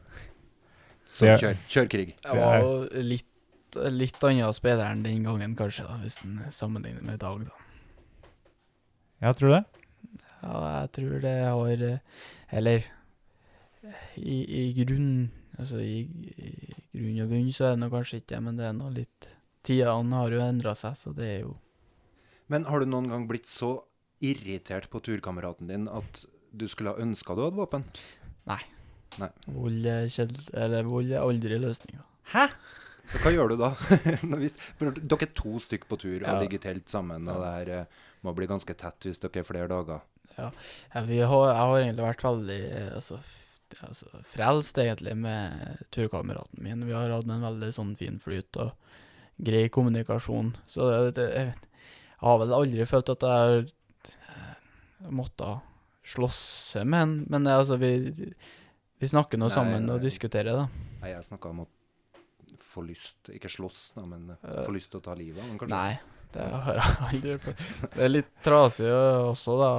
Speaker 5: Så
Speaker 4: Det-
Speaker 5: kjør, kjør krig.
Speaker 6: Jeg var jo litt, litt annet spiller enn den gangen, kanskje, da, hvis en sammenligner med i dag. da.
Speaker 4: Jeg tror du det.
Speaker 6: Ja, jeg tror det har eh, Eller i, i grunn Altså, i, i grunn og bunn så er det nå kanskje ikke det, men det er nå litt Tidene har jo endra seg, så det er jo
Speaker 5: Men har du noen gang blitt så irritert på turkameraten din at du skulle ha ønska du hadde våpen?
Speaker 6: Vold er kjedel- Eller vold er aldri løsninga.
Speaker 5: Så Hva gjør du da? Når hvis- for dere er to stykk på tur og
Speaker 6: Ja.
Speaker 5: ligger i telt sammen, og det her eh, må bli ganske tett hvis dere er flere dager.
Speaker 6: Jeg, vi har, jeg har egentlig vært veldig eh, altså, f- altså, frelst, egentlig, med turkameraten min. Vi har hatt en veldig sånn fin flyt og grei kommunikasjon. Så det, det, jeg, vet- jeg har vel aldri følt at jeg har eh, måttet slåss med han, men det, altså, vi, vi snakker nå
Speaker 5: Nei,
Speaker 6: sammen og
Speaker 5: nei.
Speaker 6: diskuterer, da.
Speaker 5: Nei, jeg snakka om å få lyst Ikke slåss, da, men eh,
Speaker 6: Eh,
Speaker 5: få lyst til å ta livet av noen, kanskje.
Speaker 6: Nei, det har jeg aldri følt. Det er litt trasig eh, også, da.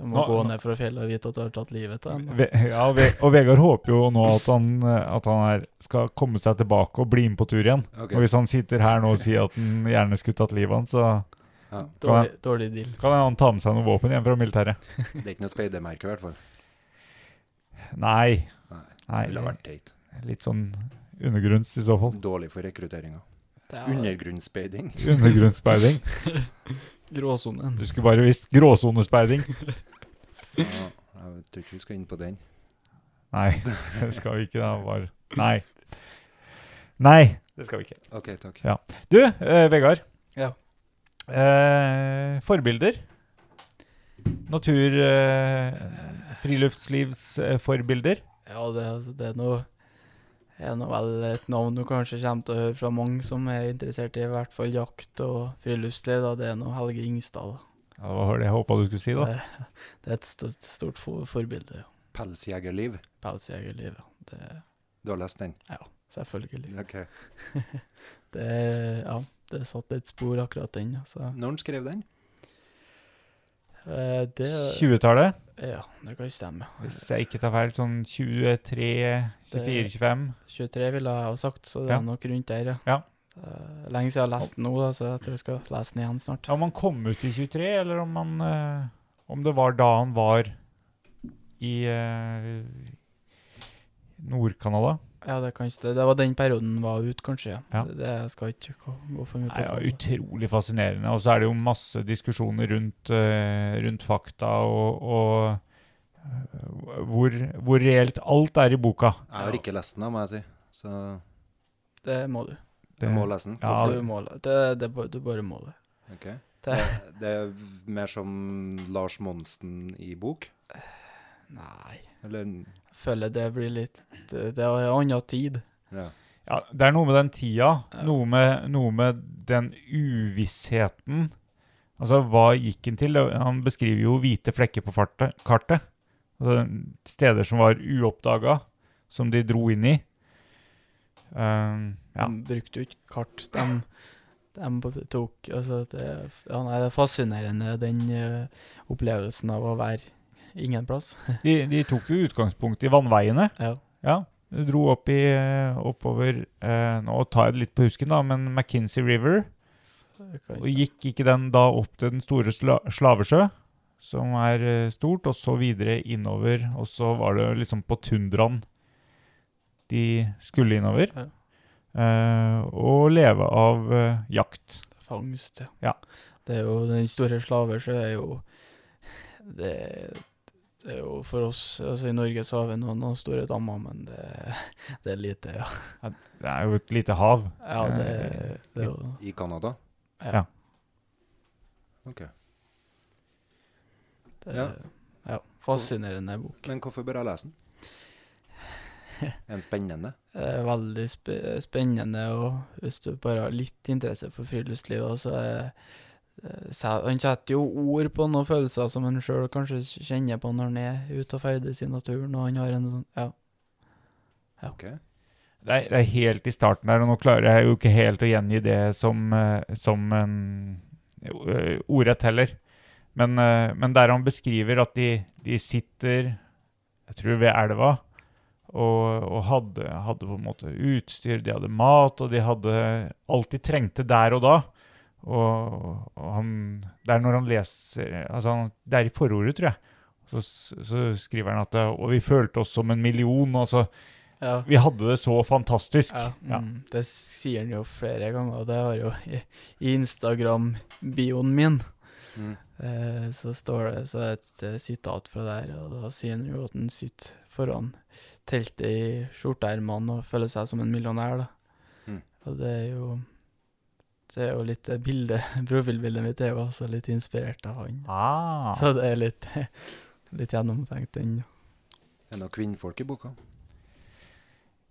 Speaker 6: Du må
Speaker 4: Nå-
Speaker 6: gå
Speaker 4: nå-
Speaker 6: ned fra fjellet og vite at du har tatt livet av en.
Speaker 4: Ve ja, og Ve og Vegard håper jo nå at han, eh, at han er, skal komme seg tilbake og bli med på tur igjen.
Speaker 5: Ok.
Speaker 4: Og hvis han sitter her nå og sier at han gjerne skulle tatt livet av han, så
Speaker 5: Ja,
Speaker 6: Dårlig, dårlig deal.
Speaker 4: kan han ta med seg noe våpen hjem fra militæret.
Speaker 5: det er ikke noe speidermerke, i hvert fall.
Speaker 4: Nei.
Speaker 5: Nei,
Speaker 4: Nei,
Speaker 5: Det ville vært teit.
Speaker 4: litt sånn undergrunns i så fall.
Speaker 5: Dårlig for rekrutteringa.
Speaker 6: Det er
Speaker 5: Undergrunnsspeiding.
Speaker 4: Undergrunnsspeiding.
Speaker 6: gråsonen.
Speaker 4: Du skulle bare visst gråsonespeiding.
Speaker 5: Ja, jeg tror ikke vi skal inn på den.
Speaker 4: Nei, det skal vi ikke. da, var... Nei. Nei, det skal vi ikke.
Speaker 5: OK, takk.
Speaker 4: Du, eh, Vegard.
Speaker 6: Ja.
Speaker 4: Eh, forbilder. Natur... Eh, friluftslivsforbilder.
Speaker 6: Ja, det, altså, det er noe er nå vel et navn du kanskje kommer til å høre fra mange som er interessert i i hvert fall jakt og friluftsliv. da, Det er nå Helge Ingstad. da.
Speaker 4: Ja, det var det jeg håpa du skulle si, da.
Speaker 6: Det, det er et stort, stort for, forbilde. ja.
Speaker 5: Pelsjegerliv.
Speaker 6: Pelsjegerlivet. ja. Det er
Speaker 5: Du har lest den?
Speaker 6: selvfølgelig.
Speaker 5: Ok.
Speaker 6: Det, er- ja, det satt et spor, akkurat den. Altså.
Speaker 5: Når han skrev den?
Speaker 6: Eh, Det,
Speaker 4: 20-tallet,
Speaker 6: ja, det kan stemme.
Speaker 4: hvis jeg ikke tar feil. Sånn 23, 24, 25.
Speaker 6: 23 ville jeg ha sagt, så det
Speaker 4: Ja.
Speaker 6: er nok rundt der, ja.
Speaker 4: Ja.
Speaker 6: Eh, Lenge siden jeg har lest den nå, da, så jeg tror jeg skal lese den igjen snart.
Speaker 4: Om han kom ut i 23, eller om, han, eh, om det var da han var i eh, Nord-Canada.
Speaker 6: Ja, det er kanskje det. Det var den perioden den var ute, kanskje. Ja.
Speaker 4: Ja.
Speaker 6: Det, det jeg skal ikke gå gå for mye
Speaker 4: Nei,
Speaker 6: på.
Speaker 4: ja,
Speaker 6: det.
Speaker 4: utrolig fascinerende. Og så er det jo masse diskusjoner rundt, eh, rundt fakta og, og eh, hvor, hvor reelt alt er i boka.
Speaker 5: Jeg har ikke lest den, da, må jeg si. Så
Speaker 6: det må du.
Speaker 5: jeg må lese den.
Speaker 4: Ja,
Speaker 6: du, må, det, det, ba- du bare må det.
Speaker 5: Ok.
Speaker 6: det.
Speaker 5: Det er mer som Lars Monsen i bok?
Speaker 6: Nei.
Speaker 5: Eller
Speaker 6: Jeg føler det blir litt Det det er en annen tid.
Speaker 5: ja.
Speaker 4: Ja, det er noe med den tida,
Speaker 6: Ja.
Speaker 4: noe, med, noe med den uvissheten. Altså, hva gikk han til? Han beskriver jo hvite flekker på fartet, kartet. Altså, steder som var uoppdaga, som de dro inn i. Um, ja.
Speaker 6: De brukte jo ikke kart. De, de b- tok Altså, det, er f- ja, nei, det er fascinerende, den eh, opplevelsen av å være ingen plass.
Speaker 4: De, de tok jo utgangspunkt i vannveiene.
Speaker 6: Ja.
Speaker 4: Ja, du dro opp i, eh, oppover eh, Nå tar jeg det litt på husken, da, men McKinsey River.
Speaker 6: det kan
Speaker 4: Og
Speaker 6: jeg si.
Speaker 4: gikk ikke den da opp til den store sla Slavesjø, som er eh, stort, og så videre innover, og så var det liksom på tundraen de skulle innover,
Speaker 6: Ja.
Speaker 4: eh, og leve av eh, jakt.
Speaker 6: Fangst, ja.
Speaker 4: Ja.
Speaker 6: Det er jo Den store slavesjø er jo det, det er jo for oss altså I Norge så har vi noen, noen store dammer, men det, det er lite, ja.
Speaker 4: Det er jo et lite hav.
Speaker 6: ja det, det er jo
Speaker 5: i Canada?
Speaker 6: Ja.
Speaker 5: Ok.
Speaker 6: det,
Speaker 5: Ja.
Speaker 6: ja. Fascinerende bok.
Speaker 5: Men hvorfor bør jeg lese den? Er den spennende?
Speaker 6: Det er veldig spe spennende, og hvis du bare har litt interesse for friluftsliv, da, så er eh, se- han setter jo ord på noen følelser som han sjøl kanskje kjenner på når han er ute og ferdes i naturen, og han har en sånn Ja.
Speaker 5: Ok.
Speaker 4: Det er, det er helt i starten der, og nå klarer jeg jo ikke helt å gjengi det som, eh, som en eh, ordrett heller. Men, eh, men der han beskriver at de, de sitter, jeg tror ved elva, og, og hadde, hadde på en måte utstyr, de hadde mat, og de hadde alt de trengte der og da. Og, og han, det er når han leser, altså han, det er i forordet, tror jeg, så, så skriver han at og vi følte oss som en million, altså
Speaker 6: Ja.
Speaker 4: vi hadde det så fantastisk.
Speaker 6: Ja,
Speaker 4: Ja.
Speaker 6: mm, Det sier han jo flere ganger, og det har jo i, i Instagram-bioen min.
Speaker 5: Mm.
Speaker 6: Eh, så står det så er det et eh, sitat fra der, og da sier han jo at han sitter foran teltet i skjorteermene og føler seg som en millionær, da.
Speaker 5: Mm.
Speaker 6: Og det er jo det er jo litt det bildet, profilbildet mitt er jo også litt inspirert av han.
Speaker 4: Ah.
Speaker 6: Så det er litt, litt gjennomtenkt, den.
Speaker 5: Er det noen kvinnfolk i boka?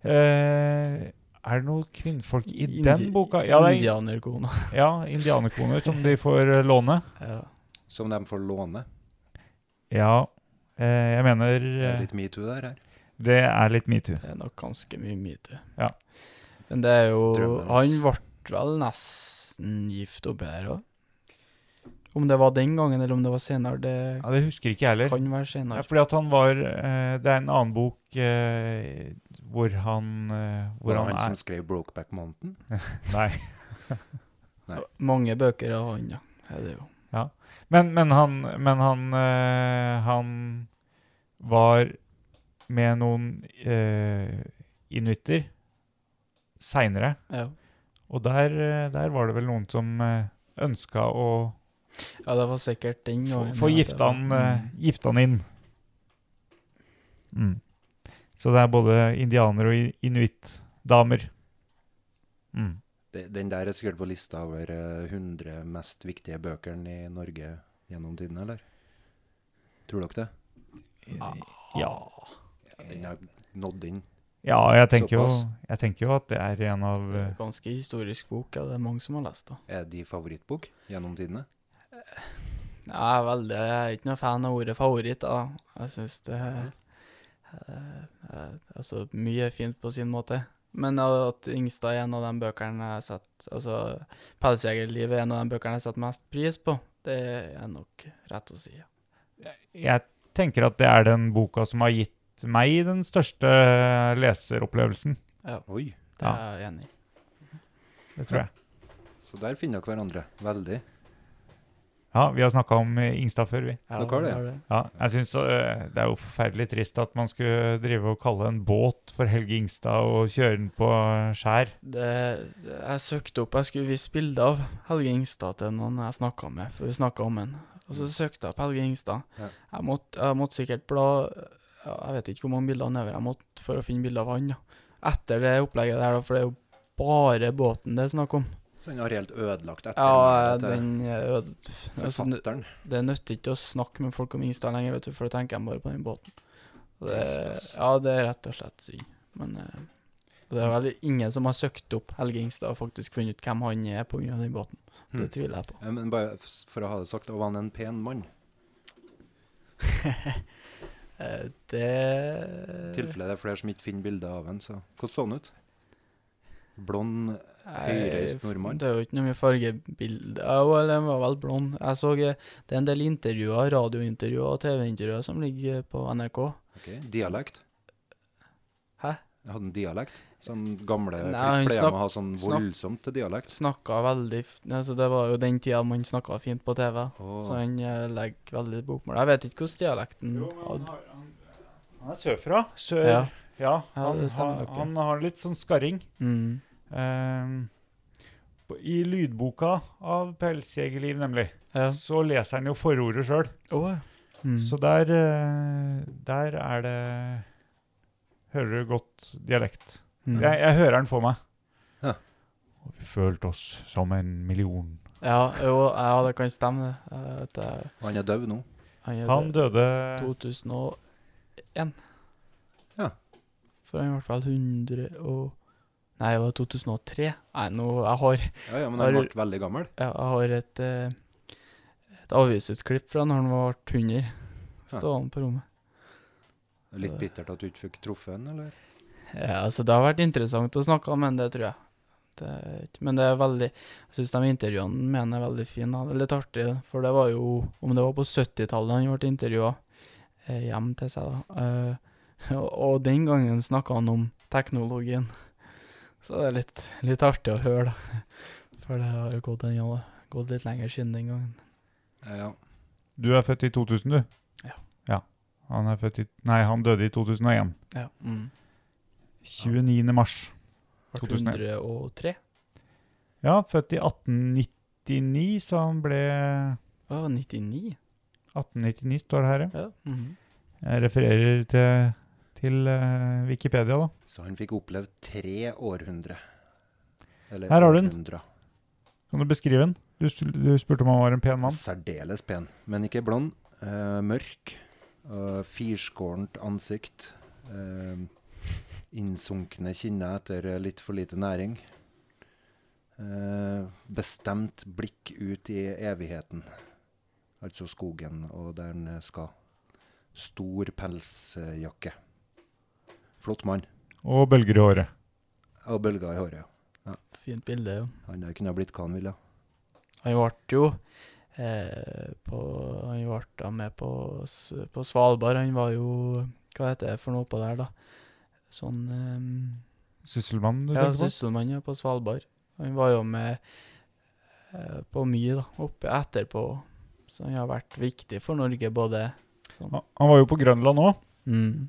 Speaker 4: Eh, er det noen kvinnfolk i
Speaker 6: Indi-
Speaker 4: den boka? Ja, det er,
Speaker 6: Indianerkona.
Speaker 4: ja, indianerkoner som de får eh, låne.
Speaker 6: Ja.
Speaker 5: Som de får låne?
Speaker 4: Ja, eh, jeg mener
Speaker 5: Det er
Speaker 4: eh,
Speaker 5: litt metoo der her.
Speaker 4: det er litt metoo.
Speaker 6: Det er nok ganske mye metoo.
Speaker 4: Ja.
Speaker 6: Men det er jo
Speaker 5: Drømmen
Speaker 6: Han
Speaker 5: hans.
Speaker 6: ble vel nesten gift oppi her òg. Om det var den gangen, eller om det var senere, det
Speaker 4: Ja, det husker ikke jeg heller.
Speaker 6: kan være
Speaker 4: Ja,
Speaker 6: senere.
Speaker 4: fordi at han var eh, Det er en annen bok eh, hvor han eh,
Speaker 5: Var
Speaker 4: Hvor
Speaker 5: det
Speaker 4: han
Speaker 5: han som
Speaker 4: er
Speaker 5: skrev 'Brokeback Mountain'?
Speaker 4: Nei.
Speaker 5: Nei.
Speaker 6: Mange bøker av han, ja. Er det jo.
Speaker 4: Men, men han, men han, eh, han var med noen eh, inuitter seinere.
Speaker 6: Ja.
Speaker 4: Og der, eh, der var det vel noen som ønska å
Speaker 6: ja, det var sikkert den
Speaker 4: få,
Speaker 6: gangen.
Speaker 4: få
Speaker 6: ja, det
Speaker 4: gifta
Speaker 6: var-
Speaker 4: han, eh,
Speaker 6: Mm.
Speaker 4: gifte han inn. Mm. Så det er både indianere og i- inuittdamer. Mm.
Speaker 5: De- Den der er sikkert på lista over eh, 100 mest viktige bøkene i Norge gjennom tiden, eller? Tror dere det?
Speaker 4: Ja.
Speaker 5: Ja, den har nådd inn.
Speaker 4: ja, jeg tenker, jo,
Speaker 5: Såpass.
Speaker 4: jeg tenker jo at det er en av eh,
Speaker 6: Mm. Ganske historisk bok, ja. Det er mange som har lest det.
Speaker 5: Er de favorittbok gjennom tidene?
Speaker 6: Jeg er veldig Jeg er ikke noe fan av ordet favoritt, da. Jeg syns det eh, eh, Altså, mye er fint på sin måte. Men at Yngstad er en av de bøkene jeg setter Altså, 'Pelsjegerlivet' er en av de bøkene jeg setter mest pris på. Det er nok rett å si. ja.
Speaker 4: Jeg tenker at det er den boka som har gitt meg den største eh, leseropplevelsen.
Speaker 5: Oi,
Speaker 6: Det
Speaker 4: Ja.
Speaker 6: er jeg enig i.
Speaker 4: Det tror jeg.
Speaker 5: så der finner dere hverandre. Veldig.
Speaker 4: Ja, vi har snakka om eh, Ingstad før, vi.
Speaker 6: Ja,
Speaker 5: Dere har det, ja.
Speaker 4: Ja, jeg synes øh, Det er jo forferdelig trist at man skulle drive og kalle en båt for Helge Ingstad og kjøre den på skjær.
Speaker 6: Det, det, jeg søkte opp Jeg skulle vise bilde av Helge Ingstad til noen jeg snakka med. For vi snakket om han. Og så søkte jeg opp Helge Ingstad.
Speaker 5: Ja.
Speaker 6: Jeg, måtte, jeg måtte sikkert bla ja, Jeg vet ikke hvor mange bilder nedover jeg måtte for å finne bilde av han. Da. Etter det opplegget der, da, for det er jo bare båten det er snakk om.
Speaker 5: Så den har helt ødelagt
Speaker 6: Ja,
Speaker 5: ettermælet til
Speaker 6: den øde, altså,
Speaker 5: forfatteren.
Speaker 6: Det nytter ikke å snakke med folk om Ingstad lenger, vet du, for da tenker jeg bare på den båten. Og Det,
Speaker 5: Trist, ass.
Speaker 6: ja, det er rett og slett synd. Men eh, det er vel ingen som har søkt opp Helge Ingstad og faktisk funnet ut hvem han er pga. den båten. Det
Speaker 5: Hmm.
Speaker 6: tviler jeg på.
Speaker 5: Ja, Men bare f- for å ha det sagt, var han en pen mann?
Speaker 6: Eh, det
Speaker 5: I tilfelle det er flere som ikke finner bilder av han, så Hvordan så han ut? Blond høyreist
Speaker 6: Nei,
Speaker 5: nordmann.
Speaker 6: Det er jo ikke noe mye fargebilde Ja, vel, Den var vel blond. Jeg så eh, det er en del intervjuer, radiointervjuer og TV-intervjuer som ligger på NRK.
Speaker 5: Ok, Dialekt?
Speaker 6: Hæ?
Speaker 5: Jeg hadde en dialekt. Sånn gamle
Speaker 6: Nei,
Speaker 5: Nei,
Speaker 6: han
Speaker 5: pleier
Speaker 6: snak-
Speaker 5: med å ha sånn
Speaker 6: snak-
Speaker 5: voldsomt til dialekt.
Speaker 6: Snakka veldig f- altså, Det var jo den tida man snakka fint på TV.
Speaker 5: Åh,
Speaker 6: Så han eh, legger veldig bokmål. Jeg vet ikke hvordan dialekten hadde.
Speaker 4: Han er sørfra. Sør. Ja,
Speaker 6: Ja.
Speaker 4: han,
Speaker 6: det stemmer
Speaker 4: har-
Speaker 6: nok, ja.
Speaker 4: han har litt sånn skarring.
Speaker 6: Mm.
Speaker 4: Ehm, på- I lydboka av Pelsjegerliv, nemlig,
Speaker 6: Ja.
Speaker 4: så leser han jo forordet sjøl.
Speaker 6: Å, ja. Mm.
Speaker 4: Så der, eh, der er det Hører du godt dialekt.
Speaker 6: Mm.
Speaker 4: Jeg, jeg hører den for meg.
Speaker 5: Ja.
Speaker 4: Og vi følte oss som en million.
Speaker 6: Ja, jo, ja, det kan stemme. det. Eh, at jeg-
Speaker 5: han er død nå.
Speaker 6: Han er
Speaker 4: Han
Speaker 6: død
Speaker 4: døde
Speaker 6: 2001.
Speaker 5: Ja.
Speaker 6: For han ble vel 100 og Nei, det var 2003. Nei, nå Jeg har, jeg
Speaker 5: Ja, ja, Men han
Speaker 6: Har-
Speaker 5: ble veldig gammel.
Speaker 6: har et, eh, et avisutklipp fra når han ble 100.
Speaker 5: Ja.
Speaker 6: Stående på rommet.
Speaker 5: Litt bittert at du ikke fikk truffet han, eller?
Speaker 6: Ja, altså Det har vært interessant å snakke om, men det tror jeg. Det er ikke- Men det er veldig Jeg syns de intervjuene med han er veldig fine. da. Det er Litt artig, for det var jo Om det var på 70-tallet han ble intervjua eh, hjem til seg, da. Eh, og, og den gangen snakka han om teknologien. Så det er litt, litt artig å høre, da. For det har jo gått, en, ja, gått litt lenger siden den gangen.
Speaker 5: Ja.
Speaker 4: Du er født i 2000, du?
Speaker 6: Ja.
Speaker 4: ja. Han, er født i, nei, han døde i 2001.
Speaker 6: Ja. Mm.
Speaker 4: 29. mars.
Speaker 6: Ble
Speaker 4: 2001.
Speaker 6: 103.
Speaker 4: Ja, født i 1899, så han ble
Speaker 6: Å, 99?
Speaker 4: 1899 står det her, ja.
Speaker 6: Ja. mhm.
Speaker 4: Jeg refererer til, til eh, Wikipedia, da.
Speaker 5: Så han fikk opplevd tre århundre. Eller
Speaker 4: Her har du den.
Speaker 5: århundra.
Speaker 4: Kan du beskrive den? Du, s- du spurte om han var en pen mann.
Speaker 5: Særdeles pen, men ikke blond. Eh, mørk. Uh, firskårent ansikt. Eh, innsunkne kinner etter eh, litt for lite næring. Eh, bestemt blikk ut i evigheten, altså skogen og der han eh, skal. Stor pelsjakke. Flott mann.
Speaker 4: Og bølger i håret.
Speaker 5: Og bølger i håret. ja.
Speaker 6: Fint bilde, ja.
Speaker 5: Han der kunne ha blitt hva han ville.
Speaker 6: Han ble jo eh, på, Han ble da med på, S- på Svalbard. Han var jo Hva heter det for noe oppå der, da? Sånn eh,
Speaker 4: Sysselmannen du
Speaker 6: Ja,
Speaker 4: tenker på?
Speaker 6: sysselmann ja, på Svalbard. Han var jo med eh, på mye, da. Oppe etterpå. Så han har vært viktig for Norge, både
Speaker 4: Han- Han var jo på Grønland òg.
Speaker 6: mm,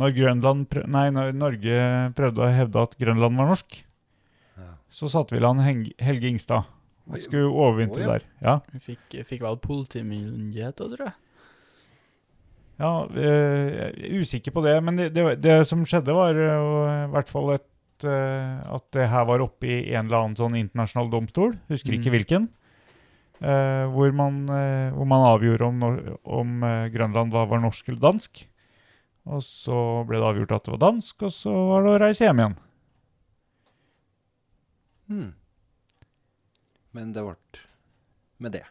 Speaker 4: Når, Grønland prø- nei, når Norge prøvde å hevde at Grønland var norsk,
Speaker 5: Ja.
Speaker 4: så satte vi i land Heng- Helge Ingstad. Han skulle overvintre
Speaker 5: Å, ja.
Speaker 4: der. Ja.
Speaker 6: Han fikk, fikk vel politimyndighet òg, tror jeg.
Speaker 4: Ja, eh, jeg er usikker på det, men det, det, det som skjedde var eh, jo i hvert fall et, eh, at det her var oppe i en eller annen sånn internasjonal domstol, husker ikke
Speaker 6: Mm.
Speaker 4: hvilken, eh, hvor, man, eh, hvor man avgjorde om, nor- om eh, Grønland var, var norsk eller dansk. Og så ble det avgjort at det var dansk, og så var det å reise hjem igjen.
Speaker 5: Hmm. Men det ble med det.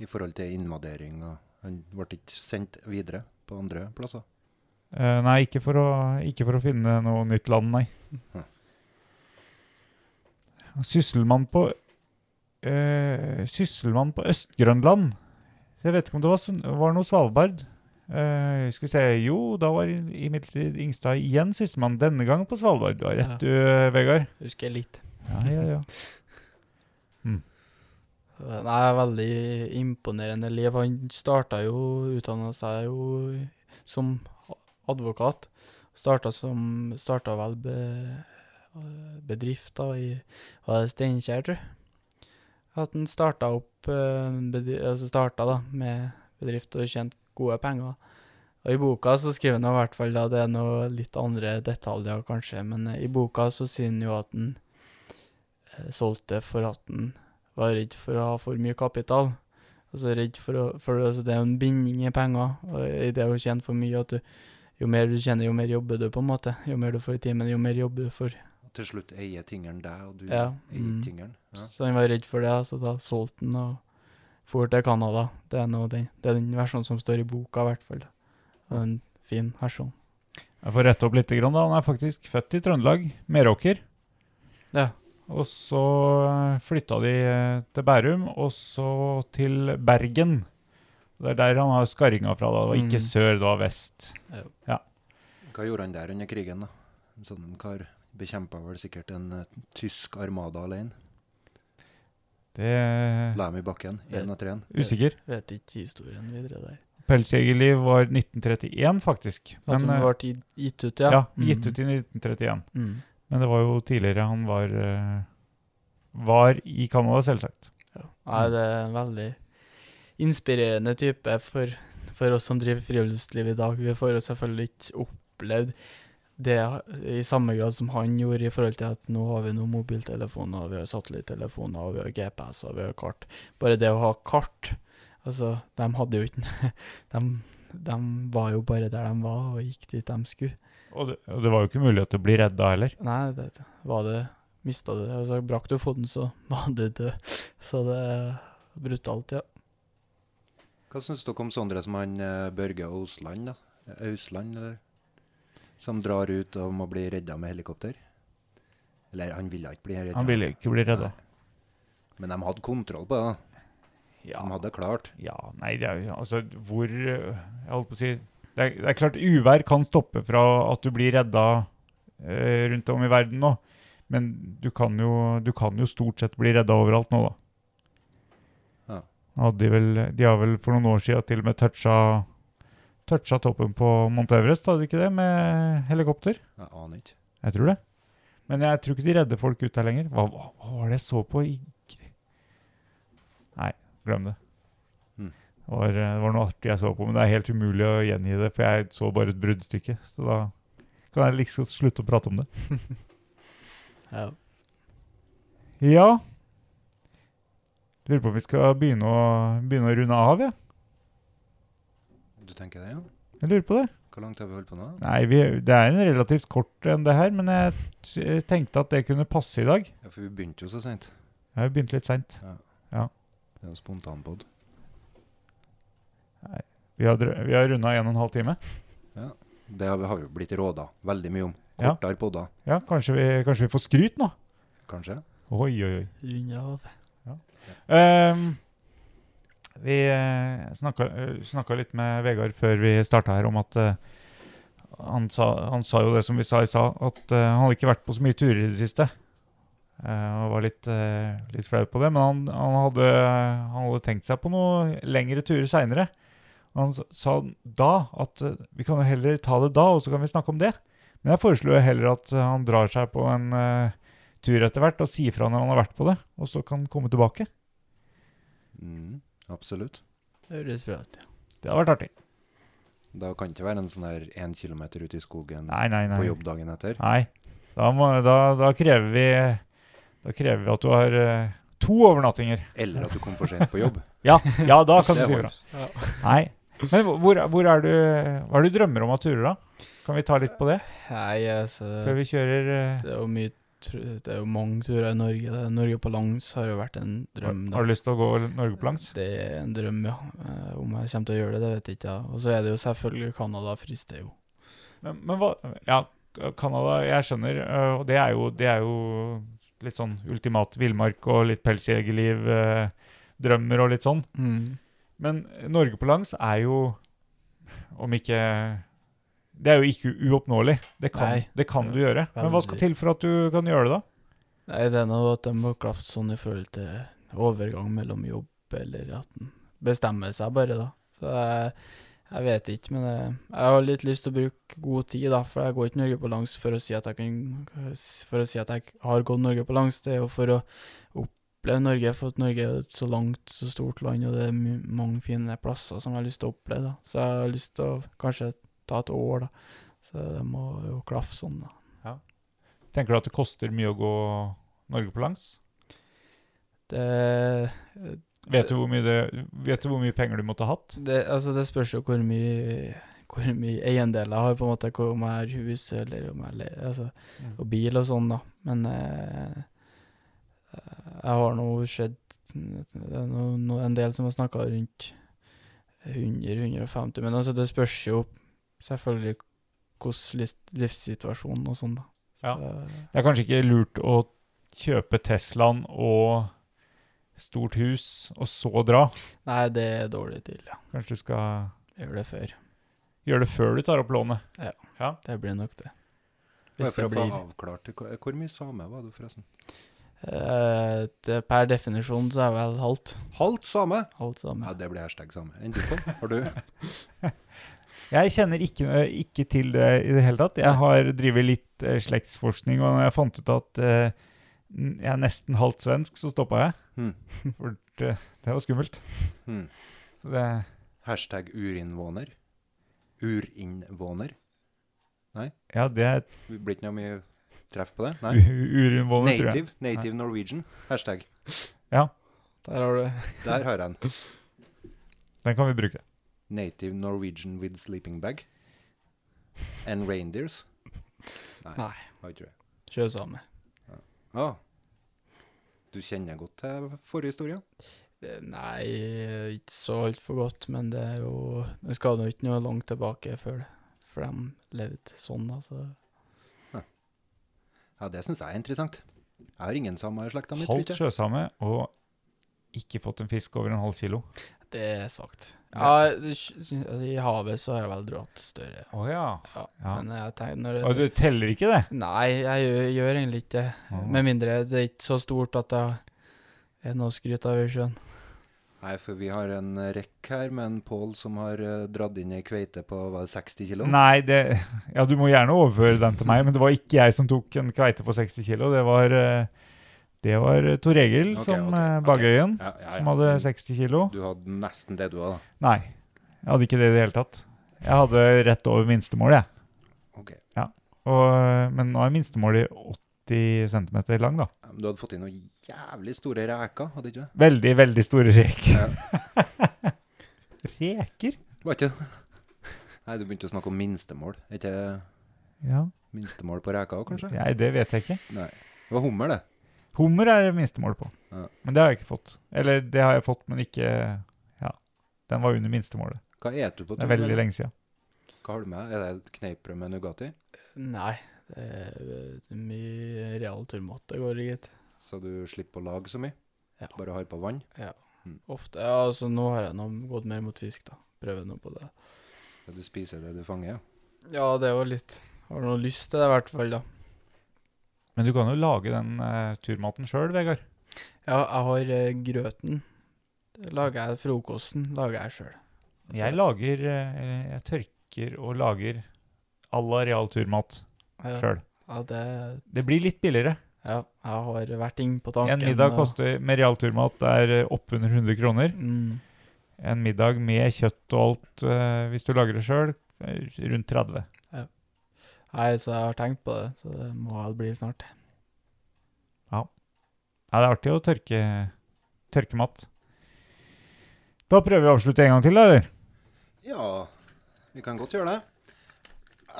Speaker 5: I forhold til invadering og Han ble ikke sendt videre på andre plasser.
Speaker 4: Eh, nei, ikke for, å, ikke for å finne noe nytt land, nei.
Speaker 5: Hm.
Speaker 4: Sysselmann på eh, Sysselmann på Øst-Grønland. Jeg vet ikke om det var, Sv- var noe Svalbard. Eh, skal vi se Jo, da var i- imidlertid Ingstad igjen sysselmann, denne gang på Svalbard. Du har rett,
Speaker 6: Ja.
Speaker 4: du, eh, Vegard.
Speaker 6: Husker jeg litt.
Speaker 4: Ja, ja, ja.
Speaker 6: Nei, veldig imponerende liv. Han starta jo, utdanna seg jo som advokat. Starta som Starta vel be, bedrift da i var det Steinkjer, tror jeg. At han starta opp eh, bedri- altså starta da med bedrift og tjente gode penger. Og I boka så skriver han i hvert fall da, det er noe litt andre detaljer kanskje, men eh, i boka så sier han jo at han eh, solgte for at han var redd for å ha for mye kapital. Altså redd for å for altså, Det er jo en binding i penger og i det å tjene for mye. at du, Jo mer du tjener, jo mer jobber du, på en måte. Jo mer du får i timen, jo mer jobber du for.
Speaker 5: Og til slutt eier tingeren deg, og du
Speaker 6: Ja,
Speaker 5: eier
Speaker 6: mm.
Speaker 5: tingeren. Ja.
Speaker 6: Så han var redd for det, så da solgte han og for til Canada. Det er, noe, den, det er den versjonen som står i boka, i hvert fall. Og en fin versjon.
Speaker 4: Jeg får rette opp litt. Grann, da. Han er faktisk født i Trøndelag, Meråker.
Speaker 6: Ja.
Speaker 4: Og så eh, flytta de eh, til Bærum, og så til Bergen. Det er der han har skarringa fra. da. Det var ikke
Speaker 6: Mm.
Speaker 4: sør, det var vest.
Speaker 5: Hva gjorde han der under krigen, da? En sånn kar bekjempa vel sikkert en eh, tysk armada alene.
Speaker 4: Det
Speaker 5: La dem i bakken, én etter én.
Speaker 4: Usikker.
Speaker 6: Vet ikke historien videre der.
Speaker 4: Pelsjegerliv var 1931, faktisk.
Speaker 6: At
Speaker 4: Men,
Speaker 6: hun
Speaker 4: eh,
Speaker 6: ble gi- gitt ut, ja.
Speaker 4: ja, gitt ut i 1931.
Speaker 6: Mm. Mm.
Speaker 4: Men det var jo tidligere han var eh, Var i Canada, selvsagt.
Speaker 6: Nei, det er en veldig inspirerende type for, for oss som driver friluftsliv i dag. Vi får jo selvfølgelig ikke opplevd det i samme grad som han gjorde, i forhold til at nå har vi noen mobiltelefoner, vi har satellittelefoner, vi har GPS og vi har kart. Bare det å ha kart Altså, de hadde jo ikke de, de var jo bare der de var, og gikk dit de skulle.
Speaker 4: Og det, og det var jo ikke mulighet til å bli redda heller.
Speaker 6: Nei, det var det Mista du altså, Brakk du foten, så var du død. Så det er brutalt, ja.
Speaker 5: Hva syns dere om sånne som han eh, Børge Ausland, da? Eh, Ausland, eller? Som drar ut og må bli redda med helikopter? Eller han ville ikke bli redda.
Speaker 4: Han ville ikke bli redda.
Speaker 5: Men de hadde kontroll på det. da. De hadde det klart.
Speaker 4: Ja, nei, det er jo altså hvor øh, Jeg holdt på å si Det er, det er klart uvær kan stoppe fra at du blir redda øh, rundt om i verden nå. Men du kan jo, du kan jo stort sett bli redda overalt nå, da.
Speaker 5: Ja.
Speaker 4: Hadde de, vel, de har vel for noen år siden til og med toucha, toucha toppen på Mount Everest, hadde de ikke det, med helikopter?
Speaker 5: Jeg aner ikke.
Speaker 4: Jeg tror det. Men jeg tror ikke de redder folk ut der lenger. Hva, hva, hva var det jeg så på i Nei, glem det.
Speaker 5: Mm.
Speaker 4: Det, var, eh, det var noe artig jeg så på, men det er helt umulig å gjengi det, for jeg så bare et bruddstykke. Så da kan jeg liksom slutte å prate om det.
Speaker 6: Ja.
Speaker 4: Ja Lurer på om vi skal begynne å, begynne å runde av, jeg.
Speaker 5: Du tenker det, ja?
Speaker 4: Jeg lurer på det.
Speaker 5: Hvor langt har vi holdt på nå?
Speaker 4: Nei, vi, det er en relativt kort en, det her, men jeg t tenkte at det kunne passe i dag.
Speaker 5: Ja, for vi begynte jo så sent.
Speaker 4: Jeg har jo begynt litt seint.
Speaker 5: Det er jo spontanpod.
Speaker 4: Vi har, drø- vi har runda en og en halv time.
Speaker 5: Det har vi har jo blitt råda veldig mye om.
Speaker 4: Ja.
Speaker 5: Kortere podder,
Speaker 4: Ja, kanskje vi, kanskje vi får skryt nå?
Speaker 5: kanskje.
Speaker 4: Oi, oi, oi.
Speaker 6: Runde av.
Speaker 4: Ehm, vi eh, snakka, eh, snakka litt med Vegard før vi starta her om at eh, han, sa, han sa jo det som vi sa i stad, at eh, han hadde ikke vært på så mye turer i det siste. Eh, og var litt, eh, litt flau på det, men han, han, hadde, han hadde tenkt seg på noe lengre turer seinere. Og han s- sa da at eh, vi kan jo heller ta det da, og så kan vi snakke om det. Men jeg foreslo jo heller at eh, han drar seg på en eh, tur etter hvert og sier fra når han har vært på det, og så kan han komme tilbake.
Speaker 5: Mm, absolutt.
Speaker 6: Høres bra ut. ja.
Speaker 4: Det hadde vært artig.
Speaker 5: Da kan det ikke være en sånn der én kilometer ute i skogen
Speaker 4: Nei, nei, nei.
Speaker 5: på jobb dagen etter.
Speaker 4: Nei. Da, må, da, da krever vi Da krever vi at du har eh, to overnattinger.
Speaker 5: Eller at du kom for sent på jobb.
Speaker 4: Ja, ja da kan du
Speaker 5: Det
Speaker 4: si
Speaker 5: holder.
Speaker 4: fra. Nei. Men hvor- hvor, hvor er du Hva er det du drømmer om av turer, da? Kan vi ta litt på det
Speaker 6: Nei, altså
Speaker 4: før vi kjører eh,
Speaker 6: Det er jo mye tr- Det er jo mange turer i Norge. Det er Norge på langs har jo vært en
Speaker 4: har,
Speaker 6: drøm. da.
Speaker 4: har du lyst til å gå Norge på langs?
Speaker 6: Det er en drøm, ja. Eh, Om jeg kommer til å gjøre det, det vet jeg ikke. ja. Og så er det jo selvfølgelig Canada frister jo.
Speaker 4: Men, men hva Ja, Canada, jeg skjønner. øh, Og det er jo, det er jo litt sånn ultimat villmark og litt pelsjegerliv, øh, drømmer og litt sånn.
Speaker 6: Mm.
Speaker 4: Men Norge på langs er jo, om ikke Det er jo ikke uoppnåelig. Det kan,
Speaker 6: Nei.
Speaker 4: det kan du gjøre. Men hva skal til for at du kan gjøre det, da?
Speaker 6: Nei, det er nå at de må klaffe sånn i forhold til overgang mellom jobb, eller at en bestemmer seg bare, da. Så jeg, jeg vet ikke, men jeg, jeg har litt lyst til å bruke god tid, da. For jeg går ikke Norge på langs for å si at jeg, kan, for å si at jeg har gått Norge på langs. Det er jo for å oppleve Norge, for at Norge er jo et så langt, så stort land, og det er my- mange fine plasser som jeg har lyst til å oppleve, da. Så jeg har lyst til å kanskje ta et år, da. Så det må jo klaffe sånn, da.
Speaker 4: Tenker du at det koster mye å gå Norge på langs?
Speaker 6: Det
Speaker 4: Vet du hvor mye, det, vet du hvor mye penger du måtte ha hatt?
Speaker 6: Det, altså, det spørs jo hvor mye hvor mye eiendeler jeg har, på en måte, hvor- om jeg har hus eller om jeg le- altså,
Speaker 4: Mm.
Speaker 6: og bil og sånn, da. Men eh, jeg har nå sett Det er no, no, en del som har snakka rundt 100-150, men altså, det spørs jo selvfølgelig hvordan livs- livssituasjonen og sånn, da.
Speaker 4: Ja.
Speaker 6: Så,
Speaker 4: Det er kanskje ikke lurt å kjøpe Teslaen og stort hus, og så dra.
Speaker 6: nei, det er dårlig til, ja.
Speaker 4: Kanskje du skal
Speaker 6: Jeg gjør det før.
Speaker 4: gjøre det før du tar opp lånet.
Speaker 6: Det blir nok det.
Speaker 5: Bare
Speaker 6: Hvis
Speaker 5: for
Speaker 6: det
Speaker 5: å få
Speaker 6: blir
Speaker 5: avklart det. Hvor- Hvor mye same var du, forresten?
Speaker 6: eh, det, Per definisjon så er jeg vel halvt.
Speaker 5: Halvt same!
Speaker 6: Alt sammen.
Speaker 5: Ja, det blir hashtag same. Enn du på? Har du?
Speaker 4: Jeg kjenner ikke, eh, ikke til det i det hele tatt. Jeg har drevet litt eh, slektsforskning, og når jeg fant ut at eh, n- jeg er nesten halvt svensk, så stoppa jeg.
Speaker 5: Hmm.
Speaker 4: For det, det var skummelt.
Speaker 5: Hmm.
Speaker 4: Så det,
Speaker 5: Hashtag urinnvåner. Urinnvåner.
Speaker 4: ja, det er et
Speaker 5: Det Blir ikke noe mye treff på det? Nei.
Speaker 4: u- urinnvående, tror jeg.
Speaker 5: Native. Native Norwegian. Hashtag.
Speaker 6: Der har du
Speaker 5: Der har jeg den.
Speaker 4: Den kan vi bruke.
Speaker 5: Native Norwegian with sleeping bag. And reindeers. Nei.
Speaker 6: Nei.
Speaker 5: har ikke det.
Speaker 6: sjøsame.
Speaker 5: Ah. Du kjenner godt til forhistorien?
Speaker 6: Det- Nei, ikke så altfor godt, men det er jo Det skal nå ikke noe langt tilbake før det. For de levde sånn, altså.
Speaker 5: Jeg Ja, Det syns jeg er interessant. Jeg har ingen samer i slekta mi. tror
Speaker 4: Halvt
Speaker 5: ikke jeg.
Speaker 4: sjøsame og ikke fått en fisk over en halv kilo.
Speaker 6: Det er svakt. Ja, altså, I havet så har jeg vel dratt større.
Speaker 4: Å ja.
Speaker 6: Ja, Altså,
Speaker 4: Ja.
Speaker 6: Men jeg tenker når
Speaker 4: Og du teller ikke det?
Speaker 6: Nei, jeg gjør, gjør egentlig ikke det.
Speaker 4: Å.
Speaker 6: Med mindre det er ikke så stort at jeg er noe å skryte av i sjøen.
Speaker 5: Nei, for vi har en rekk her med en Pål som har eh, dratt inn ei kveite på hva, er det, 60 kilo.
Speaker 4: Nei, det Ja, du må gjerne overføre den til meg, men det var ikke jeg som tok en kveite på 60 kilo. Det var, eh, det var eh, Tor Egil
Speaker 5: Ok,
Speaker 4: som
Speaker 5: ok,
Speaker 4: eh,
Speaker 5: ok.
Speaker 4: Bagøyen,
Speaker 5: Ja, ja, ja.
Speaker 4: som hadde 60 kilo.
Speaker 5: Du hadde nesten det du hadde. da.
Speaker 4: Nei, jeg hadde ikke det i det hele tatt. Jeg hadde rett over minstemålet, jeg.
Speaker 5: Ok.
Speaker 4: Og, eh, men nå er minstemålet 80 cm lang, da.
Speaker 5: Ja, men Du hadde fått inn noen jævlig store reker, hadde ikke du?
Speaker 4: Veldig, veldig store reker. reker?
Speaker 5: Var ikke det? Nei, du begynte å snakke om minstemål. Er ikke det
Speaker 4: Ja,
Speaker 5: minstemål på reker òg, kanskje?
Speaker 4: Nei, det vet jeg ikke.
Speaker 5: Nei. Det var hummer, det.
Speaker 4: Hummer er det minste målet på.
Speaker 5: Ja.
Speaker 4: Men det har jeg ikke fått. Eller det har jeg fått, men ikke Ja. Den var under minstemålet.
Speaker 5: Hva et du på
Speaker 4: Det er
Speaker 5: tur,
Speaker 4: veldig
Speaker 5: eller?
Speaker 4: lenge siden.
Speaker 5: Hva har du med? Er det kneippbrød med Nugatti?
Speaker 6: Nei, det er eh, mye real turmat det går i, gitt.
Speaker 5: Så du slipper å lage så mye?
Speaker 6: Ja.
Speaker 5: Bare har på vann?
Speaker 6: Ofte. Ja, altså nå har jeg nå gått mer mot fisk, da. Prøver nå på det.
Speaker 5: Så Du spiser det du fanger? ja.
Speaker 6: Ja, det er jo litt Har du noe lyst til det, i hvert fall, da.
Speaker 4: Men du kan jo lage den eh, turmaten sjøl, Vegard.
Speaker 6: Ja, jeg har eh, grøten. Det Lager jeg frokosten, lager jeg Altså, sjøl.
Speaker 4: Jeg lager eh, Jeg tørker og lager à la real turmat
Speaker 6: Ja,
Speaker 4: sjøl.
Speaker 6: ja, det
Speaker 4: Det blir litt billigere.
Speaker 6: Ja, jeg har vært inne på tanken.
Speaker 4: En middag
Speaker 5: eh,
Speaker 6: og-
Speaker 4: koster med real turmat er eh, oppunder 100 kroner.
Speaker 6: mm,
Speaker 4: En middag med kjøtt og alt, eh, hvis du lager det sjøl, eh, rundt 30.
Speaker 6: Nei, så jeg har tenkt på det, så det må vel bli snart.
Speaker 4: Ja, det er artig å tørke, tørke mat. Da prøver vi å avslutte en gang til, da, eller?
Speaker 5: Ja, vi kan godt gjøre det.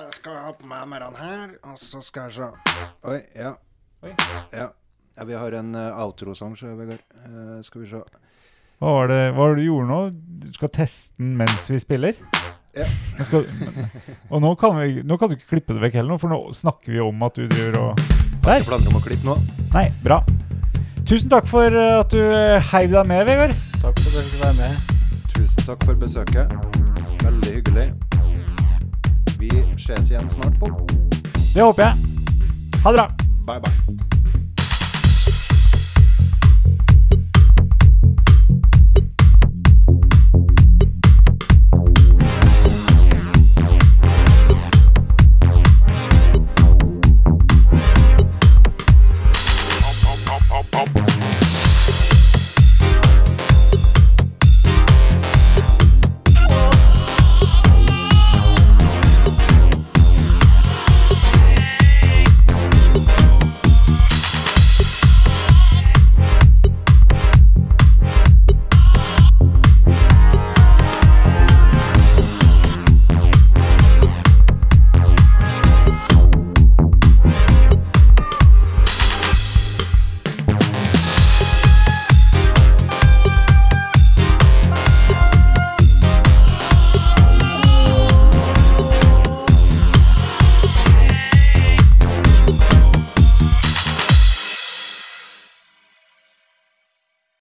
Speaker 5: Jeg skal ha på meg med den her, og så skal jeg se. Oi, ja.
Speaker 4: Oi.
Speaker 5: Ja, ja vi har en uh, outro-sang, så, Vegard. Eh, skal vi se.
Speaker 4: Hva var det, hva var det du gjorde nå? Du skal teste den mens vi spiller?
Speaker 5: Ja.
Speaker 4: Jeg Skal, og nå kan, vi, nå kan du ikke klippe det vekk heller, nå, for nå snakker vi om at du driver og Der!
Speaker 5: Jeg planer om å klippe nå.
Speaker 4: Nei, bra. Tusen takk for eh, at du eh, heiv deg med, Vegard.
Speaker 6: Takk for at dere fikk være med.
Speaker 5: Tusen takk for besøket. Veldig hyggelig. Vi ses igjen snart, Pål.
Speaker 4: Det håper jeg. Ha det bra.
Speaker 5: Bye, bye.